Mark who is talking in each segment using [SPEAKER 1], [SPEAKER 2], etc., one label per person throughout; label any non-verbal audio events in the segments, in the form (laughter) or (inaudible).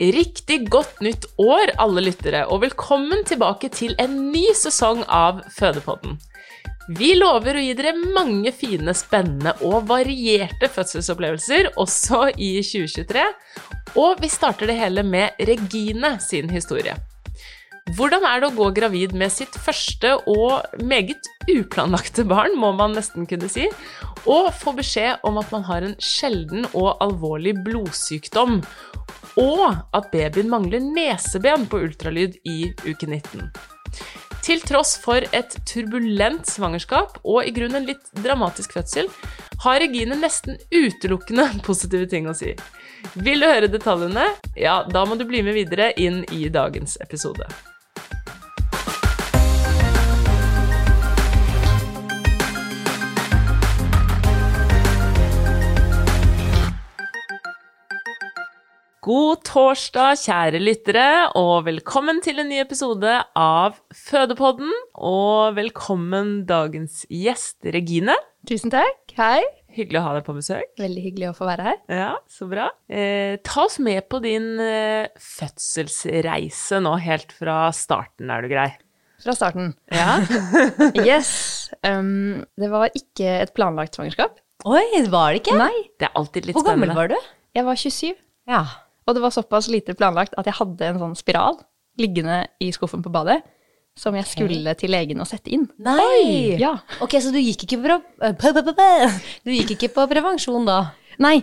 [SPEAKER 1] Riktig godt nytt år, alle lyttere, og velkommen tilbake til en ny sesong av Fødepodden. Vi lover å gi dere mange fine, spennende og varierte fødselsopplevelser også i 2023. Og vi starter det hele med Regine sin historie. Hvordan er det å gå gravid med sitt første og meget uplanlagte barn, må man nesten kunne si, og få beskjed om at man har en sjelden og alvorlig blodsykdom, og at babyen mangler neseben på ultralyd i uke 19. Til tross for et turbulent svangerskap og i grunnen en litt dramatisk fødsel, har Regine nesten utelukkende (laughs) positive ting å si. Vil du høre detaljene? Ja, da må du bli med videre inn i dagens episode. God torsdag, kjære lyttere, og velkommen til en ny episode av Fødepodden. Og velkommen dagens gjest, Regine.
[SPEAKER 2] Tusen takk. Hei.
[SPEAKER 1] Hyggelig å ha deg på besøk.
[SPEAKER 2] Veldig hyggelig å få være her.
[SPEAKER 1] Ja, så bra. Eh, ta oss med på din eh, fødselsreise nå, helt fra starten, er du grei?
[SPEAKER 2] Fra starten. (laughs)
[SPEAKER 1] Ja.
[SPEAKER 2] Yes. Um, det var ikke et planlagt svangerskap.
[SPEAKER 3] Oi, var det ikke?
[SPEAKER 2] Nei.
[SPEAKER 1] Det er alltid litt
[SPEAKER 3] Hvor gammel
[SPEAKER 1] spennende.
[SPEAKER 3] var du?
[SPEAKER 2] Jeg var 27,
[SPEAKER 3] Ja.
[SPEAKER 2] og det var såpass lite planlagt at jeg hadde en sånn spiral liggende i skuffen på badet som jeg skulle til legen og sette inn.
[SPEAKER 3] Nei!
[SPEAKER 2] Ja.
[SPEAKER 3] Ok, så du gikk ikke på, eh, på, på, på. (laughs) Du gikk ikke på prevensjon da?
[SPEAKER 2] Nei,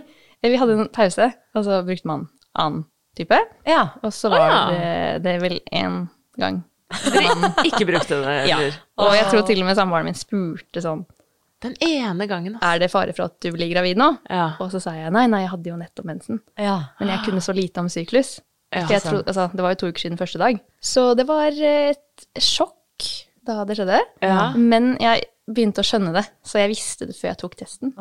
[SPEAKER 2] vi hadde en pause, og så brukte man annen type.
[SPEAKER 3] Ja.
[SPEAKER 2] Og så var
[SPEAKER 1] Ah, ja.
[SPEAKER 2] det, det vel én gang.
[SPEAKER 1] Dere ikke brukte det,
[SPEAKER 2] (laughs) Ja.
[SPEAKER 1] eller?
[SPEAKER 2] Og jeg tror til og med samboeren min spurte sånn
[SPEAKER 1] Den ene gangen, altså.
[SPEAKER 2] Er det fare for at du blir gravid nå?
[SPEAKER 1] Ja.
[SPEAKER 2] Og så sa jeg nei, nei, jeg hadde jo nettopp mensen.
[SPEAKER 3] ja.
[SPEAKER 2] Men jeg kunne så lite om syklus.
[SPEAKER 1] Ja,
[SPEAKER 2] For jeg
[SPEAKER 1] sant.
[SPEAKER 2] trodde, altså, det var jo to uker siden første dag. Så det var et sjokk da det skjedde.
[SPEAKER 1] Ja.
[SPEAKER 2] Men jeg begynte å skjønne det, så jeg visste det før jeg tok testen.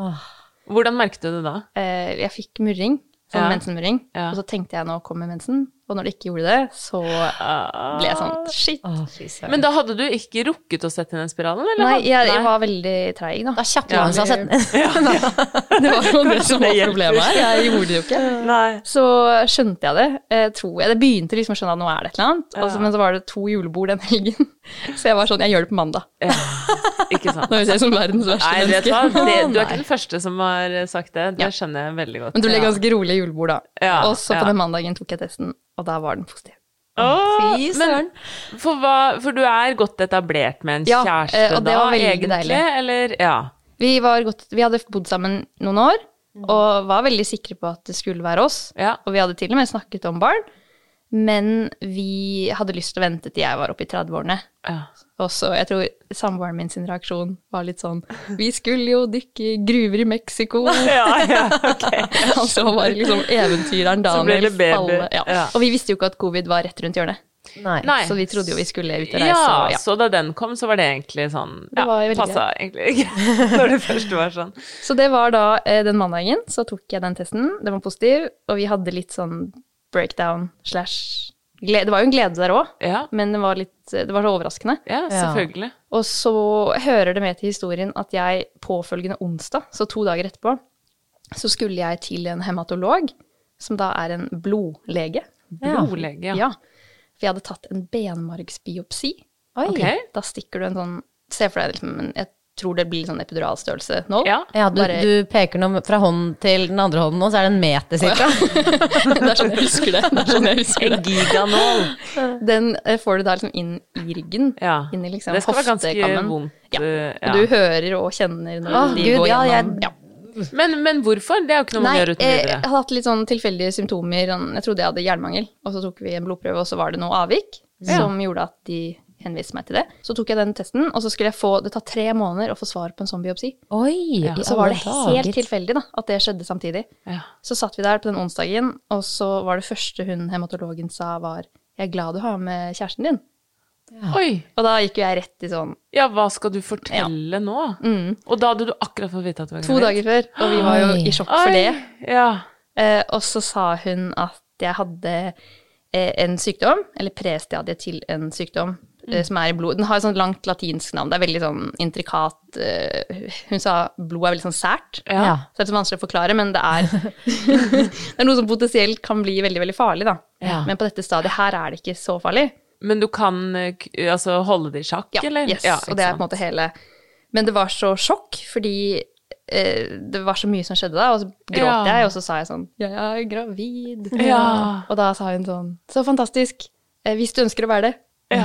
[SPEAKER 1] Hvordan merket du det da?
[SPEAKER 2] Eh, Jeg fikk murring, sånn
[SPEAKER 1] Ja.
[SPEAKER 2] mensenmurring.
[SPEAKER 1] Ja.
[SPEAKER 2] Og så tenkte jeg nå kommer mensen. Og når det ikke gjorde det, så ble jeg sånn shit.
[SPEAKER 3] Å, fy søren.
[SPEAKER 1] Men da hadde du ikke rukket å sette inn den spiralen, eller?
[SPEAKER 2] Nei,
[SPEAKER 1] hadde-
[SPEAKER 2] jeg, jeg var veldig treig, da.
[SPEAKER 3] Da kjapper man seg å sette ned.
[SPEAKER 2] (laughs) Det var jo det
[SPEAKER 1] (laughs)
[SPEAKER 2] som
[SPEAKER 1] det
[SPEAKER 2] var
[SPEAKER 1] hjelper.
[SPEAKER 2] problemet her. Jeg gjorde det jo ikke.
[SPEAKER 1] Nei.
[SPEAKER 2] Så skjønte jeg det, eh, tror jeg. Det begynte liksom å skjønne at nå er det et eller annet. Og så- men så var det to julebord den helgen. (laughs) Så jeg var sånn, jeg gjør det på mandag.
[SPEAKER 1] Ikke
[SPEAKER 2] (laughs)
[SPEAKER 1] sant.
[SPEAKER 2] Nå høres jeg ut som verdens verste
[SPEAKER 1] Nei, vet du hva?
[SPEAKER 2] menneske.
[SPEAKER 1] Det, du er ikke den første som har eh, sagt det. Det skjønner jeg veldig godt.
[SPEAKER 2] Men det ble ganske rolig julebord, da.
[SPEAKER 1] Ja,
[SPEAKER 2] og så på
[SPEAKER 1] ja.
[SPEAKER 2] den mandagen tok jeg testen, og da var den positiv.
[SPEAKER 1] Åh,
[SPEAKER 3] Fy
[SPEAKER 1] men
[SPEAKER 3] søren.
[SPEAKER 1] for, hva, for du er godt etablert med en
[SPEAKER 2] Ja,
[SPEAKER 1] kjæreste
[SPEAKER 2] eh, og det
[SPEAKER 1] da,
[SPEAKER 2] var veldig
[SPEAKER 1] egentlig?
[SPEAKER 2] deilig.
[SPEAKER 1] Eller, ja.
[SPEAKER 2] Vi, var godt, vi hadde bodd sammen noen år, og var veldig sikre på at det skulle være oss.
[SPEAKER 1] Mm. Ja.
[SPEAKER 2] Og vi hadde til og med snakket om barn, men vi hadde lyst til å vente til jeg var oppe i 30-årene. (laughs)
[SPEAKER 1] ja.
[SPEAKER 2] Og så, jeg tror samboeren min sin reaksjon var litt sånn Vi skulle jo dykke i gruver i
[SPEAKER 1] (laughs)
[SPEAKER 2] Mexico. (laughs)
[SPEAKER 1] Ja, ja, (laughs) ok.
[SPEAKER 2] Han så bare liksom eventyreren
[SPEAKER 1] Så ble
[SPEAKER 2] Daniel
[SPEAKER 1] det baby.
[SPEAKER 2] falle. Ja.
[SPEAKER 1] Ja.
[SPEAKER 2] Og vi visste jo ikke at covid var rett rundt hjørnet.
[SPEAKER 3] Nei.
[SPEAKER 1] Nei.
[SPEAKER 2] Så vi trodde jo vi skulle ut og reise.
[SPEAKER 1] Ja,
[SPEAKER 2] og, ja.
[SPEAKER 1] så da den kom, så var det egentlig sånn
[SPEAKER 2] Det var
[SPEAKER 1] ja,
[SPEAKER 2] veldig
[SPEAKER 1] Passa egentlig greit (laughs) når det først var sånn.
[SPEAKER 2] Så det var da eh, den mandagen, så tok jeg den testen. Den var positiv, og vi hadde litt sånn breakdown slash glede. Det var jo en glede der òg,
[SPEAKER 1] Ja,
[SPEAKER 2] men det var, litt, det var så overraskende.
[SPEAKER 1] ja selvfølgelig.
[SPEAKER 2] Og så hører det med til historien at jeg påfølgende onsdag, så to dager etterpå, så skulle jeg til en hematolog, som da er en blodlege.
[SPEAKER 1] Blodlege, ja.
[SPEAKER 2] Ja. For jeg hadde tatt en benmargsbiopsi.
[SPEAKER 3] Oi.
[SPEAKER 1] Ok.
[SPEAKER 2] Da stikker du en sånn Se for deg liksom en- et tror det blir sånn epiduralstørrelse nål.
[SPEAKER 1] Ja.
[SPEAKER 3] Ja, du,
[SPEAKER 2] Bare-
[SPEAKER 3] du peker nå fra hånden til den andre hånden nå, så er det en meter cirka.
[SPEAKER 2] (laughs) det er sånn jeg husker det. det, er sånn jeg husker det.
[SPEAKER 3] Giganål.
[SPEAKER 2] Den eh, får du da liksom inn i ryggen.
[SPEAKER 1] Ja.
[SPEAKER 2] Inn i liksom
[SPEAKER 1] det skal være ganske
[SPEAKER 2] hoftekammen.
[SPEAKER 1] vondt.
[SPEAKER 2] Ja.
[SPEAKER 1] eh,
[SPEAKER 2] Og du hører og kjenner når
[SPEAKER 3] Å,
[SPEAKER 2] de
[SPEAKER 3] Gud,
[SPEAKER 2] går
[SPEAKER 3] ja,
[SPEAKER 2] gjennom
[SPEAKER 3] jeg-
[SPEAKER 1] Men, men hvorfor? Det er jo ikke noe man
[SPEAKER 2] Nei,
[SPEAKER 1] gjør uten
[SPEAKER 2] eh, jeg
[SPEAKER 1] videre.
[SPEAKER 2] hadde hatt litt sånn tilfeldige symptomer. Sånn, Jeg trodde jeg hadde hjernemangel, og så tok vi en blodprøve, og så var det noe avvik som gjorde at de henviste meg til det. Så tok jeg den testen, og så skulle jeg få Det tar tre måneder å få svar på en sånn biopsi.
[SPEAKER 3] Oi,
[SPEAKER 2] Og så var det helt
[SPEAKER 3] tilfeldig.
[SPEAKER 2] tilfeldig da, at det skjedde samtidig.
[SPEAKER 1] Ja.
[SPEAKER 2] Så satt vi der på den onsdagen, og så var det første hun hematologen sa var 'Jeg er glad du har med kjæresten din'.
[SPEAKER 1] Oi!
[SPEAKER 2] Og da gikk jo jeg rett i sånn
[SPEAKER 1] Ja, hva skal du fortelle nå? Og da hadde du akkurat fått vite at du var
[SPEAKER 2] Mm. to dager før, og vi var jo i sjokk for det.
[SPEAKER 1] Ja.
[SPEAKER 2] Eh, og så sa hun at jeg hadde eh, en sykdom, eller prestadie til en sykdom,
[SPEAKER 1] Mm.
[SPEAKER 2] eh, som er i blod. Den har et sånt langt latinsk navn, det er veldig sånn intrikat. eh, hun sa blod er veldig sånn sært.
[SPEAKER 1] Ja.
[SPEAKER 3] Ja.
[SPEAKER 2] Så det er litt vanskelig å forklare, men det er,
[SPEAKER 1] (laughs)
[SPEAKER 2] (laughs) det er noe som potensielt kan bli veldig, veldig farlig, da.
[SPEAKER 1] Ja.
[SPEAKER 2] Men på dette stadiet her er det ikke så farlig.
[SPEAKER 1] Men du kan eh, k- altså, holde det i sjakk,
[SPEAKER 2] Ja,
[SPEAKER 1] eller?
[SPEAKER 2] yes,
[SPEAKER 1] Ja,
[SPEAKER 2] og det er på en måte hele Men det var så sjokk, fordi eh, det var så mye som skjedde da, og så
[SPEAKER 1] Ja.
[SPEAKER 2] gråt jeg, og så sa jeg sånn Jeg er gravid.
[SPEAKER 1] Ja.
[SPEAKER 2] Og da sa hun sånn Så fantastisk. Eh, hvis du ønsker å være det.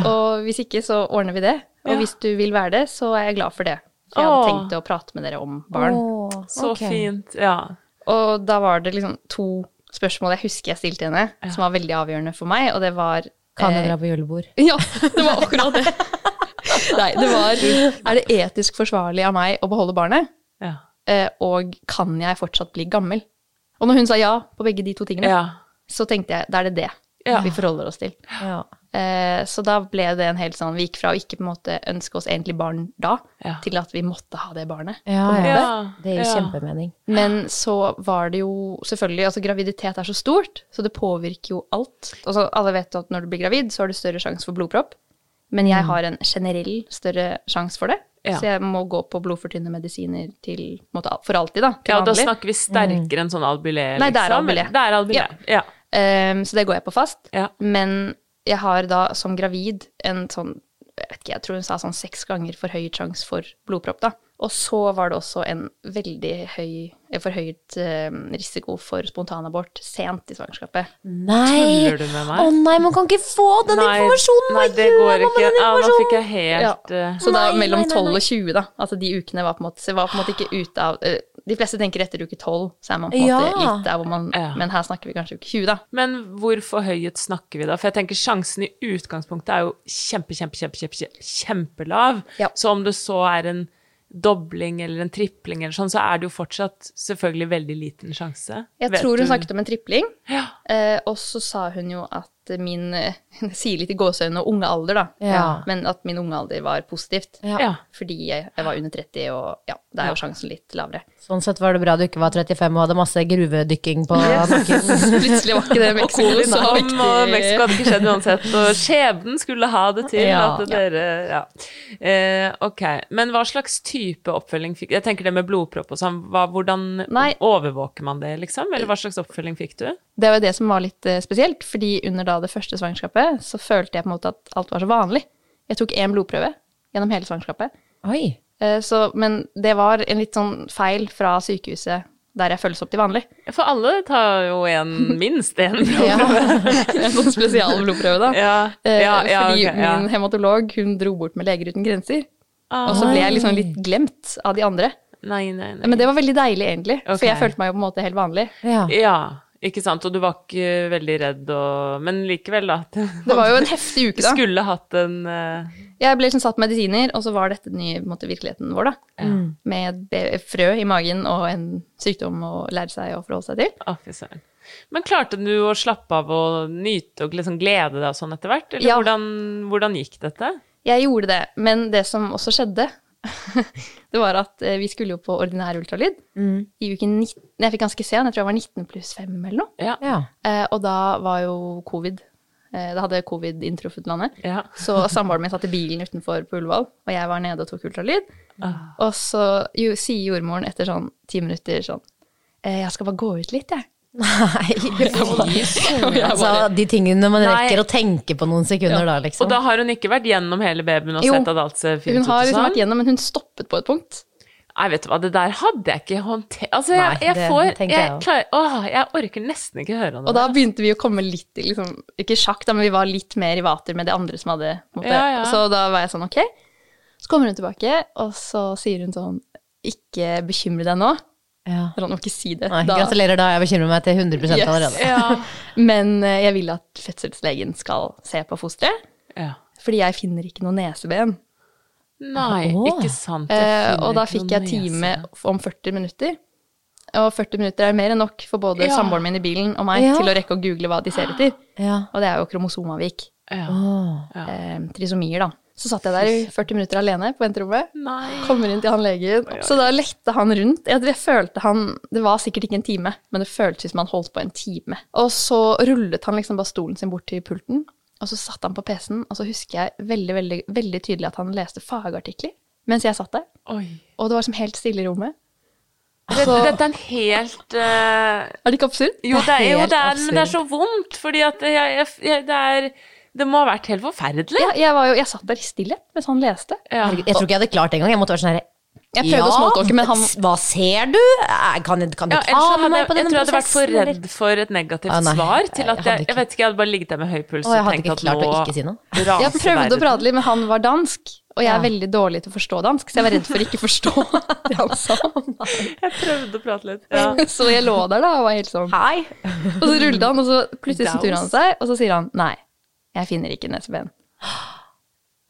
[SPEAKER 2] Og hvis ikke, så ordner vi det. Og
[SPEAKER 1] Ja.
[SPEAKER 2] hvis du vil være det, så er jeg glad for det. For jeg hadde
[SPEAKER 1] Åh.
[SPEAKER 2] tenkt å prate med dere om barn.
[SPEAKER 3] Åh,
[SPEAKER 1] Så
[SPEAKER 3] ok.
[SPEAKER 1] fint. Ja.
[SPEAKER 2] Og da var det liksom to spørsmål jeg husker jeg stilte henne, som var veldig avgjørende for meg, og det var
[SPEAKER 3] Kan
[SPEAKER 2] eh,
[SPEAKER 3] jeg dra på julebord?
[SPEAKER 2] ja, det var akkurat det. Nei, det var Er det etisk forsvarlig av meg å beholde barnet?
[SPEAKER 1] Ja.
[SPEAKER 2] Eh, og kan jeg fortsatt bli gammel? Og når hun sa ja på begge de to tingene,
[SPEAKER 1] ja.
[SPEAKER 2] så tenkte jeg da er det det
[SPEAKER 1] Ja.
[SPEAKER 2] vi forholder oss til.
[SPEAKER 3] Ja.
[SPEAKER 2] Eh, så da ble det en helt sånn Vi gikk fra å ikke på en måte ønske oss egentlig barn da,
[SPEAKER 1] Ja.
[SPEAKER 2] til at vi måtte ha det barnet.
[SPEAKER 3] Ja, ja.
[SPEAKER 1] Ja.
[SPEAKER 3] Det gir
[SPEAKER 1] ja.
[SPEAKER 3] kjempemening.
[SPEAKER 2] Men så var det jo selvfølgelig Altså, graviditet er så stort, så det påvirker jo alt. Altså, alle vet at når du blir gravid, så har du større sjanse for blodpropp. Men jeg har en generell større sjanse for det.
[SPEAKER 1] Mm. Ja.
[SPEAKER 2] Så jeg må gå på blodfortynnende medisiner til, på en måte, for alltid, da. Til
[SPEAKER 1] Ja, da
[SPEAKER 2] vanlig.
[SPEAKER 1] snakker vi sterkere enn sånn albulé,
[SPEAKER 2] Nei, det er
[SPEAKER 1] liksom.
[SPEAKER 2] albulé.
[SPEAKER 1] Det er albulé. Ja.
[SPEAKER 2] Ehm, så det går jeg på fast.
[SPEAKER 1] Ja.
[SPEAKER 2] Men jeg har da som gravid en sånn jeg vet ikke, jeg tror hun sa sånn seks ganger forhøyet sjanse for blodpropp. da. Og så var det også en veldig høy, eh, forhøyet eh, risiko for spontanabort sent i svangerskapet.
[SPEAKER 3] Nei!
[SPEAKER 1] Tuller du med meg?
[SPEAKER 3] Å nei, man kan ikke få den informasjonen! Hva
[SPEAKER 1] nei, det
[SPEAKER 3] gjør
[SPEAKER 1] går
[SPEAKER 3] man
[SPEAKER 1] ikke.
[SPEAKER 3] med den
[SPEAKER 1] Ja, nå fikk jeg
[SPEAKER 3] informasjonen?
[SPEAKER 2] Ja.
[SPEAKER 1] helt eh,
[SPEAKER 2] Så da
[SPEAKER 3] Nei,
[SPEAKER 2] mellom
[SPEAKER 3] nei, nei,
[SPEAKER 2] 12
[SPEAKER 3] nei.
[SPEAKER 2] og 20, da. Altså de ukene var på en måte, så var på en måte ikke ute av eh, De fleste tenker etter uke 12, så er man på en måte
[SPEAKER 3] Ja.
[SPEAKER 2] litt der hvor man
[SPEAKER 1] Ja.
[SPEAKER 2] Men her snakker vi kanskje uke 20, da.
[SPEAKER 1] Men hvor forhøyet snakker vi da? For jeg tenker sjansen i utgangspunktet er jo kjempe, kjempe, kjempe, kjempe, kjempe kjempelav.
[SPEAKER 2] Ja.
[SPEAKER 1] Så om det så er en dobling eller en tripling eller sånn, så er det jo fortsatt selvfølgelig veldig liten sjanse.
[SPEAKER 2] Jeg
[SPEAKER 1] Vet
[SPEAKER 2] tror
[SPEAKER 1] du-
[SPEAKER 2] hun snakket om en tripling.
[SPEAKER 1] Ja.
[SPEAKER 2] Eh, og så sa hun jo at min (laughs) eh, Hun sier litt i gåseøynene unge alder, da.
[SPEAKER 3] Ja.
[SPEAKER 2] Men at min unge alder var positivt.
[SPEAKER 3] Ja.
[SPEAKER 1] Ja.
[SPEAKER 2] Fordi jeg, jeg var under 30, og ja, da er jo sjansen litt lavere. (laughs)
[SPEAKER 3] Sånn sett var det bra du ikke var 35 og hadde masse gruvedykking på nakken.
[SPEAKER 2] Plutselig var ikke det Mexico så
[SPEAKER 1] Som,
[SPEAKER 2] viktig.
[SPEAKER 1] og Mexico hadde ikke skjedd uansett, og skjebnen skulle ha det til
[SPEAKER 3] Ja.
[SPEAKER 1] at dere Ja. Eh, ok. Men hva slags type oppfølging fikk Jeg tenker det med blodpropp og sånn, hva, hvordan
[SPEAKER 2] Nei.
[SPEAKER 1] overvåker man det, liksom? Eller hva slags oppfølging fikk du?
[SPEAKER 2] Det var jo det som var litt eh, spesielt, fordi under da det første svangerskapet så følte jeg på en måte at alt var så vanlig. Jeg tok én blodprøve gjennom hele svangerskapet.
[SPEAKER 3] (laughs) Oi.
[SPEAKER 2] Eh, så, men det var en litt sånn feil fra sykehuset der jeg følges opp til vanlig.
[SPEAKER 1] For alle tar jo (laughs) en, minst en blodprøve.
[SPEAKER 2] Ja. (laughs) en sånn spesial blodprøve, da.
[SPEAKER 1] Ja,
[SPEAKER 2] Eh,
[SPEAKER 1] ja, ja,
[SPEAKER 2] fordi
[SPEAKER 1] ok, ja.
[SPEAKER 2] min hematolog hun dro bort med Leger uten grenser. Og så ble
[SPEAKER 1] Ah.
[SPEAKER 2] jeg liksom litt glemt av de andre.
[SPEAKER 1] Nei, nei, nei.
[SPEAKER 2] Men det var veldig deilig, egentlig.
[SPEAKER 1] Ok.
[SPEAKER 2] For jeg følte meg jo på en måte helt vanlig.
[SPEAKER 3] Ja.
[SPEAKER 1] Ja, ikke sant. Og du var ikke veldig redd og Men likevel, (laughs) da. at
[SPEAKER 2] Det var jo en heftig
[SPEAKER 1] Du
[SPEAKER 2] uke, da.
[SPEAKER 1] skulle hatt en eh,
[SPEAKER 2] Jeg ble liksom satt med medisiner, og så var dette den nye på en måte, virkeligheten vår, da. Med et be- frø i magen og en sykdom å lære seg å forholde seg til.
[SPEAKER 1] Å, fy søren. Men klarte du å slappe av og nyte og liksom glede deg og sånn etter hvert? Eller
[SPEAKER 2] Ja.
[SPEAKER 1] hvordan, hvordan gikk dette?
[SPEAKER 2] Jeg gjorde det, men det som også skjedde, (laughs) det var at eh, vi skulle jo på ordinær ultralyd
[SPEAKER 1] Mm.
[SPEAKER 2] i uke 19. Jeg fikk ganske sen, jeg tror jeg var 19 pluss 5 eller noe.
[SPEAKER 1] Ja.
[SPEAKER 3] Ja.
[SPEAKER 2] Eh, og da var jo covid. Eh, da hadde covid inntruffet landet.
[SPEAKER 1] Ja.
[SPEAKER 2] Så samboeren min satt i bilen utenfor på Ullevål, og jeg var nede og tok ultralyd.
[SPEAKER 1] Ah.
[SPEAKER 2] Og så jo, sier jordmoren etter sånn ti minutter sånn eh, Jeg skal bare gå ut litt, jeg.
[SPEAKER 1] (laughs)
[SPEAKER 3] Nei. Altså, de tingene man
[SPEAKER 1] Nei.
[SPEAKER 3] rekker å tenke på noen sekunder da, liksom.
[SPEAKER 1] Og da har hun ikke vært gjennom hele babyen og
[SPEAKER 2] Jo.
[SPEAKER 1] sett at alt ser fint
[SPEAKER 2] Hun
[SPEAKER 1] ut?
[SPEAKER 2] har
[SPEAKER 1] og
[SPEAKER 2] liksom
[SPEAKER 1] sånn.
[SPEAKER 2] vært gjennom, men hun stoppet på et punkt.
[SPEAKER 1] Nei, vet du hva, det der hadde jeg ikke håndtert Altså, jeg,
[SPEAKER 3] Nei,
[SPEAKER 1] jeg
[SPEAKER 3] det
[SPEAKER 1] får
[SPEAKER 3] tenker
[SPEAKER 1] jeg,
[SPEAKER 3] jeg også.
[SPEAKER 1] klarer, Åh, jeg orker nesten ikke høre om
[SPEAKER 2] Og
[SPEAKER 1] det.
[SPEAKER 2] da begynte vi å komme litt i liksom, Ikke sjakk, da, men vi var litt mer i vater med de andre som hadde på en måte.
[SPEAKER 1] Ja, ja.
[SPEAKER 2] Så da var jeg sånn, ok. Så kommer hun tilbake, og så sier hun sånn Ikke bekymre deg nå.
[SPEAKER 3] Ja.
[SPEAKER 2] Eller han må ikke si det.
[SPEAKER 3] Nei,
[SPEAKER 2] da.
[SPEAKER 3] gratulerer, da. Jeg bekymrer meg til 100
[SPEAKER 2] Yes.
[SPEAKER 3] allerede.
[SPEAKER 1] Ja.
[SPEAKER 2] (laughs) Men eh, jeg vil at fødselslegen skal se på fosteret,
[SPEAKER 1] ja.
[SPEAKER 2] fordi jeg finner ikke noe neseben.
[SPEAKER 1] Nei,
[SPEAKER 3] Åh.
[SPEAKER 1] ikke sant. jeg
[SPEAKER 2] Eh,
[SPEAKER 1] finner
[SPEAKER 2] og da
[SPEAKER 1] ikke
[SPEAKER 2] fikk
[SPEAKER 1] noen
[SPEAKER 2] jeg time
[SPEAKER 1] nese.
[SPEAKER 2] om 40 minutter. Og 40 minutter er mer enn nok for både
[SPEAKER 1] Ja.
[SPEAKER 2] samboeren min i bilen og meg
[SPEAKER 3] Ja.
[SPEAKER 2] til å rekke å google hva de ser etter.
[SPEAKER 3] Ja.
[SPEAKER 2] Og det er jo kromosomavvik.
[SPEAKER 1] altså. Ja.
[SPEAKER 3] Åh.
[SPEAKER 2] Eh, trisomier, da. Så satt jeg der i 40 minutter alene på venterommet.
[SPEAKER 1] Nei.
[SPEAKER 2] Kommer inn til han legen. Så da lette han rundt. Jeg, jeg følte han, Det var sikkert ikke en time, men det føltes som han holdt på en time. Og så rullet han liksom bare stolen sin bort til pulten, og så satt han på PC-en. Og så husker jeg veldig, veldig, veldig tydelig at han leste fagartikler mens jeg satt der.
[SPEAKER 1] Oi.
[SPEAKER 2] Og det var som helt stille i rommet.
[SPEAKER 1] Dette, dette er en helt eh,
[SPEAKER 2] Er det ikke absurd?
[SPEAKER 1] Jo, det er, jo,
[SPEAKER 3] helt
[SPEAKER 1] det er, men det er så
[SPEAKER 3] absurd.
[SPEAKER 1] vondt, fordi at jeg, jeg, jeg, det er Det må ha vært helt forferdelig.
[SPEAKER 2] Ja, jeg, var jo, jeg satt der i stillhet mens han leste.
[SPEAKER 1] Ja.
[SPEAKER 3] Herregud, Jeg tror ikke jeg hadde klart det engang. Jeg måtte være sånn herre
[SPEAKER 2] Jeg prøvde å småtalke, men han
[SPEAKER 3] Hva ser du? Eh, Kan, kan du
[SPEAKER 1] Ja,
[SPEAKER 3] ta
[SPEAKER 1] ellers så
[SPEAKER 3] med
[SPEAKER 1] hadde jeg,
[SPEAKER 3] meg på
[SPEAKER 1] jeg
[SPEAKER 3] denne
[SPEAKER 1] tror jeg hadde vært for
[SPEAKER 3] prosessen, eller?
[SPEAKER 1] redd for et negativt
[SPEAKER 3] Ah, nei.
[SPEAKER 1] svar. til at
[SPEAKER 3] Jeg
[SPEAKER 1] jeg,
[SPEAKER 3] hadde
[SPEAKER 1] jeg,
[SPEAKER 3] ikke-
[SPEAKER 1] vet ikke, jeg hadde bare ligget der med høy puls
[SPEAKER 3] Å, jeg hadde ikke klart å ikke si noe.
[SPEAKER 1] raser
[SPEAKER 2] Jeg prøvde å
[SPEAKER 1] verden.
[SPEAKER 2] prate litt, men han var dansk. Og jeg er
[SPEAKER 3] Ja.
[SPEAKER 2] veldig dårlig til å forstå dansk, så jeg var redd for ikke å forstå (laughs) det han sa.
[SPEAKER 1] Jeg prøvde å prate litt. Ja.
[SPEAKER 2] Så jeg lå der da og var helt sånn Hei! Og så rullet han, og så plutselig så snur han seg, og så sier han nei, jeg finner ikke neseben.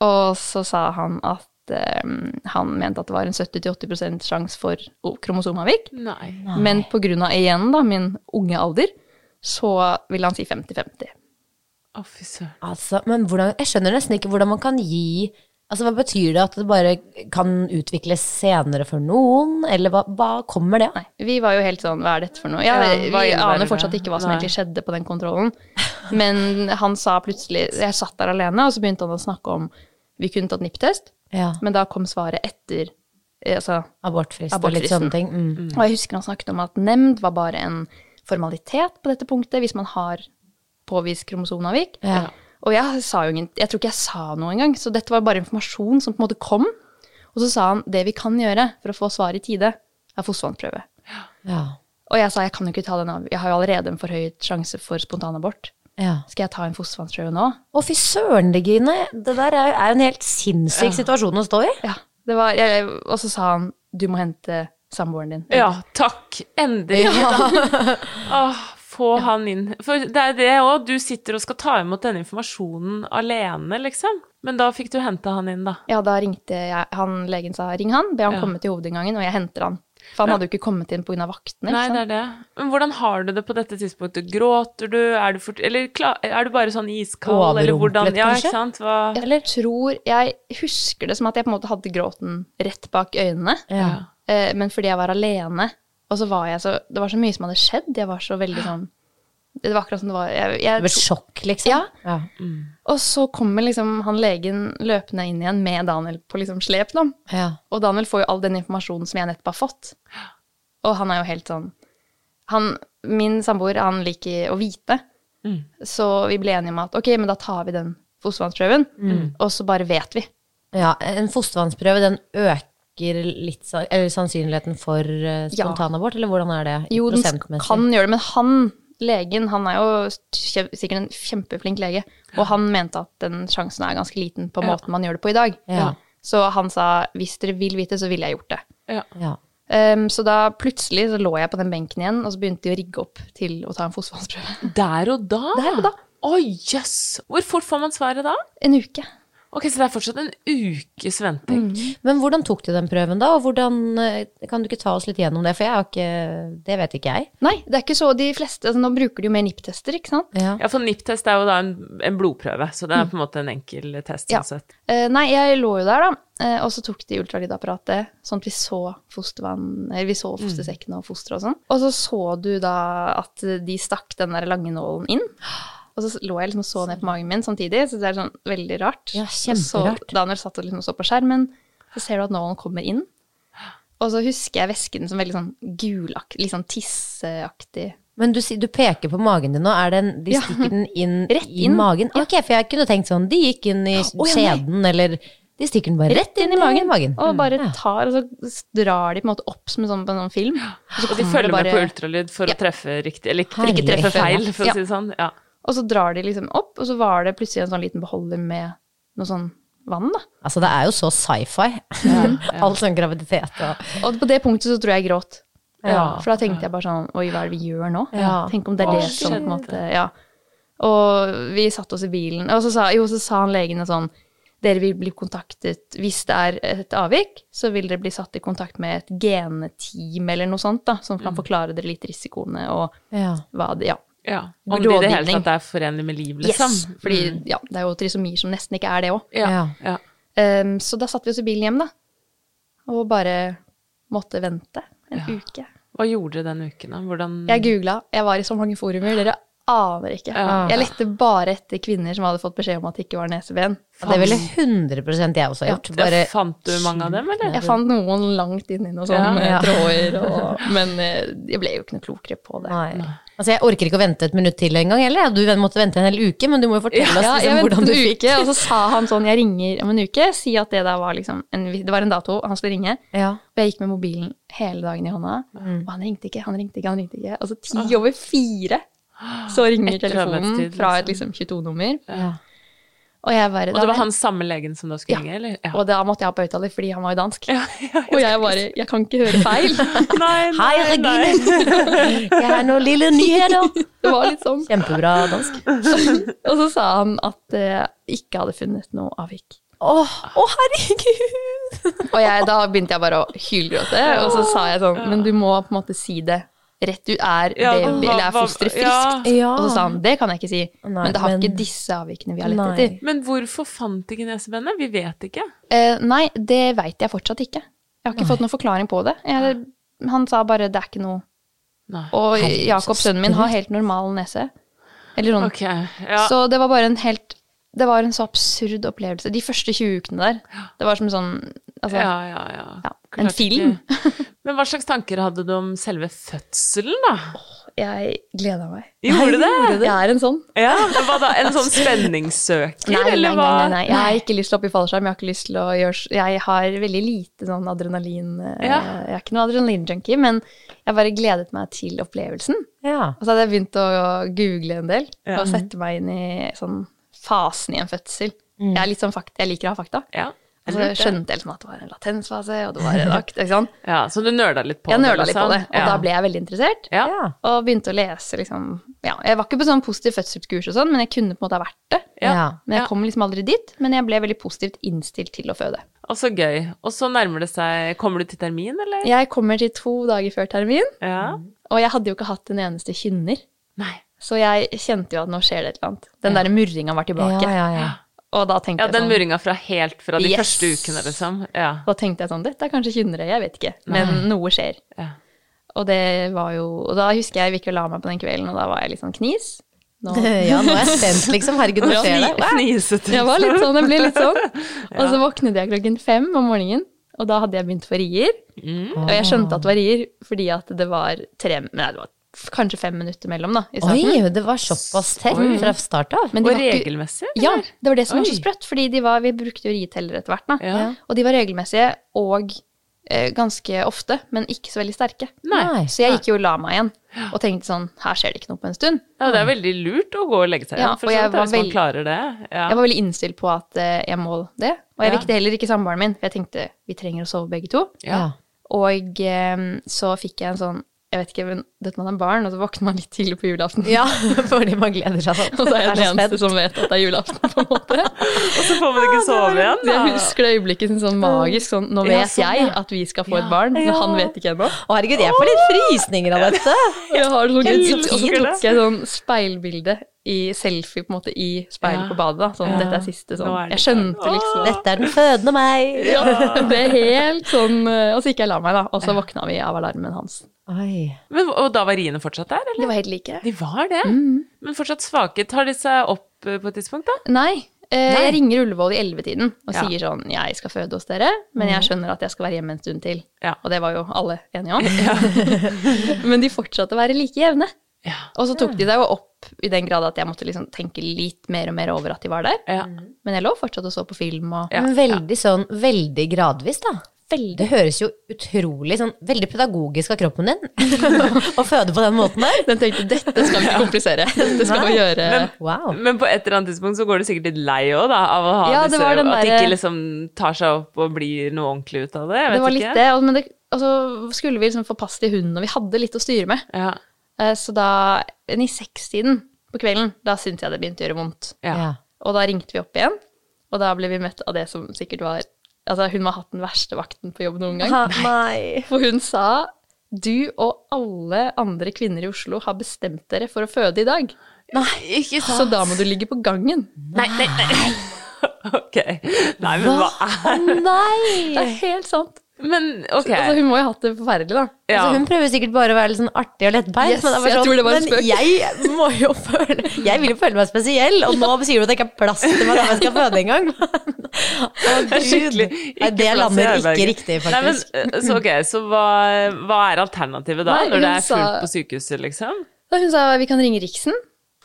[SPEAKER 2] Og så sa han at eh, han mente at det var en 70-80 sjanse for o- kromosomavvik.
[SPEAKER 1] Nei.
[SPEAKER 2] Men på grunn av igjen da, min unge alder, så vil han si 50-50.
[SPEAKER 1] Å, fy søren.
[SPEAKER 3] Altså, men hvordan, jeg skjønner nesten ikke hvordan man kan gi Altså, Hva betyr det at det bare kan utvikles senere for noen, eller hva, hva kommer det av?
[SPEAKER 2] Nei, vi var jo helt sånn, hva er dette for noe? Ja,
[SPEAKER 1] Ja, hva
[SPEAKER 2] vi
[SPEAKER 1] innebærer
[SPEAKER 2] aner fortsatt
[SPEAKER 1] det?
[SPEAKER 2] ikke hva som
[SPEAKER 1] Nei.
[SPEAKER 2] egentlig skjedde på den kontrollen. Men han sa plutselig, jeg satt der alene, og så begynte han å snakke om, vi kunne tatt nipptest,
[SPEAKER 3] Ja,
[SPEAKER 2] men da kom svaret etter, eh, altså,
[SPEAKER 3] Abortfrist og litt
[SPEAKER 2] Abortfristen.
[SPEAKER 3] sånne ting. Mm.
[SPEAKER 2] og jeg husker han snakket om at nemnd var bare en formalitet på dette punktet, hvis man har påvist kromosomavvik.
[SPEAKER 3] Ja.
[SPEAKER 2] Og jeg sa jo ingen, jeg tror ikke jeg sa noe engang, så dette var bare informasjon som på en måte kom. Og så sa han, det vi kan gjøre for å få svar i tide, er fostervannsprøve.
[SPEAKER 3] Ja.
[SPEAKER 2] Og jeg sa jeg kan jo ikke ta den av. Jeg har jo allerede en forhøyet sjanse for spontanabort.
[SPEAKER 3] ja.
[SPEAKER 2] Skal jeg ta en fostervannsprøve nå?
[SPEAKER 3] Å, fy søren, Regine. Det der er jo er jo en helt sinnssyk situasjon å stå i.
[SPEAKER 2] Ja. Det var, jeg, og så sa han du må hente samboeren din.
[SPEAKER 1] Ja, takk. Endelig. (laughs) Åh, få han inn. For det er det òg. Du sitter og skal ta imot denne informasjonen alene, liksom. Men da fikk du hente han inn, da.
[SPEAKER 2] Ja, da ringte jeg han legen sa ring han, be han
[SPEAKER 1] Ja.
[SPEAKER 2] komme til hovedinngangen, og jeg henter han. For han hadde jo ikke kommet inn pga. vaktene.
[SPEAKER 1] Nei,
[SPEAKER 2] ikke
[SPEAKER 1] det er
[SPEAKER 2] sant?
[SPEAKER 1] det. Men hvordan har du det på dette tidspunktet? Gråter du? Er du, fort, eller, kla- er du bare sånn iskald? Eller hvordan?
[SPEAKER 3] Overrumplet,
[SPEAKER 1] Ja,
[SPEAKER 3] kanskje?
[SPEAKER 1] ikke sant? Hva,
[SPEAKER 2] Jeg tror Jeg husker det som at jeg på en måte hadde gråten rett bak øynene.
[SPEAKER 3] Ja.
[SPEAKER 2] Eh, men fordi jeg var alene, og så var jeg så Det var så mye som hadde skjedd. Jeg var så veldig sånn Det var akkurat som det var jeg, jeg,
[SPEAKER 3] Det ble sjokk, liksom.
[SPEAKER 2] Ja. Og så kommer liksom han legen løpende inn igjen med Daniel på liksom slep. Da.
[SPEAKER 3] Ja.
[SPEAKER 2] Og Daniel får jo all den informasjonen som jeg nettopp har fått. Og han er jo helt sånn han, Min samboer, han liker å vite. Så vi ble enige om at ok, men da tar vi den fostervannsprøven, og så bare vet vi.
[SPEAKER 3] Ja, En fostervannsprøve den øker litt sa- eller sannsynligheten for eh,
[SPEAKER 2] Ja.
[SPEAKER 3] spontanabort, eller hvordan er det? i
[SPEAKER 2] Jo, den sk-
[SPEAKER 3] prosentmessig?
[SPEAKER 2] kan gjøre det, men han legen, han er jo kje- sikkert en kjempeflink lege, og han mente at den sjansen er ganske liten på måten man gjør det på i dag.
[SPEAKER 3] Ja.
[SPEAKER 2] Så han sa hvis dere vil vite, så ville jeg gjort det.
[SPEAKER 1] ja.
[SPEAKER 3] Ja.
[SPEAKER 2] Ehm, så da plutselig så lå jeg på den benken igjen, og så begynte de å rigge opp til å ta en fostervannsprøve.
[SPEAKER 1] Der og da?
[SPEAKER 2] Der og da.
[SPEAKER 1] Å, jøss! Hvor fort får man svaret da?
[SPEAKER 2] En uke.
[SPEAKER 1] Ok, Så det er fortsatt en ukes venting.
[SPEAKER 2] Mm.
[SPEAKER 3] Men hvordan tok du den prøven da, og hvordan eh, Kan du ikke ta oss litt gjennom det, for jeg har ikke Det vet ikke jeg.
[SPEAKER 2] Nei, det er ikke så de fleste altså, Nå bruker de jo mer NIPP-tester, ikke sant?
[SPEAKER 3] Ja.
[SPEAKER 1] Ja, for NIPT-test er jo da en, en blodprøve, så det er på en måte en enkel test.
[SPEAKER 2] Mm. Ja.
[SPEAKER 1] sånn sett.
[SPEAKER 2] Eh, nei, jeg lå jo der, da, eh, og så tok de ultralydapparatet, sånn at vi så fostervann, eller vi så
[SPEAKER 3] Mm.
[SPEAKER 2] fostersekken og fosteret og sånn. Og så så du da at de stakk den der lange nålen inn. Og så lå jeg liksom og så ned på magen min samtidig, så det er sånn veldig rart.
[SPEAKER 3] Ja,
[SPEAKER 2] Og så
[SPEAKER 3] kjemperart.
[SPEAKER 2] Daniel satt og liksom så på skjermen, så ser du at nålen kommer inn. Og så husker jeg væsken som veldig sånn gulaktig, litt sånn tisseaktig
[SPEAKER 3] Men du, sier- du peker på magen din nå. Er den, de
[SPEAKER 2] Ja.
[SPEAKER 3] stikker den inn
[SPEAKER 2] (laughs) Rett
[SPEAKER 3] i
[SPEAKER 2] inn.
[SPEAKER 3] magen? Ok, for jeg kunne tenkt sånn, de gikk inn i
[SPEAKER 2] ja, nei.
[SPEAKER 3] skjeden, eller de stikker den bare
[SPEAKER 2] Rett inn i magen.
[SPEAKER 3] magen. Mm,
[SPEAKER 2] Og bare
[SPEAKER 3] Ja.
[SPEAKER 2] tar, og så s- drar de på en måte opp som en sånn, på en sånn film. Og så,
[SPEAKER 1] Og de
[SPEAKER 2] kommer
[SPEAKER 1] følger
[SPEAKER 2] det bare,
[SPEAKER 1] med på ultralyd for
[SPEAKER 2] Ja.
[SPEAKER 1] å treffe riktig, eller ikke,
[SPEAKER 3] Herlig.
[SPEAKER 1] ikke treffe feil, for
[SPEAKER 2] Ja.
[SPEAKER 1] å si det sånn. Ja.
[SPEAKER 2] og så drar de liksom opp, og så var det plutselig en sånn liten beholder med noe sånn vann, da.
[SPEAKER 3] Altså, det er jo så sci-fi. (laughs) All sånn graviditet og
[SPEAKER 2] Og på det punktet så tror jeg jeg gråt.
[SPEAKER 1] Ja.
[SPEAKER 2] For da tenkte jeg bare sånn Oi, hva er det vi gjør nå?
[SPEAKER 3] Ja.
[SPEAKER 2] Tenk om det
[SPEAKER 1] Å,
[SPEAKER 2] er det som på
[SPEAKER 1] shit.
[SPEAKER 2] en måte Ja. Og vi satte oss i bilen, og så sa, jo, så sa han legene sånn Dere vil bli kontaktet hvis det er et avvik, så vil dere bli satt i kontakt med et geneteam eller noe sånt, da, som kan forklare dere litt risikoene og
[SPEAKER 3] Ja.
[SPEAKER 2] hva det Ja.
[SPEAKER 1] Ja. Om det i det hele
[SPEAKER 2] Rådgivning.
[SPEAKER 1] tatt er forenlig med liv, liksom.
[SPEAKER 2] Fordi ja, det er jo trisomier som nesten ikke er det òg.
[SPEAKER 1] Ja.
[SPEAKER 3] Ja.
[SPEAKER 1] Ja.
[SPEAKER 2] Ehm, så da satte vi oss i bilen hjem, da. Og bare måtte vente en uke.
[SPEAKER 1] Hva gjorde dere den uken, da? Hvordan
[SPEAKER 2] Jeg googla, jeg var i så mange forumer, dere aner ikke.
[SPEAKER 1] Ja.
[SPEAKER 2] Jeg lette bare etter kvinner som hadde fått beskjed om at det ikke var neseben.
[SPEAKER 3] Det ville 100 jeg også ha gjort.
[SPEAKER 1] Ja,
[SPEAKER 3] Bare,
[SPEAKER 1] Fant du mange av dem, eller?
[SPEAKER 2] Jeg fant noen langt inni noen sånne
[SPEAKER 1] Ja, ja.
[SPEAKER 2] tråder, og, men eh, jeg ble jo ikke noe klokere på det.
[SPEAKER 3] nei. Altså, jeg orker ikke å vente et minutt til engang, eller? Du måtte vente en hel uke, men du må jo fortelle oss
[SPEAKER 2] Ja, jeg
[SPEAKER 3] liksom,
[SPEAKER 2] ventet
[SPEAKER 3] hvordan
[SPEAKER 2] en
[SPEAKER 3] du fikk
[SPEAKER 2] uke, og så sa han sånn, jeg ringer om en uke, si at det der var liksom, en, det var en dato, han skulle ringe.
[SPEAKER 3] Ja.
[SPEAKER 2] Og jeg gikk med mobilen hele dagen i hånda,
[SPEAKER 1] Mm.
[SPEAKER 2] og han ringte ikke, han ringte ikke, han ringte ikke. Altså ti over fire, så ringer
[SPEAKER 1] Ah. Etter
[SPEAKER 2] telefonen
[SPEAKER 1] arbeidstid,
[SPEAKER 2] fra et liksom 22-nummer.
[SPEAKER 3] Ja.
[SPEAKER 2] Og jeg bare...
[SPEAKER 1] Og det
[SPEAKER 2] da-
[SPEAKER 1] var han samme legen som da skulle
[SPEAKER 2] Ja.
[SPEAKER 1] ringe, eller? Ja.
[SPEAKER 2] Og da måtte jeg ha på høyttaler, fordi han var jo dansk.
[SPEAKER 1] (laughs) Ja, ja,
[SPEAKER 2] (laughs) og jeg bare Jeg kan ikke høre
[SPEAKER 1] (laughs)
[SPEAKER 2] feil. (laughs)
[SPEAKER 1] Nei, nei,
[SPEAKER 3] Hei, Regine! (laughs) Jeg har noen lille nyheter!
[SPEAKER 2] Det var litt sånn.
[SPEAKER 3] Kjempebra dansk.
[SPEAKER 2] Og så sa han at jeg ikke hadde funnet noe avvik.
[SPEAKER 3] Åh, å, herregud!
[SPEAKER 2] Og jeg, da begynte jeg bare å hylgråte, og så sa jeg sånn Men du må på en måte si det rett ut. Er
[SPEAKER 1] Ja,
[SPEAKER 2] baby,
[SPEAKER 1] hva-
[SPEAKER 2] eller er
[SPEAKER 1] hva- ja.
[SPEAKER 2] fosteret friskt?
[SPEAKER 3] Ja.
[SPEAKER 2] Og så sa han det kan jeg ikke si,
[SPEAKER 3] Nei,
[SPEAKER 2] men det har
[SPEAKER 3] men-
[SPEAKER 2] ikke disse avvikene vi har lett
[SPEAKER 3] Nei.
[SPEAKER 2] etter.
[SPEAKER 1] Men hvorfor fant ikke nesebenet? Vi vet ikke.
[SPEAKER 2] Eh, nei, det veit jeg fortsatt ikke. Jeg har ikke fått noen forklaring på det. Jeg, han sa bare det er ikke noe.
[SPEAKER 1] Nei.
[SPEAKER 2] Og
[SPEAKER 3] Herregud,
[SPEAKER 2] Jakob,
[SPEAKER 3] så
[SPEAKER 2] sønnen min, har helt normal nese. Eller sånn
[SPEAKER 1] Ok, ja.
[SPEAKER 2] Så det var bare en helt Det var en så absurd opplevelse. De første 20 ukene der. Det var som sånn altså,
[SPEAKER 1] ja, ja, ja.
[SPEAKER 2] ja, en
[SPEAKER 1] Klart
[SPEAKER 2] film. (laughs)
[SPEAKER 1] ikke. Men hva slags tanker hadde du om selve fødselen, da?
[SPEAKER 2] Jeg gleda meg.
[SPEAKER 1] Gjorde det?
[SPEAKER 2] Jeg er en sånn.
[SPEAKER 1] Ja, hva da? En sånn spenningssøker,
[SPEAKER 2] Nei, nei, nei,
[SPEAKER 1] eller hva?
[SPEAKER 2] nei, nei. Jeg har ikke lyst til å hoppe i fallskjerm. Jeg har ikke lyst til å gjøre s- Jeg har veldig lite sånn adrenalin eh,
[SPEAKER 1] Ja.
[SPEAKER 2] Jeg er ikke noe adrenalinjunkie, men jeg bare gledet meg til opplevelsen.
[SPEAKER 3] Ja.
[SPEAKER 2] Og så hadde jeg begynt å google en del
[SPEAKER 1] Ja.
[SPEAKER 2] og sette meg inn i sånn fasen i en fødsel.
[SPEAKER 1] Mm.
[SPEAKER 2] Jeg, er litt sånn fakt, jeg liker å ha fakta.
[SPEAKER 1] Ja.
[SPEAKER 2] Og så skjønte jeg liksom at det var en latensfase, og det var
[SPEAKER 1] (laughs)
[SPEAKER 2] en akt. ikke sant?
[SPEAKER 1] ja, så du nøla litt på
[SPEAKER 2] Jeg
[SPEAKER 1] det?
[SPEAKER 2] nøla litt på
[SPEAKER 1] liksom?
[SPEAKER 2] det, og
[SPEAKER 1] ja.
[SPEAKER 2] da ble jeg veldig interessert.
[SPEAKER 1] ja.
[SPEAKER 3] Ja.
[SPEAKER 2] Og begynte å lese, liksom. Ja, jeg var ikke på sånn positiv fødselskurs og sånn, men jeg kunne på en måte ha vært det.
[SPEAKER 3] Ja.
[SPEAKER 2] Men
[SPEAKER 1] Ja.
[SPEAKER 2] jeg kom liksom aldri dit. Men jeg ble veldig positivt innstilt til å føde.
[SPEAKER 1] Og så gøy. Og så nærmer det seg Kommer du til termin, eller?
[SPEAKER 2] Jeg kommer til to dager før termin,
[SPEAKER 1] Ja.
[SPEAKER 2] og jeg hadde jo ikke hatt en eneste kynner.
[SPEAKER 1] Nei.
[SPEAKER 2] Så jeg kjente jo at nå skjer det et eller annet. Den der murringa var
[SPEAKER 3] Ja,
[SPEAKER 2] tilbake.
[SPEAKER 3] ja, ja.
[SPEAKER 2] Og da tenkte,
[SPEAKER 1] Ja, den
[SPEAKER 2] jeg sånn,
[SPEAKER 1] murringa fra helt fra de
[SPEAKER 2] Yes.
[SPEAKER 1] første ukene, liksom. Ja.
[SPEAKER 2] da tenkte jeg sånn Dette er kanskje kynnere, jeg vet ikke. Men noe skjer.
[SPEAKER 1] Ja.
[SPEAKER 2] Og det var jo Og da husker jeg jeg gikk og la meg på den kvelden, og da var jeg litt sånn knis. Nå
[SPEAKER 3] Ja, nå er jeg spent, liksom. Herregud, hva skjer
[SPEAKER 1] (laughs)
[SPEAKER 3] der?
[SPEAKER 1] Fnisete.
[SPEAKER 2] (laughs) Jeg var litt sånn, jeg ble litt sånn. Og så våknet jeg klokken fem om morgenen, og da hadde jeg begynt for rier.
[SPEAKER 1] Mm.
[SPEAKER 2] Og jeg skjønte at det var rier, fordi at det var tre, nei, det var f- kanskje fem minutter mellom da, i starten.
[SPEAKER 3] Oi, det var såpass tett fra start av.
[SPEAKER 2] Men
[SPEAKER 1] Og
[SPEAKER 2] de var ikke-
[SPEAKER 1] regelmessig?
[SPEAKER 2] Ja, det var det som var
[SPEAKER 1] Oi.
[SPEAKER 2] så sprøtt, fordi de var, vi brukte jo rietellere etter hvert da.
[SPEAKER 1] Ja.
[SPEAKER 2] Og de var regelmessige og eh, ganske ofte, men ikke så veldig sterke.
[SPEAKER 3] Nei.
[SPEAKER 2] Så jeg gikk jo og la meg igjen, og tenkte sånn, her skjer det ikke noe på en stund.
[SPEAKER 1] Ja, det er veldig lurt å gå og legge seg
[SPEAKER 2] Ja,
[SPEAKER 1] igjen, for
[SPEAKER 2] og
[SPEAKER 1] så
[SPEAKER 2] jeg
[SPEAKER 1] vidt,
[SPEAKER 2] var
[SPEAKER 1] hvis man
[SPEAKER 2] veld-
[SPEAKER 1] klarer det. Ja.
[SPEAKER 2] Jeg var veldig innstilt på at eh, jeg må det, og jeg
[SPEAKER 1] Ja.
[SPEAKER 2] vekte heller ikke samboeren min, for jeg tenkte, vi trenger å sove begge to.
[SPEAKER 3] Ja.
[SPEAKER 2] Og eh, så fikk jeg en sånn Jeg vet ikke, men dette man er barn, og så våkner man litt tidlig på julaften.
[SPEAKER 3] ja, (laughs) fordi man gleder seg sånn.
[SPEAKER 2] (laughs) Og så er jeg
[SPEAKER 3] Det
[SPEAKER 2] den
[SPEAKER 3] så spent.
[SPEAKER 2] eneste som vet at det er julaften, på en måte.
[SPEAKER 1] Og så får man ikke sove igjen,
[SPEAKER 2] Så
[SPEAKER 1] da.
[SPEAKER 2] jeg husker det øyeblikket som sånn magisk sånn Nå
[SPEAKER 3] Ah. Ja,
[SPEAKER 2] vet
[SPEAKER 3] sånn,
[SPEAKER 2] jeg
[SPEAKER 3] ja.
[SPEAKER 2] at vi skal få et barn, men han vet ikke ennå.
[SPEAKER 3] Å, herregud, jeg får litt frysninger av dette.
[SPEAKER 2] Og jeg har sånn
[SPEAKER 3] Jeg
[SPEAKER 2] gud,
[SPEAKER 3] elsker
[SPEAKER 2] Og så
[SPEAKER 1] det.
[SPEAKER 2] tok jeg sånn speilbilde i selfie, på en måte, i speilet
[SPEAKER 1] Ja.
[SPEAKER 2] på badet. da. Sånn,
[SPEAKER 1] Ja.
[SPEAKER 2] dette er siste sånn.
[SPEAKER 1] Nå er det-
[SPEAKER 2] Jeg skjønte liksom
[SPEAKER 3] Dette er den fødende meg.
[SPEAKER 2] ja,
[SPEAKER 3] (laughs)
[SPEAKER 2] det er helt sånn eh, Og så gikk jeg og la meg, da. Og så våkna vi av alarmen hans.
[SPEAKER 3] Oi.
[SPEAKER 1] Men, og da var riene fortsatt der, eller?
[SPEAKER 2] De var Mm. helt like.
[SPEAKER 1] De var det. Men fortsatt svake. Tar de seg opp eh, på et tidspunkt, da?
[SPEAKER 2] Nei. eh,
[SPEAKER 1] Nei.
[SPEAKER 2] Jeg ringer Ullevål i 11-tiden og
[SPEAKER 1] Ja. Mm.
[SPEAKER 2] sier sånn Jeg skal føde hos dere, men jeg skjønner at jeg skal være hjemme en stund til.
[SPEAKER 1] Ja. (laughs)
[SPEAKER 2] (laughs) Og det var jo alle enige om. men de fortsatte å være like jevne. Og så tok de det jo opp i den grad at jeg måtte liksom tenke litt mer og mer over at de var der.
[SPEAKER 1] Ja.
[SPEAKER 2] Men jeg lå fortsatt og så på film og
[SPEAKER 1] Ja,
[SPEAKER 3] Men veldig sånn, veldig gradvis, da. Det
[SPEAKER 2] Veldig
[SPEAKER 3] høres jo utrolig sånn veldig pedagogisk av kroppen din (laughs) å føde på den måten der.
[SPEAKER 2] (laughs) Den tenkte dette skal vi ikke komplisere. Dette skal vi gjøre.
[SPEAKER 3] Wow.
[SPEAKER 1] Men på et eller annet tidspunkt så går du sikkert litt lei òg, da, av å ha
[SPEAKER 2] Ja, det
[SPEAKER 1] disse
[SPEAKER 2] var den
[SPEAKER 1] At det
[SPEAKER 2] derre-
[SPEAKER 1] ikke liksom tar seg opp og blir noe ordentlig ut av det. Jeg vet
[SPEAKER 2] Det var
[SPEAKER 1] ikke.
[SPEAKER 2] litt det. og- Men det, og så skulle vi liksom få pass til hunden, og vi hadde litt å styre med.
[SPEAKER 1] Ja,
[SPEAKER 2] Eh, Så da, enn i sekstiden på kvelden, da syntes jeg det begynte å gjøre vondt.
[SPEAKER 1] ja.
[SPEAKER 3] Ja.
[SPEAKER 2] Og da ringte vi opp igjen, og da ble vi møtt av det som sikkert var Altså, hun har hatt den verste vakten på jobb noen gang. For hun sa du og alle andre kvinner i Oslo har bestemt dere for å føde i dag.
[SPEAKER 1] Ikke sant?
[SPEAKER 2] Så da må du ligge på gangen.
[SPEAKER 1] Nei, nei, nei. (laughs) Ok. Nei, men hva er
[SPEAKER 3] Å
[SPEAKER 2] Det
[SPEAKER 3] nei!
[SPEAKER 2] er helt sant.
[SPEAKER 1] Men ok.
[SPEAKER 2] Altså, hun må jo ha hatt det forferdelig, da.
[SPEAKER 1] Ja.
[SPEAKER 3] Altså, hun prøver sikkert bare å være litt sånn artig og lettbeint.
[SPEAKER 2] Yes,
[SPEAKER 3] men, det var
[SPEAKER 2] jeg
[SPEAKER 3] sånn,
[SPEAKER 2] tror det var en spøk.
[SPEAKER 3] men jeg må jo føle Jeg vil jo føle meg spesiell, og nå sier du at det ikke er plass til meg når jeg skal føde engang. Å
[SPEAKER 1] Det er
[SPEAKER 3] gud.
[SPEAKER 1] skikkelig
[SPEAKER 3] Nei,
[SPEAKER 1] ikke plass
[SPEAKER 3] det
[SPEAKER 1] i
[SPEAKER 3] lander ikke
[SPEAKER 1] herberget.
[SPEAKER 3] riktig,
[SPEAKER 1] Nei, men,
[SPEAKER 3] faktisk.
[SPEAKER 1] eh, så ok, så hva, hva er alternativet da,
[SPEAKER 2] Nei,
[SPEAKER 1] når det
[SPEAKER 2] hun
[SPEAKER 1] er fullt
[SPEAKER 2] sa-
[SPEAKER 1] på sykehuset, liksom?
[SPEAKER 2] Da hun sa vi kan ringe Riksen,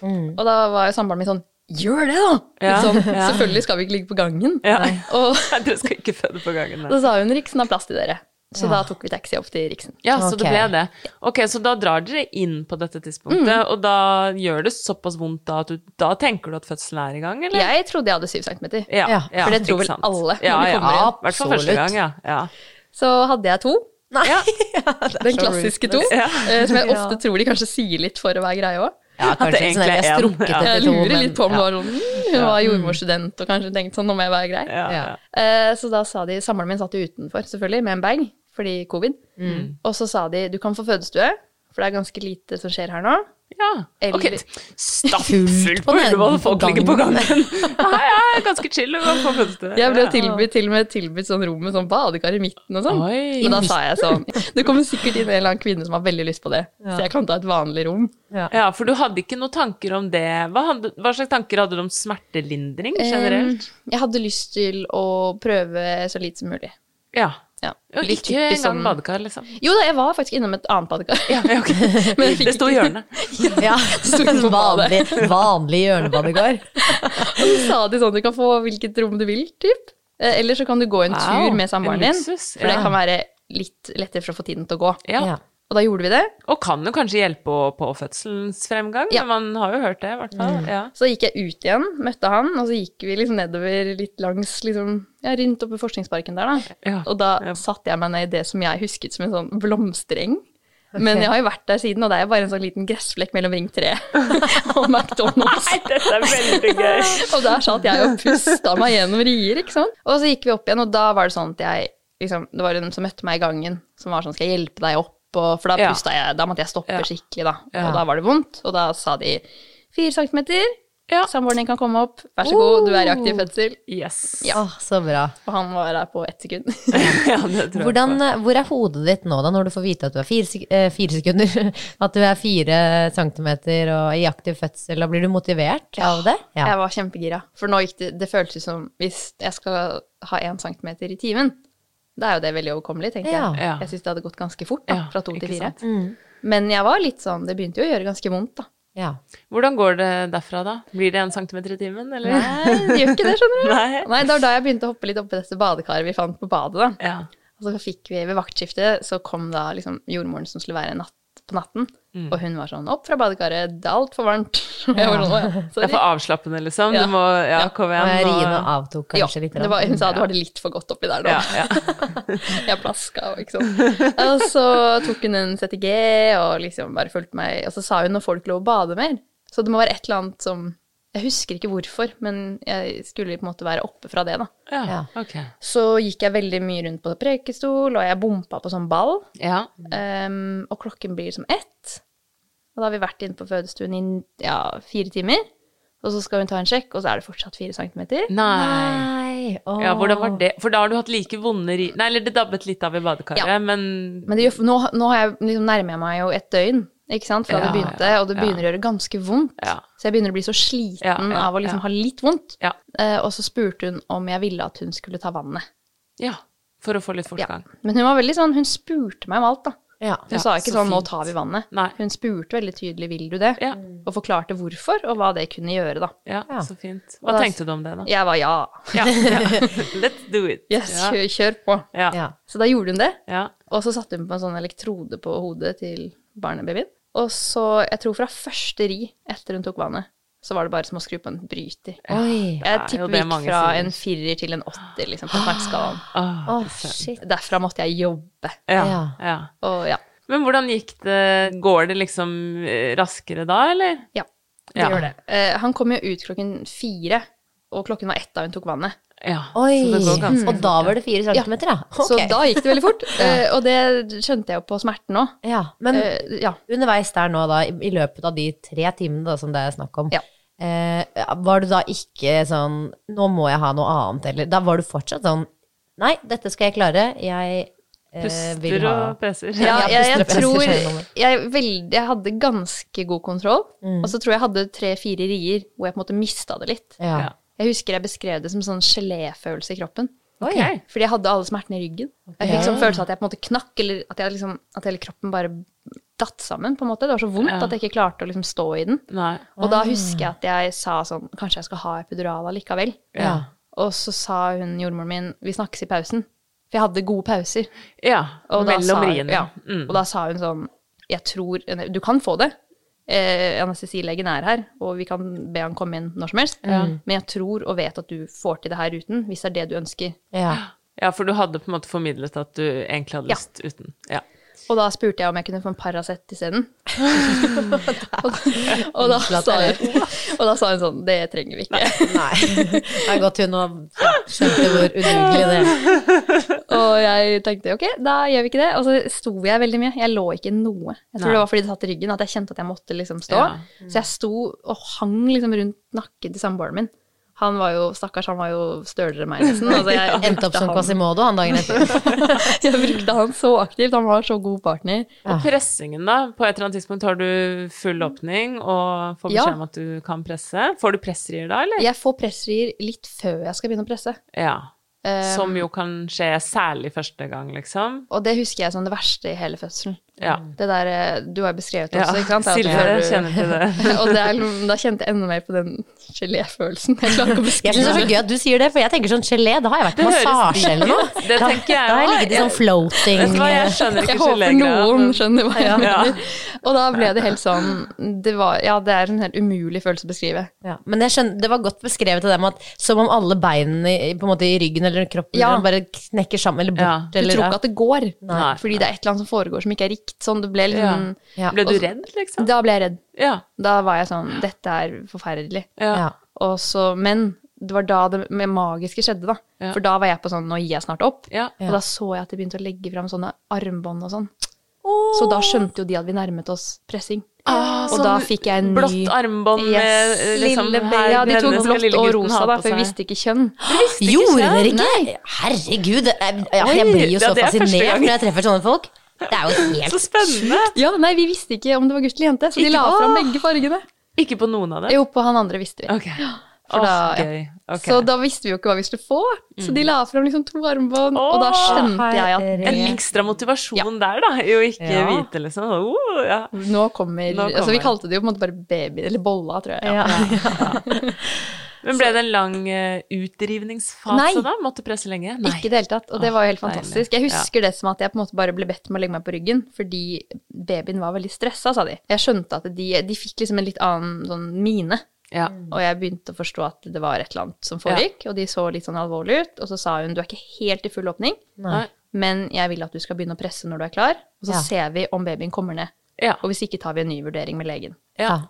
[SPEAKER 2] og da var jo samboeren min sånn gjør det, da!
[SPEAKER 1] Mm. Ja,
[SPEAKER 2] Sånn,
[SPEAKER 1] ja.
[SPEAKER 2] Selvfølgelig skal vi ikke ligge på gangen.
[SPEAKER 1] Ja. (laughs)
[SPEAKER 2] Og
[SPEAKER 1] Dere skal ikke føde på gangen. nei.
[SPEAKER 2] da sa hun Riksen har plass til dere. Så da
[SPEAKER 3] Ja.
[SPEAKER 2] tok vi taxi opp til Riksen.
[SPEAKER 1] Ja, så det ble
[SPEAKER 3] Ok.
[SPEAKER 1] det. Ok, så da drar dere inn på dette tidspunktet,
[SPEAKER 3] Mm.
[SPEAKER 1] og da gjør det såpass vondt da at du Da tenker du at fødselen er i gang, eller?
[SPEAKER 2] Jeg trodde jeg hadde syv centimeter.
[SPEAKER 3] Ja,
[SPEAKER 2] for det
[SPEAKER 1] ikke
[SPEAKER 2] tror vel
[SPEAKER 1] sant.
[SPEAKER 2] alle når
[SPEAKER 1] ja,
[SPEAKER 2] de
[SPEAKER 1] ja.
[SPEAKER 2] kommer inn.
[SPEAKER 1] I hvert fall første
[SPEAKER 3] Absolutt.
[SPEAKER 1] gang, ja. ja.
[SPEAKER 2] Så hadde jeg to.
[SPEAKER 3] Nei. (laughs)
[SPEAKER 1] Ja.
[SPEAKER 2] Den klassiske to.
[SPEAKER 1] Ja.
[SPEAKER 2] eh, Som jeg ofte tror de kanskje sier litt for å være greie òg.
[SPEAKER 3] Ja,
[SPEAKER 1] At det
[SPEAKER 3] kanskje sånn der,
[SPEAKER 1] egentlig
[SPEAKER 3] jeg
[SPEAKER 1] er en,
[SPEAKER 3] strukket
[SPEAKER 1] ja.
[SPEAKER 3] etter
[SPEAKER 2] Jeg
[SPEAKER 3] to,
[SPEAKER 2] lurer
[SPEAKER 3] men-
[SPEAKER 2] litt på om det
[SPEAKER 3] ja.
[SPEAKER 2] var sånn mm, Hun var jordmorstudent og kanskje tenkte sånn, nå må jeg være grei.
[SPEAKER 1] Ja, ja.
[SPEAKER 3] Ja.
[SPEAKER 2] Eh, Så da sa de Samboeren min satt jo utenfor, selvfølgelig, med en bag fordi covid. Og så sa de du kan få fødestue, for det er ganske lite som skjer her nå.
[SPEAKER 1] ja. Ok,
[SPEAKER 2] Eller-
[SPEAKER 1] stappfullt
[SPEAKER 3] på
[SPEAKER 1] på Ullevål,
[SPEAKER 3] den-
[SPEAKER 1] folk
[SPEAKER 3] på
[SPEAKER 1] ligger på
[SPEAKER 3] gangen.
[SPEAKER 2] (laughs)
[SPEAKER 1] gangen. Nei, ja, ganske chill å gå på fødselen.
[SPEAKER 2] Jeg ble jo tilbudt, til og med tilbudt sånn rom med sånn badekar i midten og sånn.
[SPEAKER 1] Oi.
[SPEAKER 2] Men da sa jeg sånn Det kommer sikkert inn en eller annen kvinne som har veldig lyst på det, så jeg kan ta et vanlig rom.
[SPEAKER 1] Ja, for du hadde ikke noen tanker om det. Hva, hadde, hva slags tanker hadde du om smertelindring generelt?
[SPEAKER 2] Em, Jeg hadde lyst til å prøve så lite som mulig.
[SPEAKER 1] ja.
[SPEAKER 2] Ja.
[SPEAKER 1] Jo,
[SPEAKER 2] Litt
[SPEAKER 1] ikke engang
[SPEAKER 2] typisk sånn-
[SPEAKER 1] badekar, liksom.
[SPEAKER 2] Jo da, jeg var faktisk innom et annet badekar.
[SPEAKER 1] Ja, ja, ok.
[SPEAKER 2] Men jeg fikk
[SPEAKER 1] Det sto i
[SPEAKER 2] ikke-
[SPEAKER 1] hjørnet. (laughs)
[SPEAKER 3] Ja,
[SPEAKER 2] Sto ikke på
[SPEAKER 3] vanlig, vanlig hjørnebadegård.
[SPEAKER 2] (laughs) Og så sa de sånn, du kan få hvilket rom du vil, typ. Eh, Eller så kan du gå en
[SPEAKER 1] Wow,
[SPEAKER 2] tur med samboeren
[SPEAKER 1] en
[SPEAKER 2] din,
[SPEAKER 1] luksus,
[SPEAKER 2] for det
[SPEAKER 1] ja.
[SPEAKER 2] kan være litt lettere for å få tiden til å gå.
[SPEAKER 1] Ja.
[SPEAKER 3] Ja.
[SPEAKER 2] Og da gjorde vi det.
[SPEAKER 1] Og kan jo kanskje hjelpe på, på fødselens fremgang,
[SPEAKER 2] Ja. Mm.
[SPEAKER 1] men man har jo hørt det, i hvert fall. Ja.
[SPEAKER 2] Så gikk jeg ut igjen, møtte han, og så gikk vi liksom nedover litt langs, liksom, ja, rundt oppe i forskningsparken der da.
[SPEAKER 1] Ja.
[SPEAKER 2] Og da
[SPEAKER 1] Ja.
[SPEAKER 2] satte jeg meg ned i det som jeg husket som en sånn blomstereng. Men jeg har jo vært der siden, og det er jo bare en sånn liten gressflekk mellom Ring 3 (laughs) og McDonald's.
[SPEAKER 1] Dette er veldig gøy.
[SPEAKER 2] (laughs) Og der satt jeg og pusta meg gjennom rier, ikke sant. Og så gikk vi opp igjen, og da var det sånn at jeg liksom, Det var en som møtte meg i gangen, som var sånn Skal jeg hjelpe deg opp? Og, for da
[SPEAKER 1] Ja.
[SPEAKER 2] pusta jeg, da måtte jeg stoppe
[SPEAKER 1] Ja.
[SPEAKER 2] skikkelig, da. Og
[SPEAKER 1] Ja.
[SPEAKER 2] da var det vondt. Og da sa de fire centimeter,
[SPEAKER 1] Ja. Uh.
[SPEAKER 2] samboeren din kan komme opp, vær så god, du er i aktiv fødsel.
[SPEAKER 1] (laughs) Yes.
[SPEAKER 3] Åh, så bra.
[SPEAKER 2] Og han var der på ett sekund.
[SPEAKER 1] (laughs) Ja, det tror jeg
[SPEAKER 3] Hvordan, eh,
[SPEAKER 1] på.
[SPEAKER 3] hvor er hodet ditt nå, da, når du får vite at du er fire, sek eh, fire sekunder? (laughs) At du er fire centimeter og i aktiv fødsel, da blir du motivert av
[SPEAKER 2] (laughs)
[SPEAKER 3] det? Ja.
[SPEAKER 2] Jeg var kjempegira. For nå gikk det Det føltes som hvis jeg skal ha én centimeter i timen, da er jo det veldig overkommelig, tenkte
[SPEAKER 3] Ja.
[SPEAKER 2] jeg.
[SPEAKER 1] Ja.
[SPEAKER 2] Jeg syns det hadde gått ganske fort, da,
[SPEAKER 1] Ja,
[SPEAKER 2] fra to til
[SPEAKER 1] ikke
[SPEAKER 2] fire. Mm.
[SPEAKER 1] sant.
[SPEAKER 2] Men jeg var litt sånn Det begynte jo å gjøre ganske vondt, da.
[SPEAKER 3] ja.
[SPEAKER 1] Hvordan går det derfra, da? Blir det en centimeter i timen, eller?
[SPEAKER 2] Nei, (laughs) det gjør ikke det, skjønner du.
[SPEAKER 1] Nei.
[SPEAKER 2] Nei, det var da jeg begynte å hoppe litt oppi dette badekaret vi fant på badet, da.
[SPEAKER 1] Ja.
[SPEAKER 2] Og så fikk vi ved vaktskiftet, så kom da liksom jordmoren som skulle være natt, på natten, og hun var sånn 'Opp fra badekaret, det er altfor varmt'. (laughs) Og jeg var sånn, «Å ja,
[SPEAKER 1] Det er for
[SPEAKER 2] sorry.
[SPEAKER 1] avslappende, liksom.
[SPEAKER 2] Ja.
[SPEAKER 1] Du må Ja,
[SPEAKER 2] Ja.
[SPEAKER 1] kom
[SPEAKER 3] Og
[SPEAKER 1] igjen. nå-
[SPEAKER 3] riene avtok
[SPEAKER 2] Ja,
[SPEAKER 3] kanskje litt.
[SPEAKER 2] det var, sånn- hun sa du har det litt for godt oppi der nå.
[SPEAKER 1] Ja, ja.
[SPEAKER 2] (laughs) Jeg plaska og ikke sånn. Og så tok hun en CTG og liksom bare fulgte meg. Og så sa hun når folk lov å bade mer. Så det må være et eller annet som Jeg husker ikke hvorfor, men jeg skulle på en måte være oppe fra det, da.
[SPEAKER 1] ja.
[SPEAKER 3] Ja.
[SPEAKER 1] Ok.
[SPEAKER 2] Så gikk jeg veldig mye rundt på prekestol, og jeg bompa på sånn ball.
[SPEAKER 1] Ja.
[SPEAKER 2] ehm, og klokken blir som ett. Og da har vi vært inne på fødestuen i ja, fire timer. Og så skal hun ta en sjekk, og så er det fortsatt fire centimeter.
[SPEAKER 1] Nei.
[SPEAKER 3] Nei. åh.
[SPEAKER 1] Ja, hvordan var det? For da har du hatt like vonde ri... Nei, eller det dabbet litt av i badekaret,
[SPEAKER 2] Ja.
[SPEAKER 1] men
[SPEAKER 2] Men det gjør, nå, nå har jeg, liksom, nærmer jeg meg jo et døgn ikke sant, fra det
[SPEAKER 1] Ja,
[SPEAKER 2] begynte, og det
[SPEAKER 1] ja.
[SPEAKER 2] begynner å gjøre ganske vondt.
[SPEAKER 1] Ja.
[SPEAKER 2] Så jeg begynner å bli så sliten
[SPEAKER 1] Ja, ja,
[SPEAKER 2] av å liksom
[SPEAKER 1] ja.
[SPEAKER 2] ha litt vondt.
[SPEAKER 1] Ja.
[SPEAKER 2] Eh, og så spurte hun om jeg ville at hun skulle ta vannet.
[SPEAKER 1] Ja. For å få litt
[SPEAKER 2] Ja.
[SPEAKER 1] fortgang.
[SPEAKER 2] Men hun var veldig sånn, hun spurte meg om alt, da.
[SPEAKER 3] Ja.
[SPEAKER 2] Hun sa ikke sånn 'nå tar vi vannet'.
[SPEAKER 1] Nei.
[SPEAKER 2] Hun spurte veldig tydelig 'vil du det?'
[SPEAKER 1] Ja,
[SPEAKER 2] og forklarte hvorfor, og hva det kunne gjøre, da.
[SPEAKER 1] ja,
[SPEAKER 3] Ja.
[SPEAKER 1] så fint. Hva
[SPEAKER 2] da-
[SPEAKER 1] tenkte du om det, da?
[SPEAKER 2] Jeg var ja.
[SPEAKER 1] Ja, ja. Let's do it.
[SPEAKER 2] (laughs) Yes,
[SPEAKER 1] ja.
[SPEAKER 2] kjør, kjør på.
[SPEAKER 1] Ja.
[SPEAKER 3] Ja.
[SPEAKER 2] Så da gjorde hun det.
[SPEAKER 1] Ja.
[SPEAKER 2] Og så satte hun på en sånn elektrode på hodet til barnebabyen. Og så, jeg tror fra første ri etter hun tok vannet, så var det bare som å skru på en bryter.
[SPEAKER 3] Oi.
[SPEAKER 2] Jeg
[SPEAKER 1] jo
[SPEAKER 2] tipper
[SPEAKER 1] det
[SPEAKER 2] vi gikk
[SPEAKER 1] mange
[SPEAKER 2] fra
[SPEAKER 1] sier.
[SPEAKER 2] en firer til en åtter, liksom, på
[SPEAKER 1] (gasps)
[SPEAKER 2] smerteskalaen.
[SPEAKER 1] Åh,
[SPEAKER 3] Å, shit.
[SPEAKER 2] Derfra måtte jeg jobbe.
[SPEAKER 1] ja.
[SPEAKER 3] Ja.
[SPEAKER 1] ja.
[SPEAKER 2] Og ja,
[SPEAKER 1] Men hvordan gikk det? Går det liksom eh, raskere da, eller?
[SPEAKER 2] ja det
[SPEAKER 1] Ja.
[SPEAKER 2] gjør det. Eh, han kom jo ut klokken fire, og klokken var ett da hun tok vannet.
[SPEAKER 1] Ja.
[SPEAKER 3] Oi.
[SPEAKER 1] Så
[SPEAKER 3] Mm. Hmm.
[SPEAKER 1] det går ganske
[SPEAKER 3] Og da var det fire centimeter, ja.
[SPEAKER 2] Så
[SPEAKER 3] Ok.
[SPEAKER 2] da gikk det veldig
[SPEAKER 1] (laughs)
[SPEAKER 2] fort, eh, og det skjønte jeg jo på smerten òg.
[SPEAKER 3] ja. Men
[SPEAKER 2] ja.
[SPEAKER 3] underveis der nå, da, i i løpet av de tre timene da, som det er snakk om,
[SPEAKER 2] Ja.
[SPEAKER 3] eh, var du da ikke sånn Nå må jeg ha noe annet, eller Da var du fortsatt sånn Nei, dette skal jeg klare. Jeg eh, vil
[SPEAKER 1] Puster
[SPEAKER 3] ha
[SPEAKER 1] og peser.
[SPEAKER 2] Ja,
[SPEAKER 3] Ja,
[SPEAKER 2] jeg, jeg
[SPEAKER 3] puster og
[SPEAKER 2] tror
[SPEAKER 3] presser seg
[SPEAKER 2] jeg,
[SPEAKER 3] innover.
[SPEAKER 2] veld, jeg hadde ganske god kontroll, og så tror jeg jeg hadde tre-fire rier hvor jeg på en måte mista det litt.
[SPEAKER 3] Ja.
[SPEAKER 1] Ja.
[SPEAKER 2] Jeg husker jeg beskrev det som sånn geléfølelse i kroppen.
[SPEAKER 1] Ok.
[SPEAKER 3] Oi.
[SPEAKER 2] Fordi jeg hadde alle smertene i ryggen. Jeg fikk sånn følelse av at jeg på en måte knakk, eller at, jeg liksom, at hele kroppen bare datt sammen. på en måte. Det var så vondt
[SPEAKER 1] Ja.
[SPEAKER 2] at jeg ikke klarte å liksom stå i den.
[SPEAKER 1] Nei.
[SPEAKER 2] Og da husker jeg at jeg sa sånn Kanskje jeg skal ha epidural allikevel.
[SPEAKER 3] Ja.
[SPEAKER 2] Og så sa hun jordmoren min Vi snakkes i pausen. For jeg hadde gode pauser.
[SPEAKER 1] Ja.
[SPEAKER 2] Og da, sa,
[SPEAKER 1] Mellom riene.
[SPEAKER 2] ja,
[SPEAKER 1] Mm.
[SPEAKER 2] og da sa hun sånn Jeg tror Du kan få det. Eh, Anestesilegen er her, og vi kan be han komme inn når som helst. Mm. Men jeg tror og vet at du får til det her uten, hvis det er det du ønsker.
[SPEAKER 3] Ja.
[SPEAKER 1] ja, for du hadde på en måte formidlet at du egentlig hadde
[SPEAKER 2] Ja.
[SPEAKER 1] lyst uten. Ja.
[SPEAKER 2] Og da spurte jeg om jeg kunne få en
[SPEAKER 1] (laughs)
[SPEAKER 2] Paracet isteden. (laughs) og, og, da
[SPEAKER 3] Unnskyld at
[SPEAKER 2] sa
[SPEAKER 3] jeg
[SPEAKER 2] hun- (laughs) og da sa hun sånn Det trenger vi ikke.
[SPEAKER 3] Nei. (laughs) Det er godt hun nå skjønte hvor udugelig det er.
[SPEAKER 2] Og jeg tenkte ok, da gjør vi ikke det. Og så sto jeg veldig mye. Jeg lå ikke noe. Jeg tror
[SPEAKER 1] Nei.
[SPEAKER 2] det var fordi det satt i ryggen at jeg kjente at jeg måtte liksom stå.
[SPEAKER 1] Ja.
[SPEAKER 2] Så jeg sto og hang liksom rundt nakken til samboeren min. Han var jo, stakkars, han var jo stølere enn meg
[SPEAKER 1] (laughs)
[SPEAKER 2] nesten. Altså, jeg
[SPEAKER 3] Endte
[SPEAKER 2] brukte
[SPEAKER 3] opp som
[SPEAKER 2] han-
[SPEAKER 3] sånn Quasimodo han dagen etter.
[SPEAKER 2] Jeg
[SPEAKER 1] (laughs)
[SPEAKER 2] (laughs) brukte han så aktivt. Han var så god partner.
[SPEAKER 1] Og pressingen, da? På et eller annet tidspunkt har du full åpning og får
[SPEAKER 2] Ja.
[SPEAKER 1] beskjed om at du kan presse. Får du pressrier da, eller?
[SPEAKER 2] Jeg får pressrier litt før jeg skal begynne å presse.
[SPEAKER 1] Ja.
[SPEAKER 2] Eh,
[SPEAKER 1] Som jo kan skje særlig første gang, liksom.
[SPEAKER 2] Og det husker jeg som det verste i hele fødselen.
[SPEAKER 1] Ja.
[SPEAKER 2] Det der, eh, du har jo beskrevet det
[SPEAKER 1] ja.
[SPEAKER 2] også, ikke sant? Det er
[SPEAKER 1] Silje
[SPEAKER 2] at du-
[SPEAKER 1] kjenner til
[SPEAKER 2] (laughs)
[SPEAKER 1] det.
[SPEAKER 2] og det er, liksom- da kjente jeg enda mer på den geléfølelsen. Jeg klarer ikke å
[SPEAKER 3] Jeg syns det er
[SPEAKER 2] beskrive
[SPEAKER 3] så
[SPEAKER 2] det.
[SPEAKER 3] gøy at du sier det, for jeg tenker sånn gelé, da har jeg vært på
[SPEAKER 1] høres
[SPEAKER 3] massasje eller noe.
[SPEAKER 1] Det tenker jeg
[SPEAKER 3] Da har jeg
[SPEAKER 1] også.
[SPEAKER 3] ligget i sånn floating
[SPEAKER 1] Vet du hva, jeg skjønner
[SPEAKER 2] (laughs) Jeg
[SPEAKER 1] ikke
[SPEAKER 2] håper
[SPEAKER 1] gelégreia,
[SPEAKER 2] noen
[SPEAKER 1] men-
[SPEAKER 2] skjønner hva jeg
[SPEAKER 1] Ja.
[SPEAKER 2] mener. Og da ble det helt sånn det var, Ja, det er en helt umulig følelse å beskrive.
[SPEAKER 3] Ja, men jeg skjønner, det var godt beskrevet av dem at som om alle beinene i, på en måte, i ryggen eller kroppen
[SPEAKER 2] Ja.
[SPEAKER 3] eller bare knekker sammen eller
[SPEAKER 1] Ja.
[SPEAKER 3] bort.
[SPEAKER 2] Du
[SPEAKER 3] Eller,
[SPEAKER 2] tror ikke at det går,
[SPEAKER 1] Nei.
[SPEAKER 2] fordi det er et eller annet som foregår som ikke er rikt. Sånn, det ble liksom,
[SPEAKER 3] Ja.
[SPEAKER 1] (laughs) Ble du
[SPEAKER 2] Og så-
[SPEAKER 1] redd, liksom?
[SPEAKER 2] Da ble jeg redd.
[SPEAKER 1] Ja.
[SPEAKER 2] Da var jeg sånn Dette er forferdelig.
[SPEAKER 1] Ja.
[SPEAKER 3] ja.
[SPEAKER 1] ja.
[SPEAKER 2] Og så, men det var da det magiske skjedde, da.
[SPEAKER 1] Ja.
[SPEAKER 2] For da var jeg på sånn Nå gir jeg snart opp.
[SPEAKER 1] Ja.
[SPEAKER 2] Og da så jeg at de begynte å legge fram sånne armbånd og sånn. Så da skjønte jo de at vi nærmet oss pressing. og da fikk jeg en ny
[SPEAKER 1] Ah, sånn Blått armbånd med
[SPEAKER 2] Yes.
[SPEAKER 1] eh, liksom
[SPEAKER 2] Lille-
[SPEAKER 1] her
[SPEAKER 2] Ja, de tok
[SPEAKER 1] denne skal
[SPEAKER 2] blått
[SPEAKER 1] lille
[SPEAKER 2] og
[SPEAKER 1] gutten
[SPEAKER 2] rosa,
[SPEAKER 1] ha
[SPEAKER 2] da,
[SPEAKER 1] på
[SPEAKER 2] for vi
[SPEAKER 1] seg.
[SPEAKER 2] visste ikke kjønn.
[SPEAKER 3] Gjorde dere ikke?
[SPEAKER 2] Nei.
[SPEAKER 3] Herregud, det er- jeg, jeg blir
[SPEAKER 1] ja,
[SPEAKER 3] jo så
[SPEAKER 1] det er første
[SPEAKER 3] fascinert
[SPEAKER 1] gang.
[SPEAKER 3] når jeg treffer sånne folk. Det er jo
[SPEAKER 1] Så
[SPEAKER 3] helt
[SPEAKER 1] spennende!
[SPEAKER 2] Ja, nei, vi visste ikke om det var gutt eller jente, så de
[SPEAKER 1] Ikke-
[SPEAKER 2] la fram
[SPEAKER 1] Åh.
[SPEAKER 2] begge fargene.
[SPEAKER 1] Ikke på noen av dem?
[SPEAKER 2] Jo, på han andre visste vi.
[SPEAKER 1] Ok.
[SPEAKER 2] For
[SPEAKER 1] Åh,
[SPEAKER 2] da- ja.
[SPEAKER 1] gøy. Ok.
[SPEAKER 2] Så da visste vi jo ikke hva vi skulle få, så de la fram liksom to armbånd, og da
[SPEAKER 1] Mm. Åh,
[SPEAKER 2] skjønte jeg
[SPEAKER 3] herre.
[SPEAKER 2] at
[SPEAKER 1] en ekstra motivasjon der, da, i å ikke
[SPEAKER 3] Ja.
[SPEAKER 1] vite, liksom. Oh, ja.
[SPEAKER 2] nå kommer,
[SPEAKER 1] Nå
[SPEAKER 2] Altså, vi
[SPEAKER 1] kommer.
[SPEAKER 2] kalte det jo på en måte bare baby, eller bolla, tror jeg.
[SPEAKER 3] ja.
[SPEAKER 1] Men ble det en lang eh, utrivningsfase
[SPEAKER 2] Nei.
[SPEAKER 1] da? Måtte presse lenge?
[SPEAKER 2] Ikke i det hele tatt, og det var jo helt
[SPEAKER 1] deilig.
[SPEAKER 2] fantastisk. Jeg husker det som at jeg på en måte bare ble bedt om å legge meg på ryggen, fordi babyen var veldig stressa, sa de. Jeg skjønte at de, de fikk liksom en litt annen sånn mine,
[SPEAKER 1] Ja.
[SPEAKER 2] og jeg begynte å forstå at det var et eller annet som foregikk, og de så litt sånn alvorlig ut, og så sa hun du er ikke helt i full åpning,
[SPEAKER 1] Nei.
[SPEAKER 2] men jeg vil at du skal begynne å presse når du er klar, og så
[SPEAKER 3] Ja.
[SPEAKER 2] ser vi om babyen kommer ned,
[SPEAKER 1] Ja.
[SPEAKER 2] og hvis ikke tar vi en ny vurdering med legen.
[SPEAKER 3] Ja.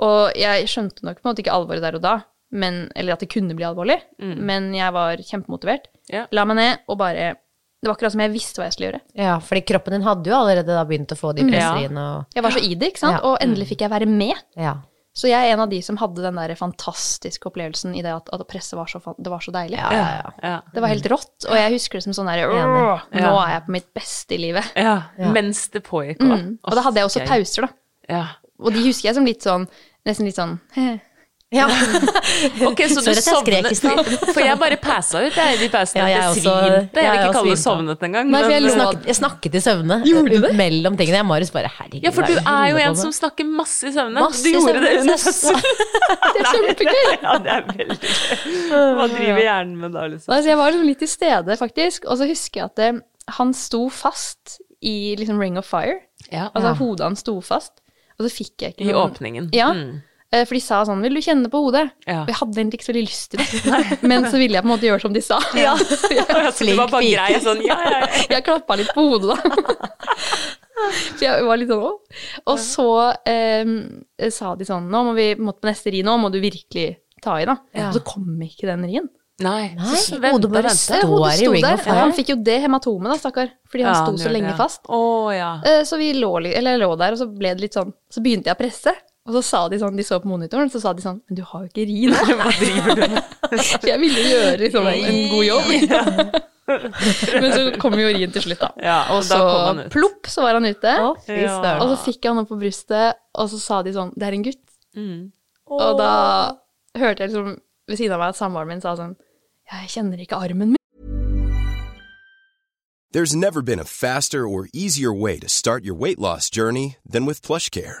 [SPEAKER 2] Og jeg skjønte nok på en måte ikke alvoret der og da, men, eller at det kunne bli alvorlig,
[SPEAKER 3] Mm.
[SPEAKER 2] men jeg var kjempemotivert.
[SPEAKER 1] Ja.
[SPEAKER 2] La meg ned og bare Det var akkurat som jeg visste hva jeg skulle gjøre.
[SPEAKER 3] ja, fordi kroppen din hadde jo allerede da begynt å få de presseriene og
[SPEAKER 2] Jeg var så i det, ikke sant?
[SPEAKER 3] Ja. Mm.
[SPEAKER 2] Og endelig fikk jeg være med.
[SPEAKER 3] ja.
[SPEAKER 2] Så jeg er en av de som hadde den der fantastiske opplevelsen i det at, at presset var så, fan- det var så deilig.
[SPEAKER 1] Ja. Ja.
[SPEAKER 2] Det var helt rått, og jeg husker det som sånn der
[SPEAKER 3] Enig.
[SPEAKER 2] «Åh, Nå er jeg på mitt beste i livet.
[SPEAKER 1] ja. Mens det pågikk òg.
[SPEAKER 2] Og da hadde jeg også pauser, da.
[SPEAKER 1] Ja.
[SPEAKER 2] Og de husker jeg som litt sånn (laughs) Nesten litt sånn «Heh,
[SPEAKER 3] (laughs) Ja.
[SPEAKER 1] Ok, så du
[SPEAKER 3] Sorry at jeg skrek i stad.
[SPEAKER 1] sovnet (laughs) For jeg bare passa ut, jeg, i de pausene.
[SPEAKER 3] Ja, jeg
[SPEAKER 1] jeg
[SPEAKER 3] også-
[SPEAKER 1] svimte. Jeg
[SPEAKER 3] jeg
[SPEAKER 1] vil ikke
[SPEAKER 3] også
[SPEAKER 1] kalle det
[SPEAKER 3] svimte.
[SPEAKER 1] sovnet engang.
[SPEAKER 2] Nei, for jeg
[SPEAKER 3] Jeg liksom-
[SPEAKER 1] men- eh,
[SPEAKER 2] lå-
[SPEAKER 3] snakket, jeg snakket i søvne. Mellom tingene. Jeg Marius bare herregud.
[SPEAKER 1] Ja, for
[SPEAKER 3] hva
[SPEAKER 1] du
[SPEAKER 3] det
[SPEAKER 1] er jo
[SPEAKER 3] holder på
[SPEAKER 1] en
[SPEAKER 3] med?
[SPEAKER 1] som snakker masse i søvne.
[SPEAKER 3] Masse
[SPEAKER 1] du gjorde
[SPEAKER 3] søvne,
[SPEAKER 1] det under
[SPEAKER 3] så jeg
[SPEAKER 1] fødselen.
[SPEAKER 2] Det er (laughs) kjempegøy!
[SPEAKER 1] Ja, det er veldig gøy. Hva driver hjernen med da, liksom?
[SPEAKER 2] Nei, så jeg var liksom litt til stede, faktisk. Og så husker jeg at eh, han sto fast i liksom Ring of Fire.
[SPEAKER 1] Ja.
[SPEAKER 2] Altså hodet hans sto fast. Og så fikk jeg ikke
[SPEAKER 1] I
[SPEAKER 2] noen-
[SPEAKER 1] åpningen.
[SPEAKER 2] Ja.
[SPEAKER 1] Mm. (laughs)
[SPEAKER 2] eh, For de sa sånn 'Vil du kjenne på hodet?'
[SPEAKER 1] Ja.
[SPEAKER 2] Og jeg hadde egentlig ikke så veldig lyst til
[SPEAKER 1] (laughs)
[SPEAKER 2] det. Men så ville jeg på en måte gjøre som de sa. (laughs) Ja.
[SPEAKER 1] Altså, det var bare
[SPEAKER 3] Flink
[SPEAKER 1] grei sånn, ja, ja, ja.
[SPEAKER 2] Jeg klappa litt på hodet, da. (laughs) Så jeg var litt sånn «Å». Og så eh, sa de sånn Nå må vi må på neste ri, nå må du virkelig ta i, da.
[SPEAKER 1] Ja.
[SPEAKER 2] Og så kom ikke den rien.
[SPEAKER 1] Nei,
[SPEAKER 3] Nei,
[SPEAKER 1] så vente
[SPEAKER 3] hodet
[SPEAKER 1] og
[SPEAKER 3] bare
[SPEAKER 1] vente.
[SPEAKER 3] står
[SPEAKER 2] Eh, Hodet
[SPEAKER 3] i
[SPEAKER 2] sto
[SPEAKER 3] Ring
[SPEAKER 2] der.
[SPEAKER 3] of Fire.
[SPEAKER 2] Han fikk jo det hematomet, da, stakkar. Fordi han
[SPEAKER 1] Ja,
[SPEAKER 2] sto
[SPEAKER 1] han
[SPEAKER 2] så
[SPEAKER 1] gjør
[SPEAKER 2] lenge
[SPEAKER 1] det, ja.
[SPEAKER 2] fast.
[SPEAKER 1] Å,
[SPEAKER 2] (laughs)
[SPEAKER 1] ja.
[SPEAKER 2] Eh, Så vi lå, li- eller jeg lå der, og så ble det litt sånn Så begynte jeg å presse. Og så sa de sånn, de så på monitoren, så sa de sånn Men du har jo ikke ri nå. Hva driver du med? For jeg ville jo gjøre liksom, en god jobb. (laughs) Men så kom jo rien til slutt, da.
[SPEAKER 1] Ja, og da
[SPEAKER 2] og så
[SPEAKER 1] kom han ut.
[SPEAKER 2] plopp, så var han ute.
[SPEAKER 3] Å, fy
[SPEAKER 1] Ja.
[SPEAKER 3] søren.
[SPEAKER 2] Og så fikk jeg han opp på brystet, og så sa de sånn Det er en gutt.
[SPEAKER 1] Mm.
[SPEAKER 2] Og da hørte jeg liksom ved siden av meg at samboeren min sa sånn Jeg kjenner ikke armen min.
[SPEAKER 4] There's never been a faster or easier way to start your weight loss journey than with PlushCare.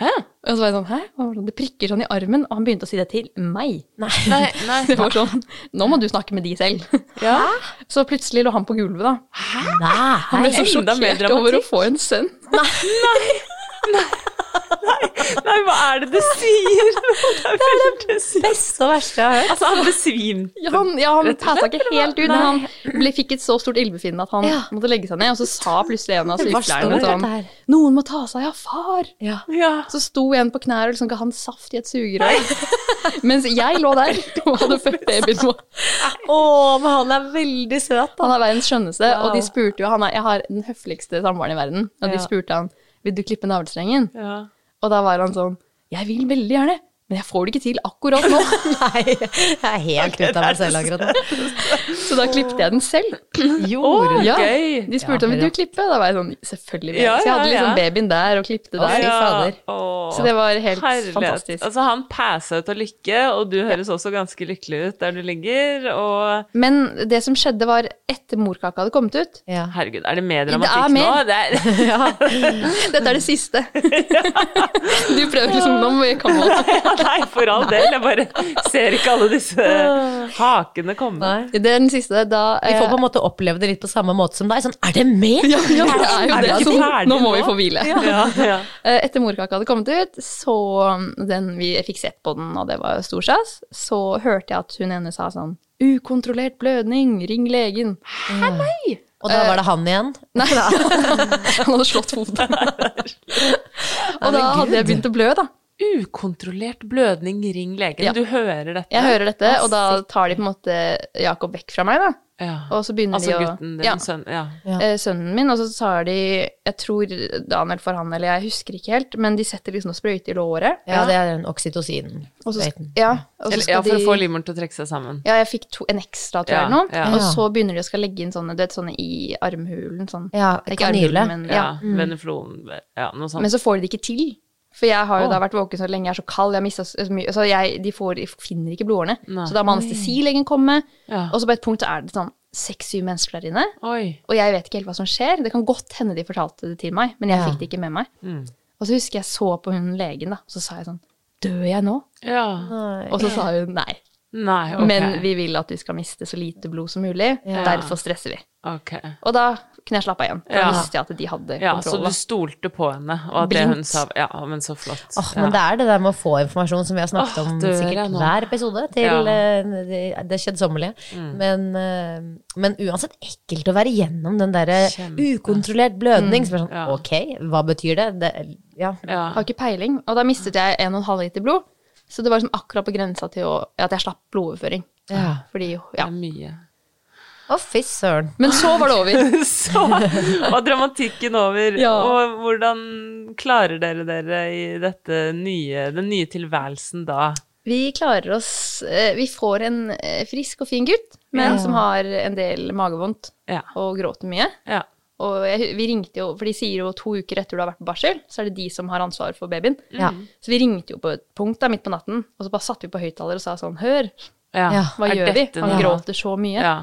[SPEAKER 1] Hæ?
[SPEAKER 2] Og så var jeg sånn Hæ? Hva var det? det prikker sånn i armen. Og han begynte å si det til meg.
[SPEAKER 1] Nei,
[SPEAKER 2] (laughs)
[SPEAKER 1] nei.
[SPEAKER 2] Det var sånn Nå må du snakke med de
[SPEAKER 1] (laughs)
[SPEAKER 2] selv. Så plutselig lå han på gulvet, da. Han
[SPEAKER 3] Nei,
[SPEAKER 2] ble så
[SPEAKER 1] Enda mer
[SPEAKER 2] sjokkert over å
[SPEAKER 1] dramatikk.
[SPEAKER 2] få en sønn.
[SPEAKER 1] Nei, hva er det du
[SPEAKER 2] (laughs)
[SPEAKER 1] sier? Det er veldig sykt.
[SPEAKER 3] beste og verste jeg har hørt.
[SPEAKER 1] Altså, han besvimte.
[SPEAKER 2] Ja, han, ja, han passa ikke helt ut, men
[SPEAKER 1] Nei.
[SPEAKER 2] han ble, fikk et så stort ildbefinnende at han
[SPEAKER 3] Ja.
[SPEAKER 2] måtte legge seg ned. Og så sa plutselig en av
[SPEAKER 3] Det var
[SPEAKER 2] sykepleierne
[SPEAKER 3] stort,
[SPEAKER 2] sånn
[SPEAKER 3] dette her.
[SPEAKER 2] Noen må ta seg av far!
[SPEAKER 1] Ja.
[SPEAKER 2] Så sto en på knær og liksom ga han saft i et sugerør. Mens jeg lå der og hadde født babyen vår.
[SPEAKER 3] Å, men han er veldig søt, da.
[SPEAKER 2] Han er verdens skjønneste, og de
[SPEAKER 3] Wow.
[SPEAKER 2] spurte jo han er, Jeg har den høfligste samboeren i verden, og de
[SPEAKER 3] Ja.
[SPEAKER 2] spurte han vil du klippe navlestrengen.
[SPEAKER 1] ja.
[SPEAKER 2] Og da var han sånn Jeg vil veldig gjerne, men jeg får det ikke til akkurat
[SPEAKER 1] (laughs)
[SPEAKER 2] nå.
[SPEAKER 3] Nei, jeg er helt ute av meg selv akkurat nå.
[SPEAKER 2] Så da klippet jeg den selv.
[SPEAKER 3] Gjorde
[SPEAKER 2] Ja.
[SPEAKER 1] Gøy.
[SPEAKER 2] De spurte om
[SPEAKER 3] Ja,
[SPEAKER 2] vil du klippe, da var jeg sånn selvfølgelig. vil jeg».
[SPEAKER 1] Ja,
[SPEAKER 2] Så jeg hadde
[SPEAKER 1] ja, ja.
[SPEAKER 2] liksom babyen der og klippte der.
[SPEAKER 1] Ja.
[SPEAKER 2] Fy fader.
[SPEAKER 1] Åh.
[SPEAKER 2] Så det var helt
[SPEAKER 1] Herlighet.
[SPEAKER 2] fantastisk.
[SPEAKER 1] Altså, han passa ut av lykke, og du høres også ganske lykkelig ut der du ligger. Og
[SPEAKER 2] Men det som skjedde var etter morkaka hadde kommet ut.
[SPEAKER 3] Ja.
[SPEAKER 1] herregud, er det mer
[SPEAKER 2] er
[SPEAKER 1] dramatikk nå?
[SPEAKER 2] mer.
[SPEAKER 1] Det er, (laughs)
[SPEAKER 2] Dette er det siste. Du prøver liksom nå må vi komme opp.
[SPEAKER 1] ja, nei, for all del. Jeg bare ser ikke alle disse hakene komme.
[SPEAKER 3] Nei.
[SPEAKER 2] Det er den siste. Da
[SPEAKER 3] Vi får
[SPEAKER 2] eh,
[SPEAKER 3] på en måte oppleve det litt på samme måte som deg. Sånn, er det med?
[SPEAKER 2] ja, eh, ja, det er jo
[SPEAKER 1] Er vi
[SPEAKER 2] det.
[SPEAKER 1] ikke
[SPEAKER 2] Så
[SPEAKER 1] ferdig
[SPEAKER 2] nå må vi
[SPEAKER 1] nå?
[SPEAKER 2] få hvile.
[SPEAKER 1] Ja, ja.
[SPEAKER 2] Eh, Etter morkaka hadde kommet ut, så um, den, vi fikk sett på den, og det var jo stor stas, så hørte jeg at hun ene sa sånn Ukontrollert blødning, ring legen.
[SPEAKER 3] Og da var det han igjen.
[SPEAKER 2] Nei, (laughs) han hadde slått hodet. og da hadde jeg begynt å blø, da.
[SPEAKER 1] Ukontrollert blødning, ring legen.
[SPEAKER 2] Ja.
[SPEAKER 1] Du hører dette?
[SPEAKER 2] Jeg hører dette, og da tar de på en måte Jakob vekk fra meg, da.
[SPEAKER 1] Ja.
[SPEAKER 2] Og så begynner
[SPEAKER 1] Altså
[SPEAKER 2] de å
[SPEAKER 1] gutten din,
[SPEAKER 2] ja,
[SPEAKER 1] sønn. Ja.
[SPEAKER 2] eh, Sønnen min, og så tar de Jeg tror Daniel for han, eller jeg husker ikke helt, men de setter liksom noe sprøyte i låret.
[SPEAKER 3] Ja, det er den oksytocinen.
[SPEAKER 2] Og så,
[SPEAKER 3] sprøyten.
[SPEAKER 2] ja, og så
[SPEAKER 1] Eller,
[SPEAKER 2] skal
[SPEAKER 1] ja, for å
[SPEAKER 2] de
[SPEAKER 1] få livmoren til å trekke seg sammen.
[SPEAKER 2] Ja, jeg fikk to, en ekstra, tror jeg,
[SPEAKER 1] Ja,
[SPEAKER 2] eller noe.
[SPEAKER 1] ja.
[SPEAKER 2] Og så begynner de å skal legge inn sånne, du vet, sånne i armhulen, sånn.
[SPEAKER 3] Ja,
[SPEAKER 2] Ikke armhulen,
[SPEAKER 3] kanyle.
[SPEAKER 2] Men, ja.
[SPEAKER 1] Ja, Veneflon Ja, noe sånt.
[SPEAKER 2] men så får de det ikke til. For jeg har jo da vært våken så lenge, jeg er så kald, jeg har mistet så mye, så jeg, de, får, de finner ikke blodårene.
[SPEAKER 1] Nei.
[SPEAKER 2] Så da må anestesilegen komme,
[SPEAKER 1] Ja.
[SPEAKER 2] og så på et punkt så er det sånn seks-syv mennesker der inne,
[SPEAKER 1] Oi.
[SPEAKER 2] og jeg vet ikke helt hva som skjer. Det kan godt hende de fortalte det til meg, men jeg fikk det ikke med meg.
[SPEAKER 1] Mm.
[SPEAKER 2] Og så husker jeg så på hun legen, da, og så sa jeg sånn Dør jeg nå?
[SPEAKER 1] Ja.
[SPEAKER 2] Og så sa hun nei.
[SPEAKER 1] Nei, ok.
[SPEAKER 2] Men vi vil at du skal miste så lite blod som mulig. Derfor stresser vi.
[SPEAKER 1] Ok.
[SPEAKER 2] Og da kunne jeg slappe av igjen. Da
[SPEAKER 1] Ja.
[SPEAKER 2] visste jeg at de hadde
[SPEAKER 1] Ja, så
[SPEAKER 2] kontroll.
[SPEAKER 1] du
[SPEAKER 2] da.
[SPEAKER 1] stolte på henne, og at det hun
[SPEAKER 2] Blindt.
[SPEAKER 1] sa Ja, men så flott.
[SPEAKER 3] Åh, men det er det der med å få informasjon som vi har snakket
[SPEAKER 1] Åh,
[SPEAKER 3] om
[SPEAKER 1] dør jeg
[SPEAKER 3] sikkert
[SPEAKER 1] nå.
[SPEAKER 3] hver episode til
[SPEAKER 1] Ja.
[SPEAKER 3] eh, det, det kjedsommelige. Men, eh, men uansett ekkelt å være gjennom den derre ukontrollert blødning. Som er sånn,
[SPEAKER 1] Ja.
[SPEAKER 3] ok, hva betyr det? det ja.
[SPEAKER 1] Ja.
[SPEAKER 2] Har ikke peiling. Og da mistet jeg 1,5 liter blod. Så det var liksom akkurat på grensa til å, at jeg slapp blodoverføring.
[SPEAKER 3] ja.
[SPEAKER 2] Fordi,
[SPEAKER 1] Det
[SPEAKER 2] ja.
[SPEAKER 1] er mye.
[SPEAKER 3] Å, fy søren.
[SPEAKER 2] Men så var det
[SPEAKER 1] (laughs)
[SPEAKER 2] over.
[SPEAKER 1] Så var dramatikken over.
[SPEAKER 2] Ja.
[SPEAKER 1] Og hvordan klarer dere dere i dette nye, den nye tilværelsen da?
[SPEAKER 2] Vi klarer oss eh, Vi får en eh, frisk og fin gutt, men som har en del magevondt
[SPEAKER 1] Ja.
[SPEAKER 2] og gråter mye.
[SPEAKER 1] ja.
[SPEAKER 2] Og jeg, vi ringte jo, for de sier jo to uker etter du har vært på barsel, så er det de som har ansvar for babyen.
[SPEAKER 3] Ja.
[SPEAKER 2] Så vi ringte jo på et punkt da, midt på natten, og så bare satte vi på høyttaler og sa sånn Hør,
[SPEAKER 3] Ja,
[SPEAKER 2] hva
[SPEAKER 1] er
[SPEAKER 2] gjør vi?
[SPEAKER 1] dette
[SPEAKER 2] Han
[SPEAKER 1] noe?
[SPEAKER 2] gråter så mye.
[SPEAKER 1] Ja.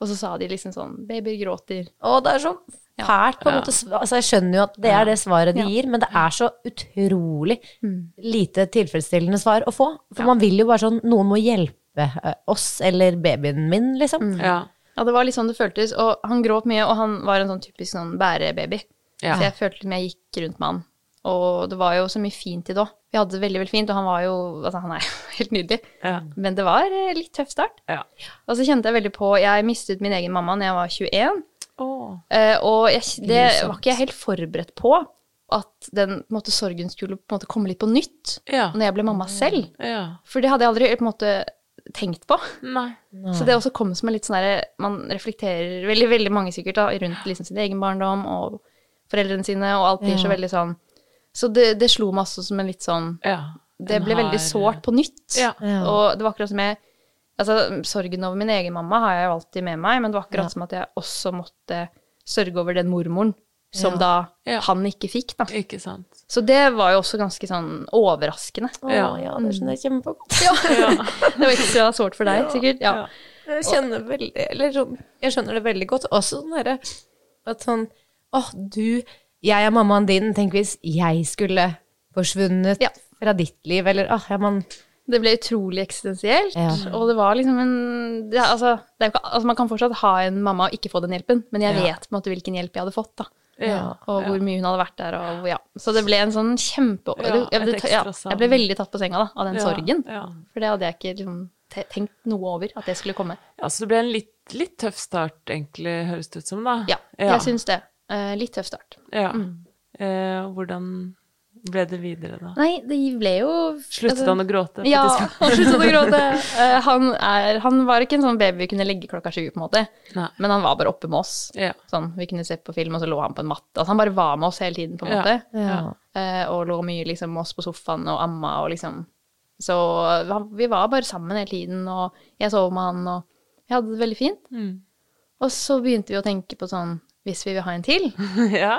[SPEAKER 2] Og så sa de liksom sånn Babyer gråter.
[SPEAKER 3] Å, det er så fælt, på en måte. Altså, jeg skjønner jo at det er det svaret de gir, men det er så utrolig lite tilfredsstillende svar å få. For man vil jo bare sånn Noen må hjelpe eh, oss eller babyen min, liksom.
[SPEAKER 1] Ja.
[SPEAKER 2] Ja, det var litt sånn det føltes. Og han gråt mye, og han var en sånn typisk sånn bærebaby.
[SPEAKER 1] Ja.
[SPEAKER 2] Så jeg følte som jeg gikk rundt med han. Og det var jo så mye fint i det òg. Vi hadde det veldig, veldig fint, og han var jo Altså, han er jo (laughs) helt nydelig.
[SPEAKER 1] Ja.
[SPEAKER 2] Men det var eh, litt tøff start.
[SPEAKER 1] ja.
[SPEAKER 2] Og så kjente jeg veldig på Jeg mistet min egen mamma da jeg var 21.
[SPEAKER 1] Åh.
[SPEAKER 2] eh, Og jeg, det var ikke jeg helt forberedt på. At den på en måte, sorgen skulle på en måte komme litt på nytt
[SPEAKER 1] Ja.
[SPEAKER 2] når jeg ble mamma selv.
[SPEAKER 1] ja.
[SPEAKER 2] For det hadde jeg aldri på en måte tenkt på.
[SPEAKER 1] Nei.
[SPEAKER 2] Så det også kom som en litt sånn derre Man reflekterer veldig, veldig mange sikkert da, rundt liksom sin egen barndom og foreldrene sine, og alt blir så veldig sånn Så det, det slo meg også som en litt sånn
[SPEAKER 1] Ja.
[SPEAKER 2] Det
[SPEAKER 1] Hun
[SPEAKER 2] ble
[SPEAKER 1] har-
[SPEAKER 2] veldig sårt på nytt.
[SPEAKER 1] Ja.
[SPEAKER 2] Og det var akkurat som jeg Altså, sorgen over min egen mamma har jeg jo alltid med meg, men det var akkurat som at jeg også måtte sørge over den mormoren som da
[SPEAKER 1] Ja.
[SPEAKER 2] han ikke fikk, da.
[SPEAKER 1] Ikke sant.
[SPEAKER 2] Så det var jo også ganske sånn overraskende.
[SPEAKER 3] Å,
[SPEAKER 1] Ja.
[SPEAKER 3] ja, det skjønner jeg kjempegodt.
[SPEAKER 2] (laughs) Det var ekstra sårt for deg, sikkert. Ja.
[SPEAKER 3] (laughs) Jeg kjenner, veldig, eller sånn, jeg skjønner det veldig godt. Også sånn derre at sånn Åh, du, jeg er mammaen din. Tenk hvis jeg skulle forsvunnet
[SPEAKER 2] Ja.
[SPEAKER 3] fra ditt liv, eller åh, ja, man
[SPEAKER 2] Det ble utrolig eksistensielt,
[SPEAKER 3] Ja.
[SPEAKER 2] og det var liksom en det, er- altså, det er jo ikke, altså, Man kan fortsatt ha en mamma og ikke få den hjelpen, men jeg vet på en måte hvilken hjelp jeg hadde fått, da.
[SPEAKER 1] Ja.
[SPEAKER 2] Og hvor mye hun hadde vært der, og ja. Så det ble en sånn kjempe...
[SPEAKER 1] Ja,
[SPEAKER 2] jeg,
[SPEAKER 1] et
[SPEAKER 2] ble,
[SPEAKER 1] ekstra
[SPEAKER 2] ja,
[SPEAKER 1] savn.
[SPEAKER 2] jeg ble veldig tatt på senga da, av den
[SPEAKER 1] Ja,
[SPEAKER 2] sorgen.
[SPEAKER 1] ja.
[SPEAKER 2] For det hadde jeg ikke liksom, te tenkt noe over at det skulle komme.
[SPEAKER 1] Ja, så det ble en litt, litt tøff start, egentlig, høres det ut som, da.
[SPEAKER 2] Ja, jeg syns det. Eh, litt tøff start.
[SPEAKER 1] Ja. Eh, hvordan ble det videre, da?
[SPEAKER 2] Nei, det ble jo altså,
[SPEAKER 1] Sluttet han (laughs) å gråte? på
[SPEAKER 2] Ja,
[SPEAKER 1] disken?
[SPEAKER 2] han sluttet å gråte.
[SPEAKER 1] (laughs)
[SPEAKER 2] Eh, han, er, han var ikke en sånn baby vi kunne legge klokka sju, på en måte.
[SPEAKER 1] Nei.
[SPEAKER 2] Men han var bare oppe med oss.
[SPEAKER 1] Ja.
[SPEAKER 2] Sånn, vi kunne se på film, og så lå han på en matte. Altså, han bare var med oss hele tiden, på en
[SPEAKER 1] Ja,
[SPEAKER 2] måte.
[SPEAKER 3] ja.
[SPEAKER 2] Eh, og lå mye liksom, med oss på sofaen og amma og liksom Så eh, han- vi var bare sammen hele tiden, og jeg sov med han, og jeg hadde det veldig fint.
[SPEAKER 1] Mm.
[SPEAKER 2] Og så begynte vi å tenke på sånn Hvis vi vil ha en til?
[SPEAKER 1] ja.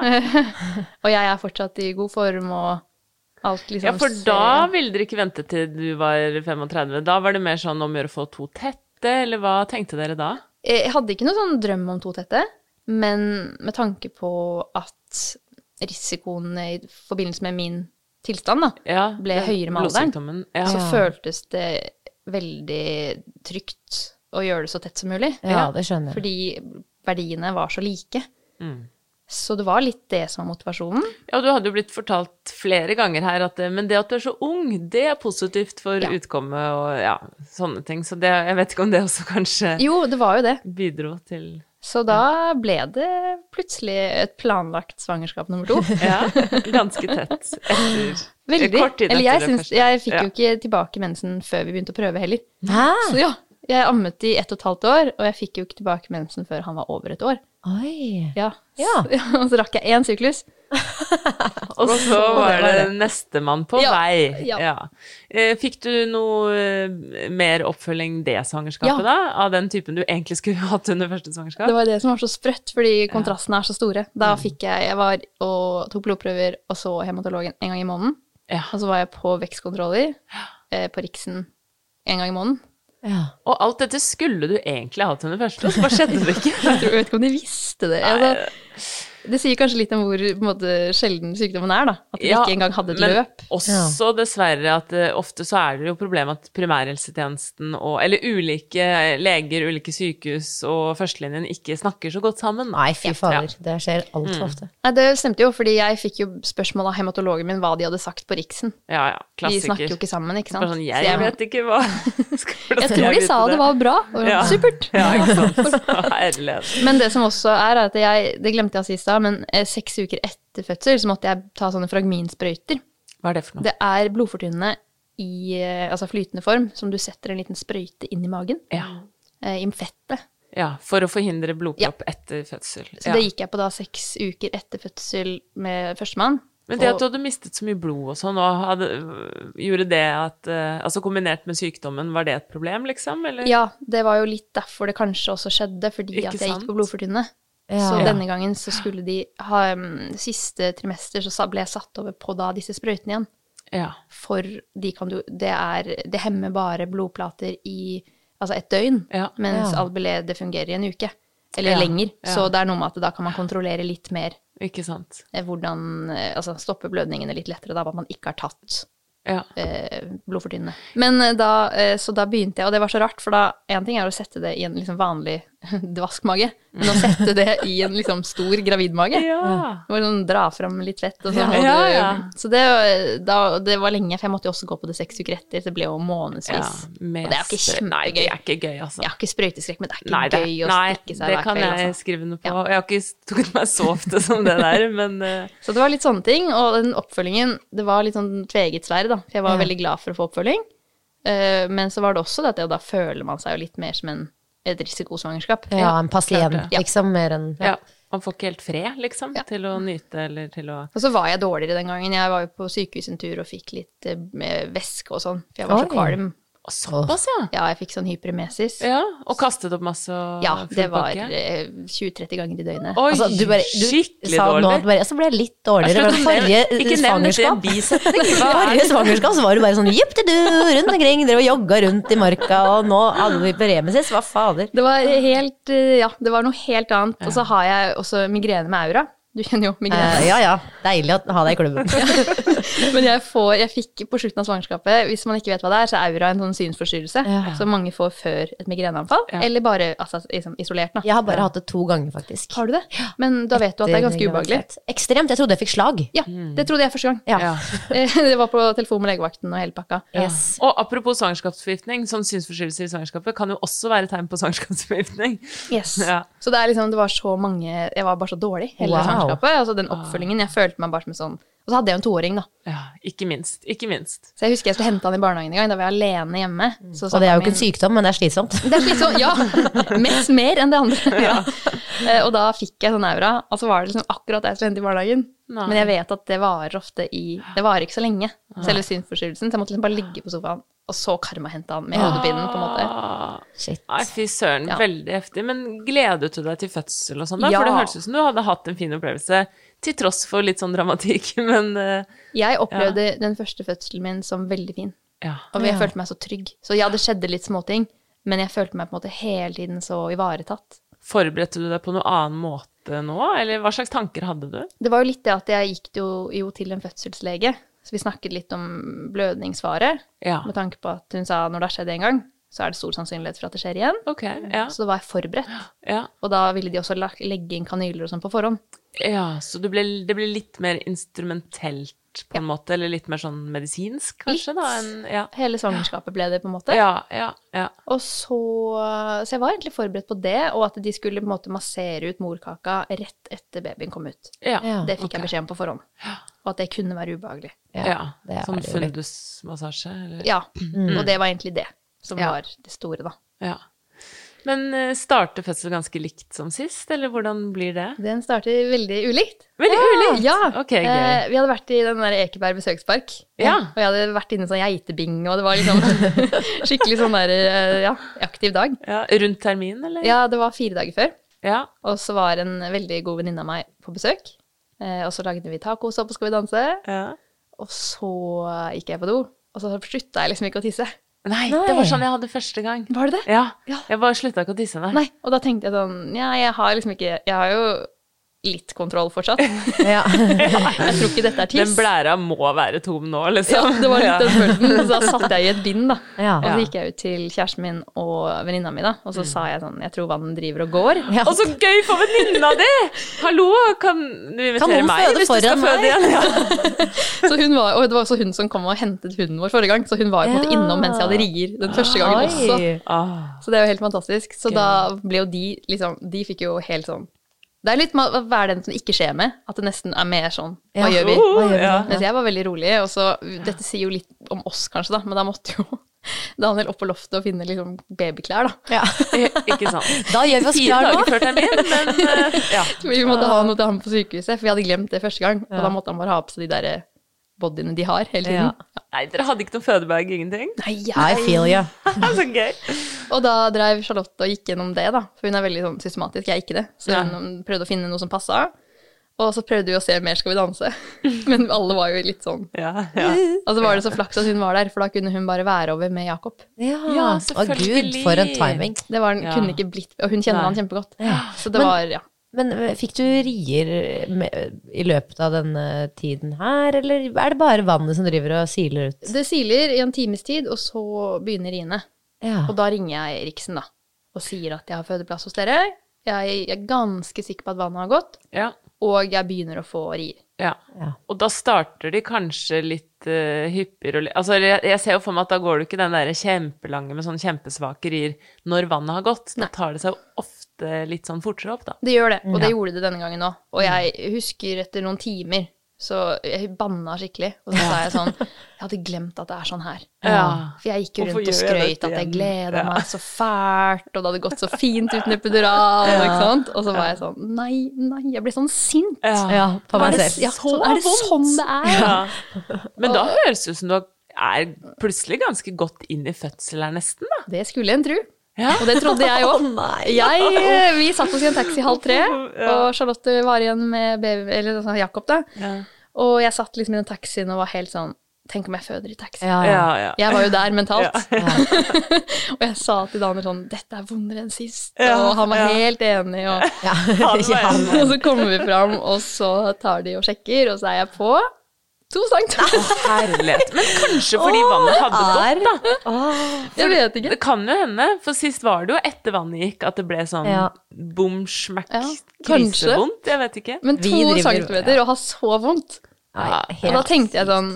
[SPEAKER 2] Og jeg er fortsatt i god form, og alt liksom
[SPEAKER 1] ja, for
[SPEAKER 2] ser-
[SPEAKER 1] da ville dere ikke vente til du var 35. Da var det mer sånn om å gjøre å få to tette, eller hva tenkte dere da?
[SPEAKER 2] Jeg hadde ikke noen sånn drøm om to tette, men med tanke på at risikoen i forbindelse med min tilstand da,
[SPEAKER 1] Ja,
[SPEAKER 2] ble
[SPEAKER 1] det-
[SPEAKER 2] høyere med alderen,
[SPEAKER 1] blodsykdommen, ja.
[SPEAKER 2] så
[SPEAKER 3] Ja.
[SPEAKER 2] føltes det veldig trygt å gjøre det så tett som mulig.
[SPEAKER 3] Ja, det skjønner jeg.
[SPEAKER 2] Fordi verdiene var så like. Så det var litt det som var motivasjonen.
[SPEAKER 1] Ja, du hadde jo blitt fortalt flere ganger her at eh, men det at du er så ung, det er positivt for
[SPEAKER 2] Ja.
[SPEAKER 1] utkommet og ja, sånne ting. Så det, jeg vet ikke om det også kanskje
[SPEAKER 2] Jo, det var jo det.
[SPEAKER 1] bidro til
[SPEAKER 2] Så da ble det plutselig et planlagt svangerskap nummer to.
[SPEAKER 1] Ja, (laughs) ganske tett etter.
[SPEAKER 2] Veldig.
[SPEAKER 1] Kort tid etter
[SPEAKER 2] Eller jeg,
[SPEAKER 1] det
[SPEAKER 2] syns,
[SPEAKER 1] første.
[SPEAKER 2] jeg fikk
[SPEAKER 1] Ja.
[SPEAKER 2] jo ikke tilbake mensen før vi begynte å prøve heller.
[SPEAKER 3] Hæ?
[SPEAKER 2] Så ja, jeg ammet i ett og et halvt år, og jeg fikk jo ikke tilbake mensen før han var over et år.
[SPEAKER 3] Oi.
[SPEAKER 2] Ja.
[SPEAKER 3] Ja.
[SPEAKER 2] Så, (laughs) og så rakk jeg én syklus.
[SPEAKER 1] Og så var det nestemann på
[SPEAKER 2] Ja,
[SPEAKER 1] vei.
[SPEAKER 2] ja.
[SPEAKER 1] Ja. Eh, Fikk du noe eh, mer oppfølging det
[SPEAKER 2] Ja.
[SPEAKER 1] svangerskapet, da? Av den typen du egentlig skulle (laughs) hatt under første
[SPEAKER 2] Det
[SPEAKER 1] svangerskap?
[SPEAKER 2] var det som var så sprøtt, fordi kontrastene er så store. Da
[SPEAKER 3] Mm.
[SPEAKER 2] fikk jeg Jeg var og tok blodprøver og så hematologen en gang i måneden.
[SPEAKER 1] Ja.
[SPEAKER 2] Og så var jeg på vekstkontroller eh, på Riksen en gang i måneden.
[SPEAKER 3] Ja.
[SPEAKER 1] Og alt dette
[SPEAKER 2] (laughs)
[SPEAKER 1] skulle du egentlig hatt under første, og så bare skjedde det ikke.
[SPEAKER 2] Jeg tror- jeg vet ikke om de visste det. Altså, Det sier kanskje litt om hvor på en måte, sjelden sykdommen er, da. At de ikke engang hadde et
[SPEAKER 1] men
[SPEAKER 2] løp.
[SPEAKER 1] også dessverre at eh, ofte så er det jo problemet at primærhelsetjenesten og Eller ulike eh, leger, ulike sykehus og førstelinjen ikke snakker så godt sammen.
[SPEAKER 3] Nei, fy fader. Det skjer altfor ofte.
[SPEAKER 2] Nei, det stemte jo, fordi jeg fikk jo spørsmål av hematologen min hva de hadde sagt på Riksen.
[SPEAKER 1] Ja, ja.
[SPEAKER 2] De
[SPEAKER 1] Klassiker.
[SPEAKER 2] snakker jo ikke sammen, ikke sant.
[SPEAKER 1] Bare sånn,
[SPEAKER 2] Så
[SPEAKER 1] jeg vet ikke hva (laughs) Skal-
[SPEAKER 2] jeg tror de
[SPEAKER 1] vite
[SPEAKER 2] sa det var bra. Og,
[SPEAKER 1] Ja.
[SPEAKER 2] Supert.
[SPEAKER 1] (laughs) Ja, ikke
[SPEAKER 2] (laughs)
[SPEAKER 1] sant. Herlighet.
[SPEAKER 2] Men det som også er, er at jeg, det glemte jeg å si i stad, men eh, seks uker etter fødsel så måtte jeg ta sånne fragminsprøyter.
[SPEAKER 1] Hva er det for noe?
[SPEAKER 2] Det er blodfortynnende i eh, altså flytende form, som du setter en liten sprøyte inn i magen.
[SPEAKER 1] Ja.
[SPEAKER 2] eh, I fettet.
[SPEAKER 1] ja, for å forhindre blodpropp etter fødsel.
[SPEAKER 2] Så
[SPEAKER 1] Ja.
[SPEAKER 2] det gikk jeg på da seks uker etter fødsel med førstemann.
[SPEAKER 1] Men det
[SPEAKER 2] Og-
[SPEAKER 1] at du hadde mistet så mye blod og sånn, og hadde, gjorde det at eh, Altså kombinert med sykdommen, var det et problem, liksom? Eller?
[SPEAKER 2] Ja, det var jo litt derfor det kanskje også skjedde, fordi
[SPEAKER 1] Ikke
[SPEAKER 2] at jeg
[SPEAKER 1] sant?
[SPEAKER 2] gikk på blodfortynnende. Så
[SPEAKER 3] Ja.
[SPEAKER 2] denne gangen så skulle de ha um, siste trimester, så sa- ble jeg satt over på da disse sprøytene igjen.
[SPEAKER 1] Ja.
[SPEAKER 2] For de kan du Det er Det hemmer bare blodplater i altså et døgn,
[SPEAKER 1] Ja.
[SPEAKER 2] mens
[SPEAKER 3] Ja.
[SPEAKER 2] Albele det fungerer i en uke. Eller
[SPEAKER 1] Ja.
[SPEAKER 2] lenger.
[SPEAKER 1] Ja.
[SPEAKER 2] Så det er noe med at da kan man kontrollere litt mer
[SPEAKER 1] Ikke sant.
[SPEAKER 2] eh, hvordan eh, Altså stoppe blødningene litt lettere da, at man ikke har tatt
[SPEAKER 1] Ja.
[SPEAKER 2] eh, blodfortynnende. Men eh, da, eh, så da begynte jeg, og det var så rart, for da en ting er å sette det i en liksom vanlig (laughs) dvaskmage, men å sette det i en liksom stor gravidmage
[SPEAKER 1] Ja.
[SPEAKER 2] det var sånn dra fram litt fett og sånn.
[SPEAKER 1] Ja,
[SPEAKER 2] og
[SPEAKER 1] ja,
[SPEAKER 2] du-
[SPEAKER 1] ja.
[SPEAKER 2] Så det, var- da, det var lenge, for jeg måtte jo også gå på det seks uker etter. så Det ble jo månedsvis.
[SPEAKER 1] ja.
[SPEAKER 2] Og det er jo ikke
[SPEAKER 1] Mest- Nei, det er
[SPEAKER 2] kjempegøy.
[SPEAKER 1] ikke gøy, altså.
[SPEAKER 2] Jeg har ikke sprøyteskrekk, men det er ikke
[SPEAKER 1] Nei, det,
[SPEAKER 2] gøy å
[SPEAKER 1] nei,
[SPEAKER 2] stikke seg
[SPEAKER 1] det
[SPEAKER 2] hver
[SPEAKER 1] kan
[SPEAKER 2] kveld.
[SPEAKER 1] jeg
[SPEAKER 2] Altså.
[SPEAKER 1] skrive noe på.
[SPEAKER 2] Ja.
[SPEAKER 1] Jeg har ikke stukket meg så ofte som det der, men eh,
[SPEAKER 2] Så det var litt sånne ting. Og den oppfølgingen, det var litt sånn tveget sverd, da. For jeg var
[SPEAKER 3] Ja.
[SPEAKER 2] veldig glad for å få oppfølging. Eh, Men så var det også det at ja, da føler man seg jo litt mer som en, et risikosvangerskap.
[SPEAKER 3] Ja, en pasient,
[SPEAKER 1] klart
[SPEAKER 2] det.
[SPEAKER 3] liksom, mer enn
[SPEAKER 1] ja. Man får ikke helt fred, liksom, til å nyte eller til å
[SPEAKER 2] Og så var jeg dårligere den gangen. Jeg var jo på sykehus en tur og fikk litt eh, med væske og sånn, for jeg var så
[SPEAKER 3] Oi.
[SPEAKER 2] kvalm.
[SPEAKER 1] Å, Såpass, ja.
[SPEAKER 2] Ja, jeg fikk sånn hyperemesis.
[SPEAKER 1] ja! Og kastet opp masse og
[SPEAKER 2] Ja, det
[SPEAKER 1] full
[SPEAKER 2] var
[SPEAKER 1] pakke.
[SPEAKER 2] eh, 20-30 ganger i døgnet.
[SPEAKER 1] Oi,
[SPEAKER 3] Altså, du bare, du
[SPEAKER 1] skikkelig
[SPEAKER 3] sa nå
[SPEAKER 1] dårlig.
[SPEAKER 3] at du bare, ja, så ble jeg litt dårligere.
[SPEAKER 1] Jeg
[SPEAKER 3] Men
[SPEAKER 1] skal
[SPEAKER 3] forrige eh,
[SPEAKER 1] nevne- ikke nevn dette i en
[SPEAKER 3] svangerskap (laughs)
[SPEAKER 1] bisetning, hva er
[SPEAKER 3] Forrige
[SPEAKER 1] det?
[SPEAKER 3] svangerskap så var du bare sånn jipptidu, rundt omkring, dere jogga rundt i marka, og nå hadde vi hyperemesis. Hva fader?
[SPEAKER 2] Det var helt eh, Ja, det var noe helt annet. Og så har jeg også migrene med aura. Du kjenner jo migrene.
[SPEAKER 3] Eh, ja ja, deilig å ha deg i klubben.
[SPEAKER 2] Men jeg, får, jeg fikk på slutten av svangerskapet, hvis man ikke vet hva det er, så er aura en sånn synsforstyrrelse
[SPEAKER 3] Ja.
[SPEAKER 2] som mange får før et migreneanfall. Eller bare altså, liksom, isolert, da.
[SPEAKER 3] Jeg har bare hatt det to ganger, faktisk.
[SPEAKER 2] Har du det? Men da vet du at det er ganske ubehagelig.
[SPEAKER 3] Ekstremt. Jeg trodde jeg fikk slag.
[SPEAKER 2] Ja, det trodde jeg første gang.
[SPEAKER 3] Mm. Ja.
[SPEAKER 1] Ja.
[SPEAKER 2] Eh, (laughs) Det var på telefon med legevakten og hele pakka.
[SPEAKER 3] Yes.
[SPEAKER 1] Og apropos svangerskapsforgiftning, sånn synsforstyrrelser i svangerskapet kan jo også være tegn på svangerskapsforgiftning.
[SPEAKER 2] Yes.
[SPEAKER 1] Ja.
[SPEAKER 2] Så det, er liksom, det var så mange Jeg var bare så dårlig hele
[SPEAKER 3] Wow.
[SPEAKER 2] svangerskapet. Altså den oppfølgingen. Jeg følte meg bare som en sånn Og så hadde jeg jo en toåring, da.
[SPEAKER 1] Ja, ikke minst. Ikke minst.
[SPEAKER 2] Så jeg husker jeg skulle hente han i barnehagen en gang. Da var jeg alene hjemme. Så sa
[SPEAKER 3] Mm. Og det er
[SPEAKER 2] mamma
[SPEAKER 3] jo ikke en
[SPEAKER 2] min-
[SPEAKER 3] sykdom, men det er slitsomt.
[SPEAKER 2] (laughs) Det er litt sånn, ja. Mest mer enn det
[SPEAKER 1] (laughs)
[SPEAKER 2] andre. (laughs) Eh, Og da fikk jeg sånn aura. Og så var det liksom akkurat det jeg skulle hente i barnehagen.
[SPEAKER 1] Nei.
[SPEAKER 2] Men jeg vet at det varer ofte i Det varer ikke så lenge, selve synsforstyrrelsen. Så jeg måtte liksom bare ligge på sofaen, og så karmahente han med
[SPEAKER 1] Ah.
[SPEAKER 2] hodepinen, på en måte.
[SPEAKER 3] Shit.
[SPEAKER 1] Nei, fy søren,
[SPEAKER 2] Ja.
[SPEAKER 1] veldig heftig. Men gledet du deg til fødsel og sånn? da?
[SPEAKER 2] Ja.
[SPEAKER 1] For det hørtes ut som du hadde hatt en fin opplevelse, til tross for litt sånn dramatikk, (laughs) men eh,
[SPEAKER 2] Jeg opplevde den første fødselen min som veldig fin.
[SPEAKER 1] ja.
[SPEAKER 2] Og jeg følte meg så trygg. Så ja, det skjedde litt småting, men jeg følte meg på en måte hele tiden så ivaretatt.
[SPEAKER 1] Forberedte du deg på noen annen måte nå, eller hva slags tanker hadde du?
[SPEAKER 2] Det var jo litt det at jeg gikk jo, jo til en fødselslege, så vi snakket litt om blødningsfare,
[SPEAKER 1] Ja.
[SPEAKER 2] med tanke på at hun sa når det har skjedd en gang, så er det stor sannsynlighet for at det skjer igjen.
[SPEAKER 1] Ok, ja.
[SPEAKER 2] Så da var jeg forberedt,
[SPEAKER 1] Ja,
[SPEAKER 2] og da ville de også la- legge inn kanyler og sånn på forhånd.
[SPEAKER 1] ja så du ble, det ble litt mer instrumentelt på en måte, eller litt mer sånn medisinsk, kanskje, da? enn- ja.
[SPEAKER 2] Hele svangerskapet ble det på en måte.
[SPEAKER 1] ja, ja, ja.
[SPEAKER 2] Og så, så jeg var egentlig forberedt på det, og at de skulle på en måte massere ut morkaka rett etter babyen kom ut.
[SPEAKER 1] ja.
[SPEAKER 3] Ja.
[SPEAKER 2] Det fikk
[SPEAKER 1] ok.
[SPEAKER 2] jeg beskjed om på forhånd. Og at det kunne være ubehagelig.
[SPEAKER 1] Ja,
[SPEAKER 3] det er
[SPEAKER 1] sånn
[SPEAKER 3] det jo litt.
[SPEAKER 1] fundusmassasje, eller?
[SPEAKER 2] Ja, og det var egentlig det som var det store, da.
[SPEAKER 1] Ja. Men eh, starter fødsel ganske likt som sist, eller hvordan blir det?
[SPEAKER 2] Den starter veldig ulikt. Ah,
[SPEAKER 1] Veldig ulikt?
[SPEAKER 2] Ja.
[SPEAKER 1] Ok, gøy.
[SPEAKER 2] Eh, vi hadde vært i den der Ekeberg besøkspark,
[SPEAKER 1] Ja.
[SPEAKER 2] og jeg hadde vært inne i sånn geitebinge, og det
[SPEAKER 1] (laughs)
[SPEAKER 2] var liksom skikkelig sånn der eh, ja, aktiv dag.
[SPEAKER 1] Ja, rundt termin, eller?
[SPEAKER 2] Ja, det var fire dager før,
[SPEAKER 1] Ja.
[SPEAKER 2] og så var en veldig god venninne av meg på besøk. Eh, og så lagde vi tacosopp og Skal vi danse,
[SPEAKER 1] ja.
[SPEAKER 2] og så gikk jeg på do, og så slutta jeg liksom ikke å tisse.
[SPEAKER 1] Nei,
[SPEAKER 3] Nei.
[SPEAKER 1] det var sånn jeg hadde første gang.
[SPEAKER 2] Var det det?
[SPEAKER 1] Ja.
[SPEAKER 2] Ja.
[SPEAKER 1] Jeg bare slutta ikke å tisse, nei.
[SPEAKER 2] Nei, og da tenkte jeg sånn Ja, jeg har liksom ikke Jeg har jo litt kontroll
[SPEAKER 1] (laughs)
[SPEAKER 2] fortsatt.
[SPEAKER 3] Ja.
[SPEAKER 2] Jeg tror ikke dette er
[SPEAKER 1] Den
[SPEAKER 2] tiss.
[SPEAKER 1] blæra må være tom nå,
[SPEAKER 3] (laughs)
[SPEAKER 2] Ja,
[SPEAKER 1] liksom. (laughs)
[SPEAKER 2] det var litt den følelsen. Så da satt jeg i et bind, da.
[SPEAKER 3] Ja. Mm.
[SPEAKER 2] Og så gikk jeg ut til kjæresten min og venninna mi, da. Og så sa jeg sånn Jeg tror vannet driver og går.
[SPEAKER 3] Ja.
[SPEAKER 1] Og så gøy for venninna di! Hallo, kan du invitere
[SPEAKER 3] noen
[SPEAKER 1] meg
[SPEAKER 3] føde
[SPEAKER 1] hvis du skal
[SPEAKER 3] foran
[SPEAKER 1] føde
[SPEAKER 3] meg?
[SPEAKER 1] igjen? Ja.
[SPEAKER 2] Så hun var, og det var også hun som kom og hentet hunden vår forrige gang. Så hun var jo på en måte
[SPEAKER 3] Ja.
[SPEAKER 2] innom mens jeg hadde rier den første gangen også.
[SPEAKER 3] Oi.
[SPEAKER 1] Ah.
[SPEAKER 2] Så det er jo helt fantastisk. Så da ble jo de liksom De fikk jo helt sånn Det er litt med å være den som ikke skjer med. At det nesten er mer sånn Hva
[SPEAKER 3] Ja.
[SPEAKER 2] gjør vi?
[SPEAKER 3] Hva gjør vi
[SPEAKER 1] Ja.
[SPEAKER 3] da?
[SPEAKER 2] Mens jeg var veldig rolig. Og så Dette sier jo litt om oss, kanskje, da, men da måtte jo (laughs) Daniel opp på loftet og finne liksom babyklær, da.
[SPEAKER 1] Ikke sant.
[SPEAKER 3] Da gjør vi oss
[SPEAKER 1] Fire
[SPEAKER 3] klare nå.
[SPEAKER 1] dager før termin, men eh, ja.
[SPEAKER 2] Vi måtte ha noe til ham på sykehuset, for vi hadde glemt det første gang. Og da måtte han bare ha på seg de der eh, bodyene de har hele tiden.
[SPEAKER 3] Ja.
[SPEAKER 1] Nei, dere hadde ikke noen fødebag, ingenting?
[SPEAKER 2] Nei,
[SPEAKER 3] I feel you.
[SPEAKER 1] Så gøy.
[SPEAKER 2] Og da dreiv Charlotte og gikk gjennom det, da. For hun er veldig sånn systematisk, jeg er ikke det. Så
[SPEAKER 1] Ja.
[SPEAKER 2] hun um, prøvde å finne noe som passa. Og så prøvde vi å se Mer skal vi danse. (laughs) Men alle var jo litt sånn.
[SPEAKER 1] Ja, ja.
[SPEAKER 2] Og så var det så flaks at hun var der, for da kunne hun bare være over med Jakob.
[SPEAKER 3] Ja,
[SPEAKER 1] Ja,
[SPEAKER 3] Å gud,
[SPEAKER 1] selvfølgelig.
[SPEAKER 3] for en timing.
[SPEAKER 2] Det var,
[SPEAKER 1] Ja.
[SPEAKER 2] kunne ikke blitt, Og hun kjenner
[SPEAKER 1] Nei.
[SPEAKER 2] han kjempegodt. Så det
[SPEAKER 3] Men-
[SPEAKER 2] var, ja.
[SPEAKER 3] Men eh, fikk du rier med, i løpet av denne tiden her, eller er det bare vannet som driver og siler ut?
[SPEAKER 2] Det siler i en times tid, og så begynner riene.
[SPEAKER 3] Ja.
[SPEAKER 2] Og da ringer jeg Eriksen, da. Og sier at jeg har fødeplass hos dere. Jeg er ganske sikker på at vannet har gått.
[SPEAKER 1] ja,
[SPEAKER 2] Og jeg begynner å få rier.
[SPEAKER 1] ja.
[SPEAKER 3] Ja.
[SPEAKER 1] Og da starter de kanskje litt eh, hyppigere og litt Altså, jeg, jeg ser jo for meg at da går du ikke den derre kjempelange med sånn kjempesvake rier når vannet har gått. Da
[SPEAKER 2] Nei.
[SPEAKER 1] tar det seg jo ofte litt sånn fortere opp, da.
[SPEAKER 2] Det gjør det, og det gjorde det denne gangen òg. Og jeg husker etter noen timer, så jeg banna skikkelig. Og så sa jeg
[SPEAKER 1] (laughs)
[SPEAKER 2] sånn Jeg hadde glemt at det er sånn her.
[SPEAKER 1] Ja.
[SPEAKER 2] For jeg gikk jo
[SPEAKER 1] Hvorfor
[SPEAKER 2] rundt og
[SPEAKER 1] gjør jeg
[SPEAKER 2] skrøyt
[SPEAKER 1] dette
[SPEAKER 2] at jeg
[SPEAKER 1] igjen?
[SPEAKER 2] gleda
[SPEAKER 1] Ja.
[SPEAKER 2] meg så fælt, og det hadde gått så fint
[SPEAKER 1] (laughs)
[SPEAKER 2] uten epidural, ikke sant. Og så var jeg sånn Nei, nei, jeg ble sånn sint.
[SPEAKER 3] ja, på
[SPEAKER 2] Er
[SPEAKER 3] meg
[SPEAKER 2] det,
[SPEAKER 3] selv.
[SPEAKER 2] ja, sånn, er det sånn det er?
[SPEAKER 1] (laughs) Men da høres det ut som du er plutselig ganske godt inn i fødsel her, nesten, da.
[SPEAKER 2] Det skulle en tro.
[SPEAKER 1] Ja.
[SPEAKER 2] Og det trodde jeg
[SPEAKER 3] (laughs)
[SPEAKER 2] òg. Vi satt oss i en taxi halv tre, og Charlotte var igjen med baby, eller altså, Jakob, da. Og jeg satt liksom i den taxien og var helt sånn Tenk om jeg føder i taxi.
[SPEAKER 3] Ja, ja.
[SPEAKER 1] Ja, ja.
[SPEAKER 2] Jeg var jo der
[SPEAKER 3] (laughs)
[SPEAKER 2] mentalt. (laughs) og jeg sa til Daniel sånn Dette er vondere enn sist. og han var helt enig. Og,
[SPEAKER 3] (laughs) Ja.
[SPEAKER 2] og (laughs) så kommer vi fram, og så tar de og sjekker, og så er jeg på to centimeter.
[SPEAKER 1] Herlighet. Men kanskje fordi vannet hadde gått, da.
[SPEAKER 2] (laughs) Jeg vet ikke.
[SPEAKER 1] Det kan jo hende, for sist var det jo etter vannet gikk at det ble sånn
[SPEAKER 3] Ja.
[SPEAKER 1] bom, smekk,
[SPEAKER 2] Ja, kanskje.
[SPEAKER 1] krisevondt. Jeg vet ikke.
[SPEAKER 2] Men
[SPEAKER 3] Vi
[SPEAKER 2] to
[SPEAKER 3] driver-
[SPEAKER 2] centimeter og ha så vondt.
[SPEAKER 3] Nei,
[SPEAKER 2] Og da
[SPEAKER 3] helt.
[SPEAKER 2] tenkte jeg sånn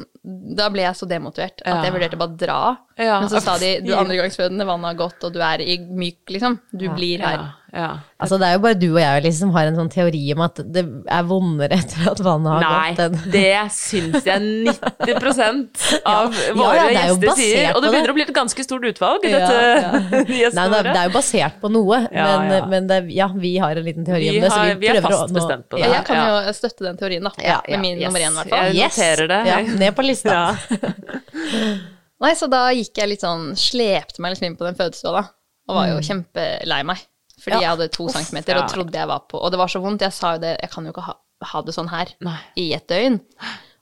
[SPEAKER 2] Da ble jeg så demotivert at jeg
[SPEAKER 1] Ja.
[SPEAKER 2] vurderte bare å dra.
[SPEAKER 1] Ja.
[SPEAKER 2] Men så sa de du er andregangsfødende, vannet har gått, og du er i myk, liksom. Du blir her.
[SPEAKER 1] Ja, ja.
[SPEAKER 3] Altså, det er jo bare du og jeg Elise, som har en sånn teori om at det er vondere etter at vannet har gått.
[SPEAKER 1] Nei,
[SPEAKER 3] enn-
[SPEAKER 1] det syns jeg 90 av
[SPEAKER 3] (laughs) Ja,
[SPEAKER 1] våre
[SPEAKER 3] ja, det er jo
[SPEAKER 1] gjester sier.
[SPEAKER 3] basert
[SPEAKER 1] Og det
[SPEAKER 3] på det.
[SPEAKER 1] begynner å bli et ganske stort utvalg i
[SPEAKER 3] Ja,
[SPEAKER 1] dette (laughs)
[SPEAKER 3] Nei, det er, det
[SPEAKER 1] gjestene
[SPEAKER 3] er jo basert på noe,
[SPEAKER 1] Ja,
[SPEAKER 3] men,
[SPEAKER 1] ja.
[SPEAKER 3] men det, ja, vi har en liten teori
[SPEAKER 1] Vi
[SPEAKER 3] om det. Så vi,
[SPEAKER 1] har- vi er
[SPEAKER 3] prøver
[SPEAKER 1] fast
[SPEAKER 3] å, nå,
[SPEAKER 1] bestemt på det.
[SPEAKER 3] Ja,
[SPEAKER 2] Jeg kan
[SPEAKER 1] Ja.
[SPEAKER 2] jo støtte den teorien, da.
[SPEAKER 3] Ja, ja,
[SPEAKER 2] med min nummer én, i hvert fall.
[SPEAKER 1] Jeg
[SPEAKER 3] Yes.
[SPEAKER 1] noterer det.
[SPEAKER 3] Ja, ned på lista.
[SPEAKER 1] Ja.
[SPEAKER 2] Nei, så da gikk jeg litt sånn, slepte meg liksom inn på den fødestua da, og var jo
[SPEAKER 1] Mm.
[SPEAKER 2] kjempelei meg. Fordi jeg hadde to centimeter og trodde jeg var på, og det var så vondt, jeg sa jo det, jeg kan jo ikke ha, ha det sånn her
[SPEAKER 1] Nei.
[SPEAKER 2] i et døgn.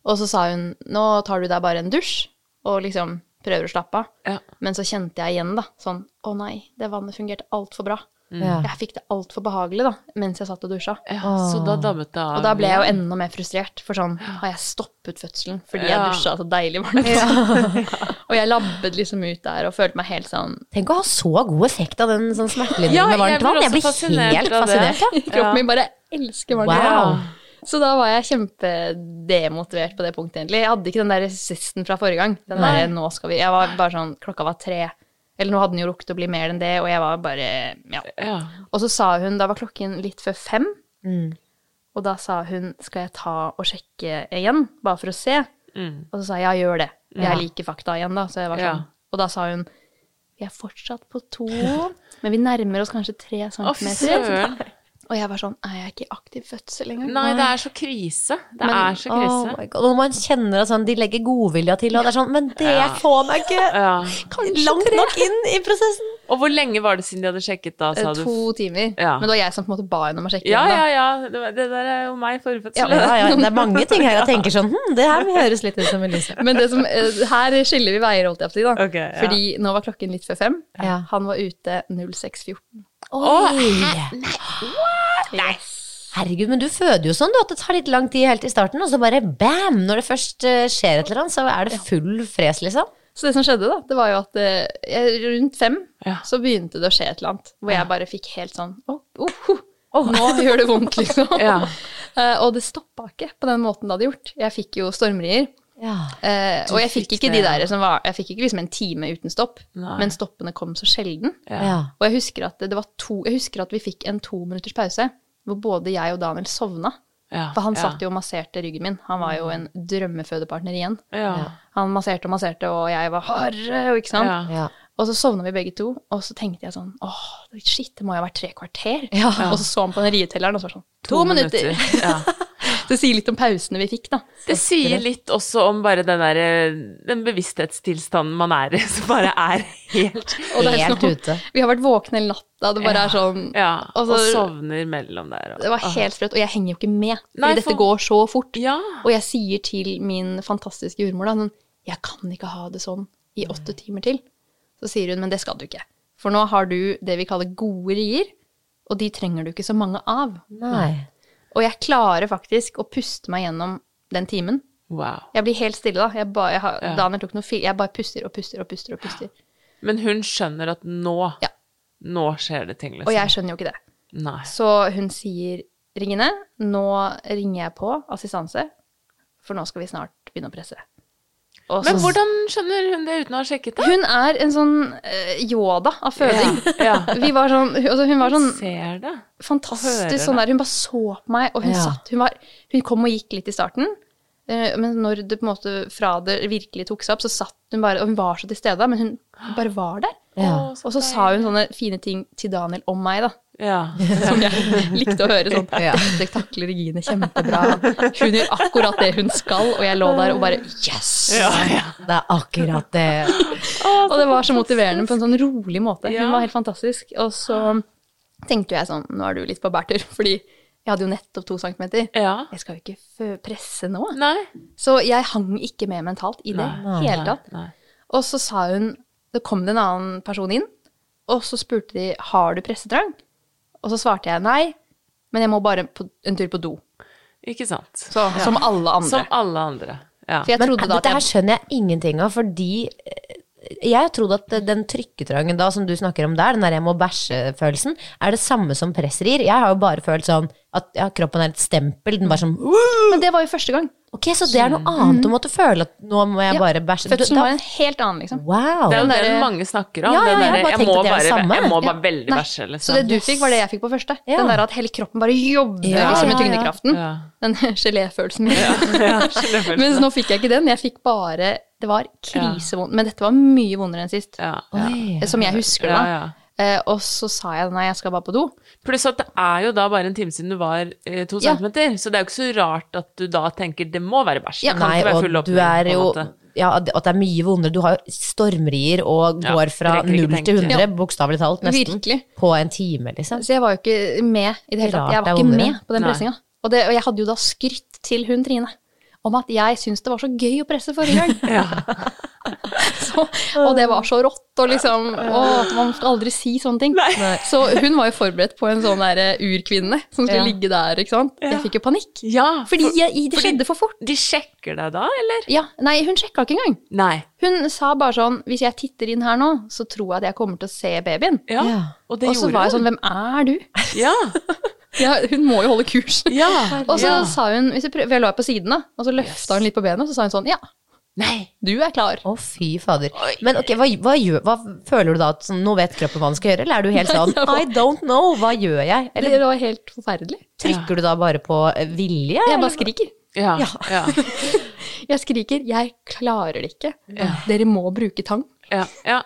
[SPEAKER 2] Og så sa hun, nå tar du deg bare en dusj, og liksom prøver å slappe av.
[SPEAKER 1] Ja.
[SPEAKER 2] Men så kjente jeg igjen da, sånn, å nei, det vannet fungerte alt for bra.
[SPEAKER 1] Mm.
[SPEAKER 3] Ja.
[SPEAKER 2] Jeg fikk det alt for behagelig da, mens jeg satt og dusja.
[SPEAKER 1] Ja, så da dammet det av.
[SPEAKER 2] Og da ble jeg jo enda mer frustrert, for sånn har jeg stoppet fødselen fordi
[SPEAKER 1] Ja.
[SPEAKER 2] jeg dusja så deilig varmt. (laughs) og jeg labbet liksom ut der og følte meg helt sånn
[SPEAKER 3] Tenk å ha så god effekt av den sånn smertelinjen
[SPEAKER 1] Ja, jeg
[SPEAKER 3] med varmt
[SPEAKER 1] blir
[SPEAKER 3] vann.
[SPEAKER 1] også
[SPEAKER 3] Jeg blir
[SPEAKER 1] fascinert
[SPEAKER 3] helt
[SPEAKER 1] av det.
[SPEAKER 3] fascinert. Ja.
[SPEAKER 2] Kroppen min bare elsker varmt
[SPEAKER 3] Wow.
[SPEAKER 2] vann. Så da var jeg kjempedemotivert på det punktet, egentlig. Jeg hadde ikke den der resisten fra forrige gang. Den der, nå skal vi Jeg var bare sånn Klokka var tre. Eller nå hadde den jo rukket å bli mer enn det, og jeg var bare Ja.
[SPEAKER 1] ja.
[SPEAKER 2] Og så sa hun, da var klokken litt før fem,
[SPEAKER 1] Mm.
[SPEAKER 2] og da sa hun, skal jeg ta og sjekke igjen, bare for å se? Og så sa jeg, ja, gjør det. Jeg liker fakta igjen da, så jeg var
[SPEAKER 1] Mm. Ja.
[SPEAKER 2] sånn. Og da sa hun, vi er fortsatt på
[SPEAKER 1] (laughs)
[SPEAKER 2] to, men vi nærmer oss kanskje tre
[SPEAKER 1] Å, fy søren.
[SPEAKER 2] centimeter. Og jeg var sånn, er jeg ikke i aktiv fødsel engang?
[SPEAKER 1] Nei, det er så krise. Det
[SPEAKER 2] Men-
[SPEAKER 1] er så
[SPEAKER 3] Oh
[SPEAKER 1] krise.
[SPEAKER 3] my God. Når man kjenner at sånn, de legger godvilja til, og det er sånn Men det får
[SPEAKER 1] (laughs)
[SPEAKER 3] meg ikke
[SPEAKER 1] Ja.
[SPEAKER 3] langt nok inn i prosessen.
[SPEAKER 1] Og hvor lenge var det siden de hadde sjekket da, sa du?
[SPEAKER 2] Eh, To timer.
[SPEAKER 1] Ja.
[SPEAKER 2] Men det var jeg som på en måte ba henne om å sjekke
[SPEAKER 1] Ja,
[SPEAKER 2] igjen
[SPEAKER 1] ja,
[SPEAKER 2] da.
[SPEAKER 1] ja. Det var- Det der er jo meg forrige
[SPEAKER 3] Ja,
[SPEAKER 1] fødsel.
[SPEAKER 3] ja, ja, det er mange ting
[SPEAKER 1] (laughs)
[SPEAKER 3] her jeg tenker sånn hm, Det her høres litt ut som Elise.
[SPEAKER 2] Men det som, eh, her skiller vi veier, holdt jeg på å si. da.
[SPEAKER 1] Ok, ja.
[SPEAKER 2] Fordi nå var klokken litt før fem.
[SPEAKER 3] Ja.
[SPEAKER 2] Han var ute 06.14.
[SPEAKER 3] Oi.
[SPEAKER 2] Yes.
[SPEAKER 3] Herregud, men du føder jo sånn, du, at det tar litt lang tid helt i starten, og så bare bam! Når det først eh, skjer et eller annet, så er det full fres, liksom.
[SPEAKER 2] Så det som skjedde, da, det var jo at eh, jeg, rundt fem
[SPEAKER 1] Ja.
[SPEAKER 2] så begynte det å skje et eller annet. Hvor jeg bare fikk helt sånn Å, oh, ho, nå gjør det vondt, liksom.
[SPEAKER 1] (laughs) Ja.
[SPEAKER 2] Eh, og det stoppa ikke på den måten det hadde gjort. Jeg fikk jo stormrier.
[SPEAKER 3] Ja.
[SPEAKER 2] eh, og jeg fikk
[SPEAKER 1] fikk
[SPEAKER 2] ikke de
[SPEAKER 1] det,
[SPEAKER 2] der som var Jeg fikk ikke liksom en time uten stopp,
[SPEAKER 1] Nei.
[SPEAKER 2] men stoppene kom så sjelden.
[SPEAKER 3] ja.
[SPEAKER 2] Og jeg husker at, det, det var to, jeg husker at vi fikk en to minutters pause hvor både jeg og Daniel sovna.
[SPEAKER 1] Ja,
[SPEAKER 2] For han
[SPEAKER 1] ja.
[SPEAKER 2] satt jo og masserte ryggen min. Han var jo en drømmefødepartner igjen.
[SPEAKER 1] Ja.
[SPEAKER 2] Han masserte og masserte, og jeg var harre, og ikke sant.
[SPEAKER 1] Ja.
[SPEAKER 3] Ja.
[SPEAKER 2] Og så sovna vi begge to, og så tenkte jeg sånn åh, shit, det må jo ha vært tre kvarter. Og så så han på den rietelleren, og så var det sånn to, minutter.
[SPEAKER 1] Ja.
[SPEAKER 2] (laughs) det sier litt om pausene vi fikk, da.
[SPEAKER 1] (laughs) Det sier litt også om bare den, der, eh, den bevissthetstilstanden man er i, (laughs) som bare er helt
[SPEAKER 2] Og det er
[SPEAKER 3] Helt
[SPEAKER 2] sånn-
[SPEAKER 3] ute.
[SPEAKER 2] (laughs) Vi har vært våkne hele natta, det bare er sånn
[SPEAKER 1] Ja,
[SPEAKER 2] og
[SPEAKER 1] og,
[SPEAKER 2] så-
[SPEAKER 1] sovner mellom der. Og,
[SPEAKER 2] Det var helt sprøtt, og jeg henger jo ikke med, fordi
[SPEAKER 1] Nei,
[SPEAKER 2] dette
[SPEAKER 1] for-
[SPEAKER 2] går så fort.
[SPEAKER 1] Ja.
[SPEAKER 2] Og jeg sier til min fantastiske jordmor da, sånn, jeg kan ikke ha det sånn i åtte timer til. Så sier hun, men det skal du ikke. For nå har du det vi kaller gode rier, og de trenger du ikke så mange av.
[SPEAKER 3] Nei.
[SPEAKER 2] Og jeg klarer faktisk å puste meg gjennom den timen.
[SPEAKER 1] Wow.
[SPEAKER 2] Jeg blir helt stille da. Jeg bare, jeg har,
[SPEAKER 1] Ja.
[SPEAKER 2] Daniel tok noe fil, jeg bare puster og puster og puster og puster.
[SPEAKER 1] Men hun skjønner at nå
[SPEAKER 2] Ja.
[SPEAKER 1] Nå skjer det ting, liksom.
[SPEAKER 2] Og jeg skjønner jo ikke det.
[SPEAKER 1] Nei.
[SPEAKER 2] Så hun sier, Regine, nå ringer jeg på assistanse, for nå skal vi snart begynne å presse. Og så-
[SPEAKER 1] Men hvordan skjønner hun det uten å ha sjekket det?
[SPEAKER 2] Hun er en sånn eh, Yoda av føding.
[SPEAKER 1] (laughs) Ja.
[SPEAKER 2] Vi var sånn, hun- altså hun var sånn
[SPEAKER 1] Ser det. hører
[SPEAKER 2] fantastisk
[SPEAKER 1] det.
[SPEAKER 2] sånn der, hun bare så på meg, og hun
[SPEAKER 3] Ja.
[SPEAKER 2] satt, hun, var, hun kom og gikk litt i starten, eh, men når det på en måte fra det virkelig tok seg opp, så satt hun bare, og hun var så til stede, men hun bare var der.
[SPEAKER 3] Ja.
[SPEAKER 1] Å,
[SPEAKER 2] Og så sa hun sånne fine ting til Daniel om meg, da,
[SPEAKER 1] Ja. (laughs)
[SPEAKER 2] som jeg likte å høre sånn.
[SPEAKER 3] Ja.
[SPEAKER 2] Dette takler Regine kjempebra. Hun gjør akkurat det hun skal, og jeg lå der og bare, yes!
[SPEAKER 1] ja, ja.
[SPEAKER 3] Det er akkurat det.
[SPEAKER 2] Og det var så motiverende på en sånn rolig måte.
[SPEAKER 1] Ja.
[SPEAKER 2] Hun var helt fantastisk. Og så tenkte jo jeg sånn, nå er du litt på bærtur, fordi jeg hadde jo nettopp to centimeter.
[SPEAKER 1] ja.
[SPEAKER 2] Jeg skal jo ikke fø- presse nå.
[SPEAKER 1] Nei.
[SPEAKER 2] Så jeg hang ikke med mentalt i det hele tatt.
[SPEAKER 1] Nei.
[SPEAKER 2] Og så sa hun, det kom det en annen person inn, og så spurte de, har du pressetrang? Og så svarte jeg nei, men jeg må bare på, en tur på do.
[SPEAKER 1] Ikke sant.
[SPEAKER 2] Så, Som alle andre.
[SPEAKER 1] Som alle andre. Ja.
[SPEAKER 2] For jeg
[SPEAKER 3] Men
[SPEAKER 2] trodde da at
[SPEAKER 3] dette her
[SPEAKER 2] jeg...
[SPEAKER 3] skjønner jeg ingenting av, fordi eh, jeg trodde at den trykketrangen da som du snakker om der, den der jeg må bæsje-følelsen, er det samme som pressrier. Jeg har jo bare følt sånn at ja, kroppen er et stempel. Den bare sånn
[SPEAKER 2] Men det var jo første gang.
[SPEAKER 3] Ok, så det er noe annet å måtte føle at nå må jeg
[SPEAKER 2] Mm. Ja,
[SPEAKER 3] bare bæsje. Du-
[SPEAKER 2] Fødselen
[SPEAKER 3] da-
[SPEAKER 2] var en helt annen, liksom.
[SPEAKER 3] Wow.
[SPEAKER 1] Det er jo
[SPEAKER 2] Den
[SPEAKER 1] den
[SPEAKER 2] derre-
[SPEAKER 1] mange snakker om.
[SPEAKER 3] Ja, ja,
[SPEAKER 1] den
[SPEAKER 3] jeg
[SPEAKER 1] derre,
[SPEAKER 3] bare
[SPEAKER 1] jeg,
[SPEAKER 3] tenkte
[SPEAKER 1] må
[SPEAKER 3] det er det
[SPEAKER 1] bare,
[SPEAKER 3] samme.
[SPEAKER 1] jeg må bare
[SPEAKER 2] Ja.
[SPEAKER 1] veldig
[SPEAKER 2] Nei.
[SPEAKER 1] bæsje,
[SPEAKER 2] Så det
[SPEAKER 1] liksom.
[SPEAKER 2] du fikk, var det jeg fikk på første.
[SPEAKER 3] Ja.
[SPEAKER 2] Den der at hele kroppen bare jobber
[SPEAKER 3] Ja,
[SPEAKER 2] liksom i
[SPEAKER 3] ja, ja.
[SPEAKER 2] tyngdekraften.
[SPEAKER 1] Ja.
[SPEAKER 2] Den (laughs) geléfølelsen. (laughs)
[SPEAKER 1] skjønner
[SPEAKER 2] Mens nå fikk jeg ikke den. Jeg fikk bare Det var krisevondt. Men dette var mye vondere enn sist.
[SPEAKER 1] Ja, ja.
[SPEAKER 3] Oi.
[SPEAKER 2] Som jeg husker det, da.
[SPEAKER 1] Ja, ja.
[SPEAKER 2] Eh, og så sa jeg nei, jeg skal bare på do.
[SPEAKER 1] Pluss at det er jo da bare en time siden du var eh, to
[SPEAKER 2] Ja.
[SPEAKER 1] centimeter, så det er jo ikke så rart at du da tenker det må være bæsj.
[SPEAKER 2] Ja.
[SPEAKER 1] det kan
[SPEAKER 3] Nei,
[SPEAKER 1] ikke være
[SPEAKER 3] og
[SPEAKER 1] full
[SPEAKER 3] du
[SPEAKER 1] åpning.
[SPEAKER 3] er
[SPEAKER 1] på en
[SPEAKER 3] jo
[SPEAKER 1] måte.
[SPEAKER 3] ja, at det- at det er mye vondere. Du har jo stormrier og
[SPEAKER 1] Ja,
[SPEAKER 3] går fra
[SPEAKER 1] rekker ikke
[SPEAKER 3] 0 til
[SPEAKER 1] tenke.
[SPEAKER 3] 100, bokstavelig talt, nesten.
[SPEAKER 2] Virkelig.
[SPEAKER 3] På en time, liksom.
[SPEAKER 2] Så jeg var jo ikke med i det hele
[SPEAKER 3] Rart
[SPEAKER 2] tatt. Jeg
[SPEAKER 3] det
[SPEAKER 2] var
[SPEAKER 3] er
[SPEAKER 2] ikke
[SPEAKER 3] vondere.
[SPEAKER 2] med på den
[SPEAKER 1] Nei.
[SPEAKER 2] pressinga. Og, det- og jeg hadde jo da skrytt til hun Trine om at jeg syntes det var så gøy å presse forrige gang. (laughs) så, og det var så rått, og liksom å, Man skal aldri si sånne ting. Så hun var jo forberedt på en sånn der eh, urkvinne som skulle ligge der, ikke sant. Jeg fikk jo panikk.
[SPEAKER 1] Ja,
[SPEAKER 2] Fordi
[SPEAKER 1] for-
[SPEAKER 2] jeg, det skjedde for fort.
[SPEAKER 1] De sjekker deg da, eller?
[SPEAKER 2] Ja, nei, hun sjekka ikke engang.
[SPEAKER 1] Nei.
[SPEAKER 2] Hun sa bare sånn Hvis jeg titter inn her nå, så tror jeg at jeg kommer til å se babyen.
[SPEAKER 1] Ja.
[SPEAKER 3] Ja.
[SPEAKER 1] Og det
[SPEAKER 2] Og så
[SPEAKER 1] gjorde
[SPEAKER 2] var jeg
[SPEAKER 1] hun.
[SPEAKER 2] sånn Hvem er du?
[SPEAKER 1] Ja.
[SPEAKER 2] Ja, hun må jo holde kurs.
[SPEAKER 1] ja.
[SPEAKER 2] Og så
[SPEAKER 1] ja.
[SPEAKER 2] sa hun hvis jeg, prøver, for jeg lå her på siden, da, og så løfta hun litt på benet, og så sa hun sånn Ja,
[SPEAKER 1] Nei.
[SPEAKER 2] du er klar.
[SPEAKER 3] Å, fy fader. Men ok, hva, hva, gjør, hva føler du da? At sånn, nå vet kroppen hva den skal gjøre? Eller er du helt sånn
[SPEAKER 2] jeg var-
[SPEAKER 3] I don't know, hva gjør jeg?
[SPEAKER 2] Det
[SPEAKER 3] Eller
[SPEAKER 2] var helt forferdelig.
[SPEAKER 3] trykker du da bare på eh, vilje?
[SPEAKER 2] Jeg
[SPEAKER 3] eller?
[SPEAKER 2] bare skriker.
[SPEAKER 1] Ja.
[SPEAKER 3] Ja.
[SPEAKER 1] Ja.
[SPEAKER 2] Jeg skriker 'jeg klarer det ikke'. Dere må bruke tang.
[SPEAKER 1] ja. ja.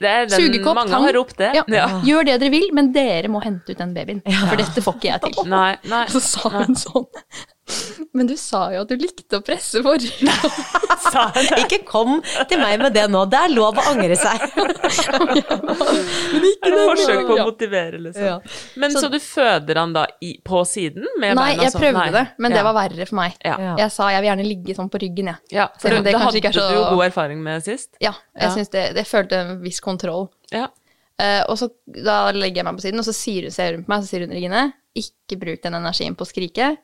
[SPEAKER 1] Det er den
[SPEAKER 2] Sugekopp,
[SPEAKER 1] mange
[SPEAKER 2] tang.
[SPEAKER 1] har ropt det.
[SPEAKER 2] Ja. Gjør det dere vil, men dere må hente ut den babyen. For dette får ikke jeg til.
[SPEAKER 1] Nei, nei.
[SPEAKER 2] Så sa hun sånn Men du sa jo at du likte å presse forrige
[SPEAKER 1] Sa hun det?
[SPEAKER 3] (laughs) Ikke kom til meg med det nå. Det er lov å angre
[SPEAKER 1] (laughs)
[SPEAKER 3] seg.
[SPEAKER 1] Er det
[SPEAKER 2] den,
[SPEAKER 1] forsøk på å
[SPEAKER 2] ja.
[SPEAKER 1] motivere, liksom?
[SPEAKER 2] Ja.
[SPEAKER 1] Men så, du føder han da i, på siden? Med
[SPEAKER 2] Nei,
[SPEAKER 1] beina
[SPEAKER 2] jeg
[SPEAKER 1] sånn?
[SPEAKER 2] prøvde det, men det
[SPEAKER 1] Ja.
[SPEAKER 2] var verre for meg.
[SPEAKER 1] Ja.
[SPEAKER 3] Ja.
[SPEAKER 2] Jeg sa jeg vil gjerne ligge sånn på ryggen, jeg.
[SPEAKER 1] ja. For
[SPEAKER 2] Selv om
[SPEAKER 1] det,
[SPEAKER 2] det kanskje
[SPEAKER 1] hadde
[SPEAKER 2] ikke er så-
[SPEAKER 1] du jo god erfaring med sist.
[SPEAKER 2] Ja, jeg
[SPEAKER 1] Ja.
[SPEAKER 2] synes det, det følte en viss kontroll.
[SPEAKER 1] Ja.
[SPEAKER 2] Eh, og så da legger jeg meg på siden, og så sier hun, ser hun på meg, så sier hun Regine, ikke bruk den energien på å skrike.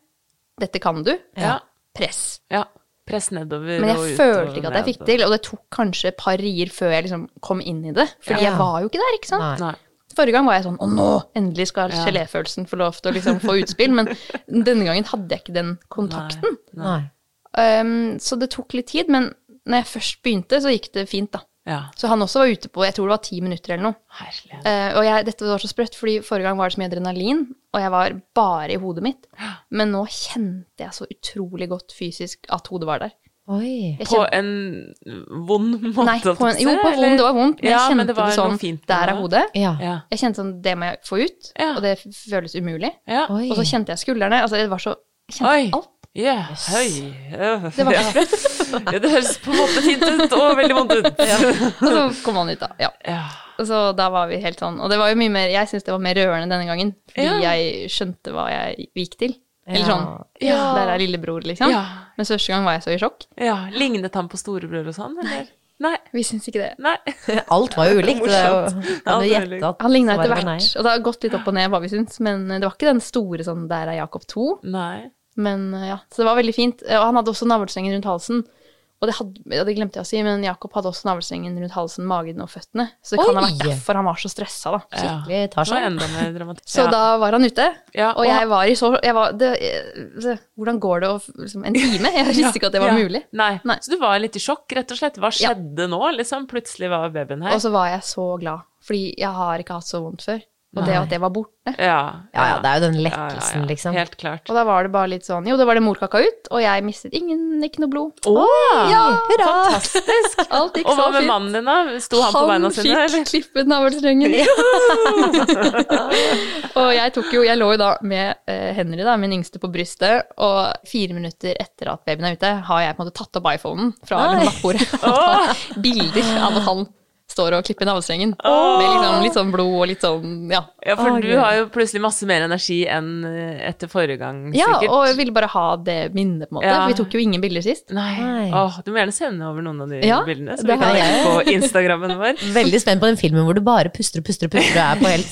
[SPEAKER 2] Dette kan du.
[SPEAKER 1] Ja.
[SPEAKER 2] Press.
[SPEAKER 1] ja. Press nedover
[SPEAKER 2] Men
[SPEAKER 1] og ut og
[SPEAKER 2] jeg følte ikke at jeg
[SPEAKER 1] ned
[SPEAKER 2] fikk til, og det tok kanskje et par rier før jeg liksom kom inn i det. Fordi jeg var jo ikke der, ikke sant?
[SPEAKER 3] Nei.
[SPEAKER 1] Nei.
[SPEAKER 2] Forrige gang var jeg sånn å nå, endelig skal geléfølelsen få lov til å liksom få utspill. Men denne gangen hadde jeg ikke den kontakten.
[SPEAKER 3] Nei.
[SPEAKER 2] Um, så det tok litt tid, men når jeg først begynte, så gikk det fint, da.
[SPEAKER 1] Ja.
[SPEAKER 2] Så han også var ute på jeg tror det var ti minutter eller noe.
[SPEAKER 1] Herlighet.
[SPEAKER 2] Eh, og jeg, dette var så sprøtt, fordi forrige gang var det så mye adrenalin, og jeg var bare i hodet mitt. Men nå kjente jeg så utrolig godt fysisk at hodet var der.
[SPEAKER 3] Oi.
[SPEAKER 2] Jeg
[SPEAKER 1] På
[SPEAKER 2] kjente-
[SPEAKER 1] en vond måte?
[SPEAKER 2] Nei,
[SPEAKER 1] holdt
[SPEAKER 2] på en,
[SPEAKER 1] jeg
[SPEAKER 2] jo,
[SPEAKER 1] på å
[SPEAKER 2] på
[SPEAKER 1] si,
[SPEAKER 2] vond, det
[SPEAKER 1] eller?
[SPEAKER 2] var vondt, men jeg
[SPEAKER 1] Ja,
[SPEAKER 2] kjente
[SPEAKER 1] men det
[SPEAKER 2] det,
[SPEAKER 1] var noe
[SPEAKER 2] sånn
[SPEAKER 1] fint med
[SPEAKER 2] Der er
[SPEAKER 1] det.
[SPEAKER 2] hodet.
[SPEAKER 3] Ja.
[SPEAKER 1] Ja.
[SPEAKER 2] Jeg kjente sånn Det må jeg få ut,
[SPEAKER 1] Ja.
[SPEAKER 2] og det føles umulig.
[SPEAKER 1] ja.
[SPEAKER 3] Oi.
[SPEAKER 2] Og så kjente jeg skuldrene. Altså, det var så jeg Kjente
[SPEAKER 1] Oi.
[SPEAKER 2] alt.
[SPEAKER 1] Ja, høy. Det
[SPEAKER 2] var
[SPEAKER 1] ja. (laughs) ja, det høres på en måte fint ut og veldig vondt
[SPEAKER 2] (laughs)
[SPEAKER 1] ut.
[SPEAKER 2] Og så kom han ut, da. Ja.
[SPEAKER 1] Ja.
[SPEAKER 2] Og så da var vi helt sånn. Og det var jo mye mer Jeg syns det var mer rørende denne gangen, fordi
[SPEAKER 1] Ja.
[SPEAKER 2] jeg skjønte hva jeg gikk til. Eller
[SPEAKER 3] Ja.
[SPEAKER 2] sånn
[SPEAKER 1] Ja.
[SPEAKER 2] Der er lillebror, liksom.
[SPEAKER 1] Ja.
[SPEAKER 2] Mens første gang var jeg så i sjokk.
[SPEAKER 1] ja. Lignet han på storebror og sånn, eller? Nei.
[SPEAKER 2] Vi syns ikke det.
[SPEAKER 1] Nei.
[SPEAKER 3] (laughs) Alt var jo ulikt. Det er
[SPEAKER 1] Morsomt.
[SPEAKER 3] jo, kan
[SPEAKER 1] Alt
[SPEAKER 3] du
[SPEAKER 1] var
[SPEAKER 3] gjette
[SPEAKER 1] ulikt.
[SPEAKER 3] at
[SPEAKER 2] Han ligna etter
[SPEAKER 3] svaret var nei?
[SPEAKER 2] hvert. Og det har gått litt opp og ned hva vi syns, men det var ikke den store sånn der er Jakob 2.
[SPEAKER 1] Nei.
[SPEAKER 2] Men eh, ja, så det var veldig fint. Eh, Og han hadde også navlestrengen rundt halsen. Og det, hadde, ja, det glemte jeg å si, men Jakob hadde også navlestrengen rundt halsen, magen og føttene. Så det kan ha vært
[SPEAKER 3] Oi!
[SPEAKER 2] derfor han var så stressa, da.
[SPEAKER 1] Ja.
[SPEAKER 3] Vi tar
[SPEAKER 1] Det var
[SPEAKER 3] sånn.
[SPEAKER 1] enda mer dramatisk.
[SPEAKER 2] Så
[SPEAKER 1] Ja.
[SPEAKER 2] da var han ute,
[SPEAKER 1] Ja,
[SPEAKER 2] og jeg var i så jeg var, det, det, Hvordan går det å f- liksom, En time?
[SPEAKER 1] (laughs)
[SPEAKER 2] Jeg visste ikke at det var
[SPEAKER 1] Ja.
[SPEAKER 2] mulig.
[SPEAKER 1] Nei.
[SPEAKER 2] Nei.
[SPEAKER 1] Så du var litt i sjokk, rett og slett. Hva skjedde nå? Liksom, plutselig var babyen her.
[SPEAKER 2] Og så var jeg så glad, fordi jeg har ikke hatt så vondt før. Og det at det var borte.
[SPEAKER 1] ja,
[SPEAKER 3] Ja, ja, det er jo den
[SPEAKER 1] Ja, ja,
[SPEAKER 3] lettelsen,
[SPEAKER 1] ja.
[SPEAKER 3] liksom.
[SPEAKER 1] Helt klart.
[SPEAKER 2] Og da var det bare litt sånn Jo, da var det morkaka ut, og jeg mistet ingen, ikke noe blod.
[SPEAKER 1] Å!
[SPEAKER 2] Ja,
[SPEAKER 1] Fantastisk!
[SPEAKER 2] Alt gikk
[SPEAKER 1] Og hva
[SPEAKER 2] så
[SPEAKER 1] med
[SPEAKER 2] fint.
[SPEAKER 1] mannen din, da? Sto han på beina sine,
[SPEAKER 2] fikk
[SPEAKER 1] eller?
[SPEAKER 2] klippet navlestrengen. (laughs) og jeg tok jo, jeg lå jo da med eh, Henry, da, min yngste, på brystet, og fire minutter etter at babyen er ute, har jeg på en måte tatt opp iPhonen fra
[SPEAKER 3] Nei.
[SPEAKER 2] nattbordet og tatt bilder av at han står og klipper navlestrengen. Med liksom litt sånn blod og litt sånn, ja.
[SPEAKER 1] Ja, for
[SPEAKER 3] Å,
[SPEAKER 1] du
[SPEAKER 3] Gud.
[SPEAKER 1] har jo plutselig masse mer energi enn eh, etter forrige gang,
[SPEAKER 2] Ja,
[SPEAKER 1] sikkert.
[SPEAKER 2] og jeg ville bare ha det minnet, på en måte.
[SPEAKER 1] Ja.
[SPEAKER 2] Vi tok jo ingen bilder sist.
[SPEAKER 1] Nei.
[SPEAKER 3] Nei.
[SPEAKER 1] Åh, du må gjerne sende over noen av de
[SPEAKER 2] Ja,
[SPEAKER 1] bildene, så
[SPEAKER 2] det
[SPEAKER 1] vi kan
[SPEAKER 2] har
[SPEAKER 1] legge på Instagrammen vår.
[SPEAKER 3] Veldig spent på den filmen hvor du bare puster og puster og puster og er på helt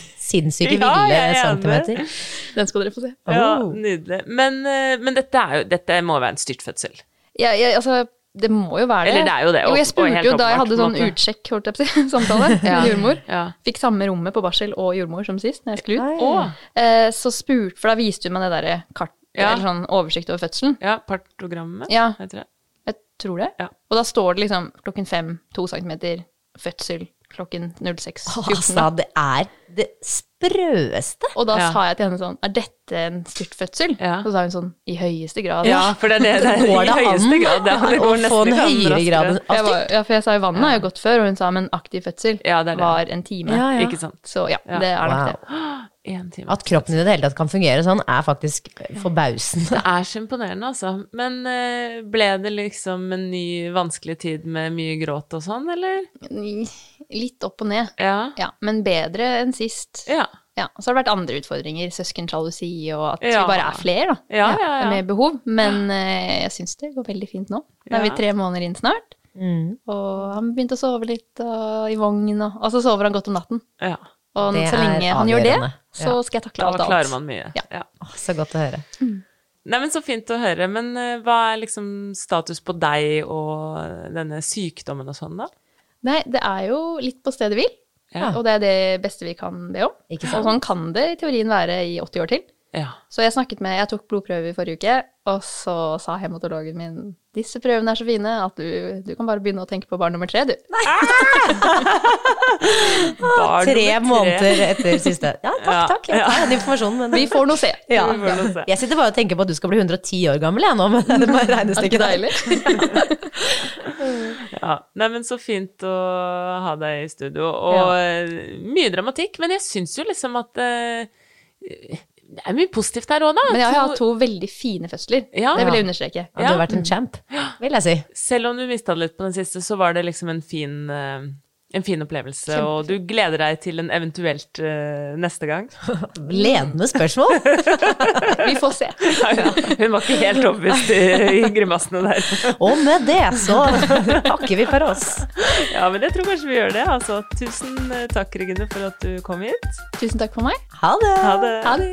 [SPEAKER 1] (laughs) Ja,
[SPEAKER 3] sinnssyke ville
[SPEAKER 1] jeg er enig.
[SPEAKER 3] centimeter.
[SPEAKER 2] Den skal dere få se.
[SPEAKER 1] Ja,
[SPEAKER 3] Oh.
[SPEAKER 1] nydelig. Men, eh, men dette, er jo, dette må være en styrtfødsel.
[SPEAKER 2] Ja, jeg, altså, det må jo være det.
[SPEAKER 1] Eller det er jo det,
[SPEAKER 2] Jo,
[SPEAKER 1] og- og
[SPEAKER 2] jeg spurte
[SPEAKER 1] helt
[SPEAKER 2] jo da jeg
[SPEAKER 1] åpenbart,
[SPEAKER 2] hadde
[SPEAKER 1] på en
[SPEAKER 2] sånn
[SPEAKER 1] måte.
[SPEAKER 2] utsjekk, holdt jeg på å si, (laughs)
[SPEAKER 1] (laughs)
[SPEAKER 2] samtale med jordmor.
[SPEAKER 1] Ja.
[SPEAKER 2] Fikk samme rommet på barsel og jordmor som sist, når jeg skulle ut.
[SPEAKER 1] Å.
[SPEAKER 2] Eh, så spurte, for da viste hun meg det derre kartet,
[SPEAKER 1] Ja.
[SPEAKER 2] eller sånn oversikt over fødselen.
[SPEAKER 1] Ja, partogrammet,
[SPEAKER 2] Ja.
[SPEAKER 1] heter det.
[SPEAKER 2] Jeg tror det.
[SPEAKER 1] Ja.
[SPEAKER 2] Og da står det liksom klokken fem, to centimeter, fødsel klokken 06.
[SPEAKER 3] Altså, det er det sprøeste.
[SPEAKER 2] Og da
[SPEAKER 1] Ja.
[SPEAKER 2] sa jeg til henne sånn, er dette en styrtfødsel?
[SPEAKER 1] Ja.
[SPEAKER 2] Så sa hun sånn, i høyeste grad.
[SPEAKER 1] Ja, for det er det, det er
[SPEAKER 3] Går det
[SPEAKER 1] i
[SPEAKER 3] an
[SPEAKER 1] høyeste grad. Ja, det
[SPEAKER 3] å
[SPEAKER 1] går
[SPEAKER 3] få
[SPEAKER 1] nesten
[SPEAKER 3] en
[SPEAKER 1] ikke an
[SPEAKER 3] høyere
[SPEAKER 1] raskere.
[SPEAKER 3] grad Altså, enn
[SPEAKER 2] Jeg
[SPEAKER 3] alltid?
[SPEAKER 2] var, ja, for jeg sa jo vannet har jo gått før, og hun sa, men aktiv fødsel
[SPEAKER 1] Ja, det er det.
[SPEAKER 2] var en time.
[SPEAKER 3] Ja, ja.
[SPEAKER 1] Ikke sant.
[SPEAKER 2] Så ja, det er nok
[SPEAKER 3] Wow.
[SPEAKER 2] det.
[SPEAKER 1] Én time.
[SPEAKER 3] At kroppen i det hele tatt kan fungere sånn, er faktisk forbausende.
[SPEAKER 1] Det er så imponerende, altså. Men eh, ble det liksom en ny vanskelig tid med mye gråt og sånn, eller?
[SPEAKER 2] Litt opp og ned.
[SPEAKER 1] Ja.
[SPEAKER 2] Ja, men bedre enn sist.
[SPEAKER 1] Ja.
[SPEAKER 2] Ja, og så har det vært andre utfordringer, søskensjalusi og at
[SPEAKER 1] Ja.
[SPEAKER 2] vi bare er flere, da.
[SPEAKER 1] Ja, ja, ja.
[SPEAKER 2] Med behov. Men eh, jeg syns det går veldig fint nå. Nå er
[SPEAKER 1] Ja.
[SPEAKER 2] vi tre måneder inn snart.
[SPEAKER 3] Mm.
[SPEAKER 2] Og han begynte å sove litt og i vogn, og, og så sover han godt om natten.
[SPEAKER 1] ja.
[SPEAKER 2] Og
[SPEAKER 3] Det
[SPEAKER 2] så
[SPEAKER 3] er
[SPEAKER 2] lenge han gjør det,
[SPEAKER 3] avgjørende.
[SPEAKER 2] så
[SPEAKER 3] Ja.
[SPEAKER 2] skal jeg takle
[SPEAKER 1] Da
[SPEAKER 2] alt
[SPEAKER 1] klarer
[SPEAKER 2] annet.
[SPEAKER 1] man mye.
[SPEAKER 2] Ja.
[SPEAKER 3] Å, (laughs) Så godt å høre.
[SPEAKER 1] Nei, men Så fint å høre. Men eh, hva er liksom status på deg og denne sykdommen og sånn, da?
[SPEAKER 2] Nei, det er jo litt på stedet hvil,
[SPEAKER 1] Ja.
[SPEAKER 2] og det er det beste vi kan be om.
[SPEAKER 3] Ikke
[SPEAKER 2] Og
[SPEAKER 3] sant?
[SPEAKER 2] sånn kan det i teorien være i 80 år til.
[SPEAKER 1] Ja.
[SPEAKER 2] Så jeg snakket med, jeg tok blodprøve i forrige uke, og så sa hematologen min disse prøvene er så fine at du, du kan bare begynne å tenke på barn nummer tre, du.
[SPEAKER 1] Barn
[SPEAKER 3] Tre
[SPEAKER 1] nummer tre.
[SPEAKER 3] måneder etter siste. Ja, takk,
[SPEAKER 1] Ja.
[SPEAKER 3] takk. Jeg tar den informasjonen, men
[SPEAKER 2] Vi får nå se.
[SPEAKER 3] ja.
[SPEAKER 1] Vi får nå se.
[SPEAKER 2] (laughs)
[SPEAKER 3] Jeg sitter bare og tenker på at du skal bli 110 år gammel, jeg nå, med (laughs) det
[SPEAKER 2] Er det ikke
[SPEAKER 3] regnestykket der.
[SPEAKER 2] deilig?
[SPEAKER 1] Ja. Nei, men så fint å ha deg i studio. Og eh, mye dramatikk, men jeg syns jo liksom at eh, Det er mye positivt her òg, da.
[SPEAKER 2] Men jeg har hatt to veldig fine fødsler,
[SPEAKER 1] Ja.
[SPEAKER 2] det vil jeg understreke.
[SPEAKER 3] Ja, du har vært en champ, vil jeg si.
[SPEAKER 1] Selv om du mista det litt på den siste, så var det liksom en fin eh,
[SPEAKER 5] en fin opplevelse, og du gleder deg til en eventuelt eh, neste gang. (laughs)
[SPEAKER 6] Ledende spørsmål.
[SPEAKER 2] Vi får se.
[SPEAKER 5] Hun var ikke helt overbevist i, i grimassene
[SPEAKER 2] (laughs)
[SPEAKER 5] der.
[SPEAKER 6] Og med det
[SPEAKER 3] (laughs)
[SPEAKER 6] så takker vi for oss.
[SPEAKER 5] Ja, men jeg tror kanskje vi gjør det. Altså, tusen eh, takk, Regine, for at du kom hit.
[SPEAKER 2] Tusen takk for meg.
[SPEAKER 6] Ha det.
[SPEAKER 5] Ha det.
[SPEAKER 2] Ha det.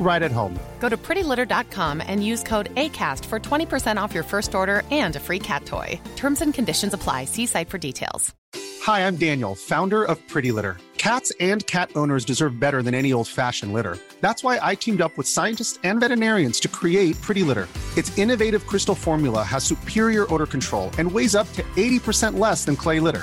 [SPEAKER 7] right at home.
[SPEAKER 3] Go to prettylitter.com and use code ACAST for 20% off your first order and a free cat toy. Terms and conditions apply. See site for details.
[SPEAKER 7] Hi, I'm Daniel, founder of Pretty Litter. Cats and cat owners deserve better than any old fashioned litter. That's why I teamed up with scientists and veterinarians to create Pretty Litter. Its innovative crystal formula has superior odor control and weighs up to 80% less than clay litter.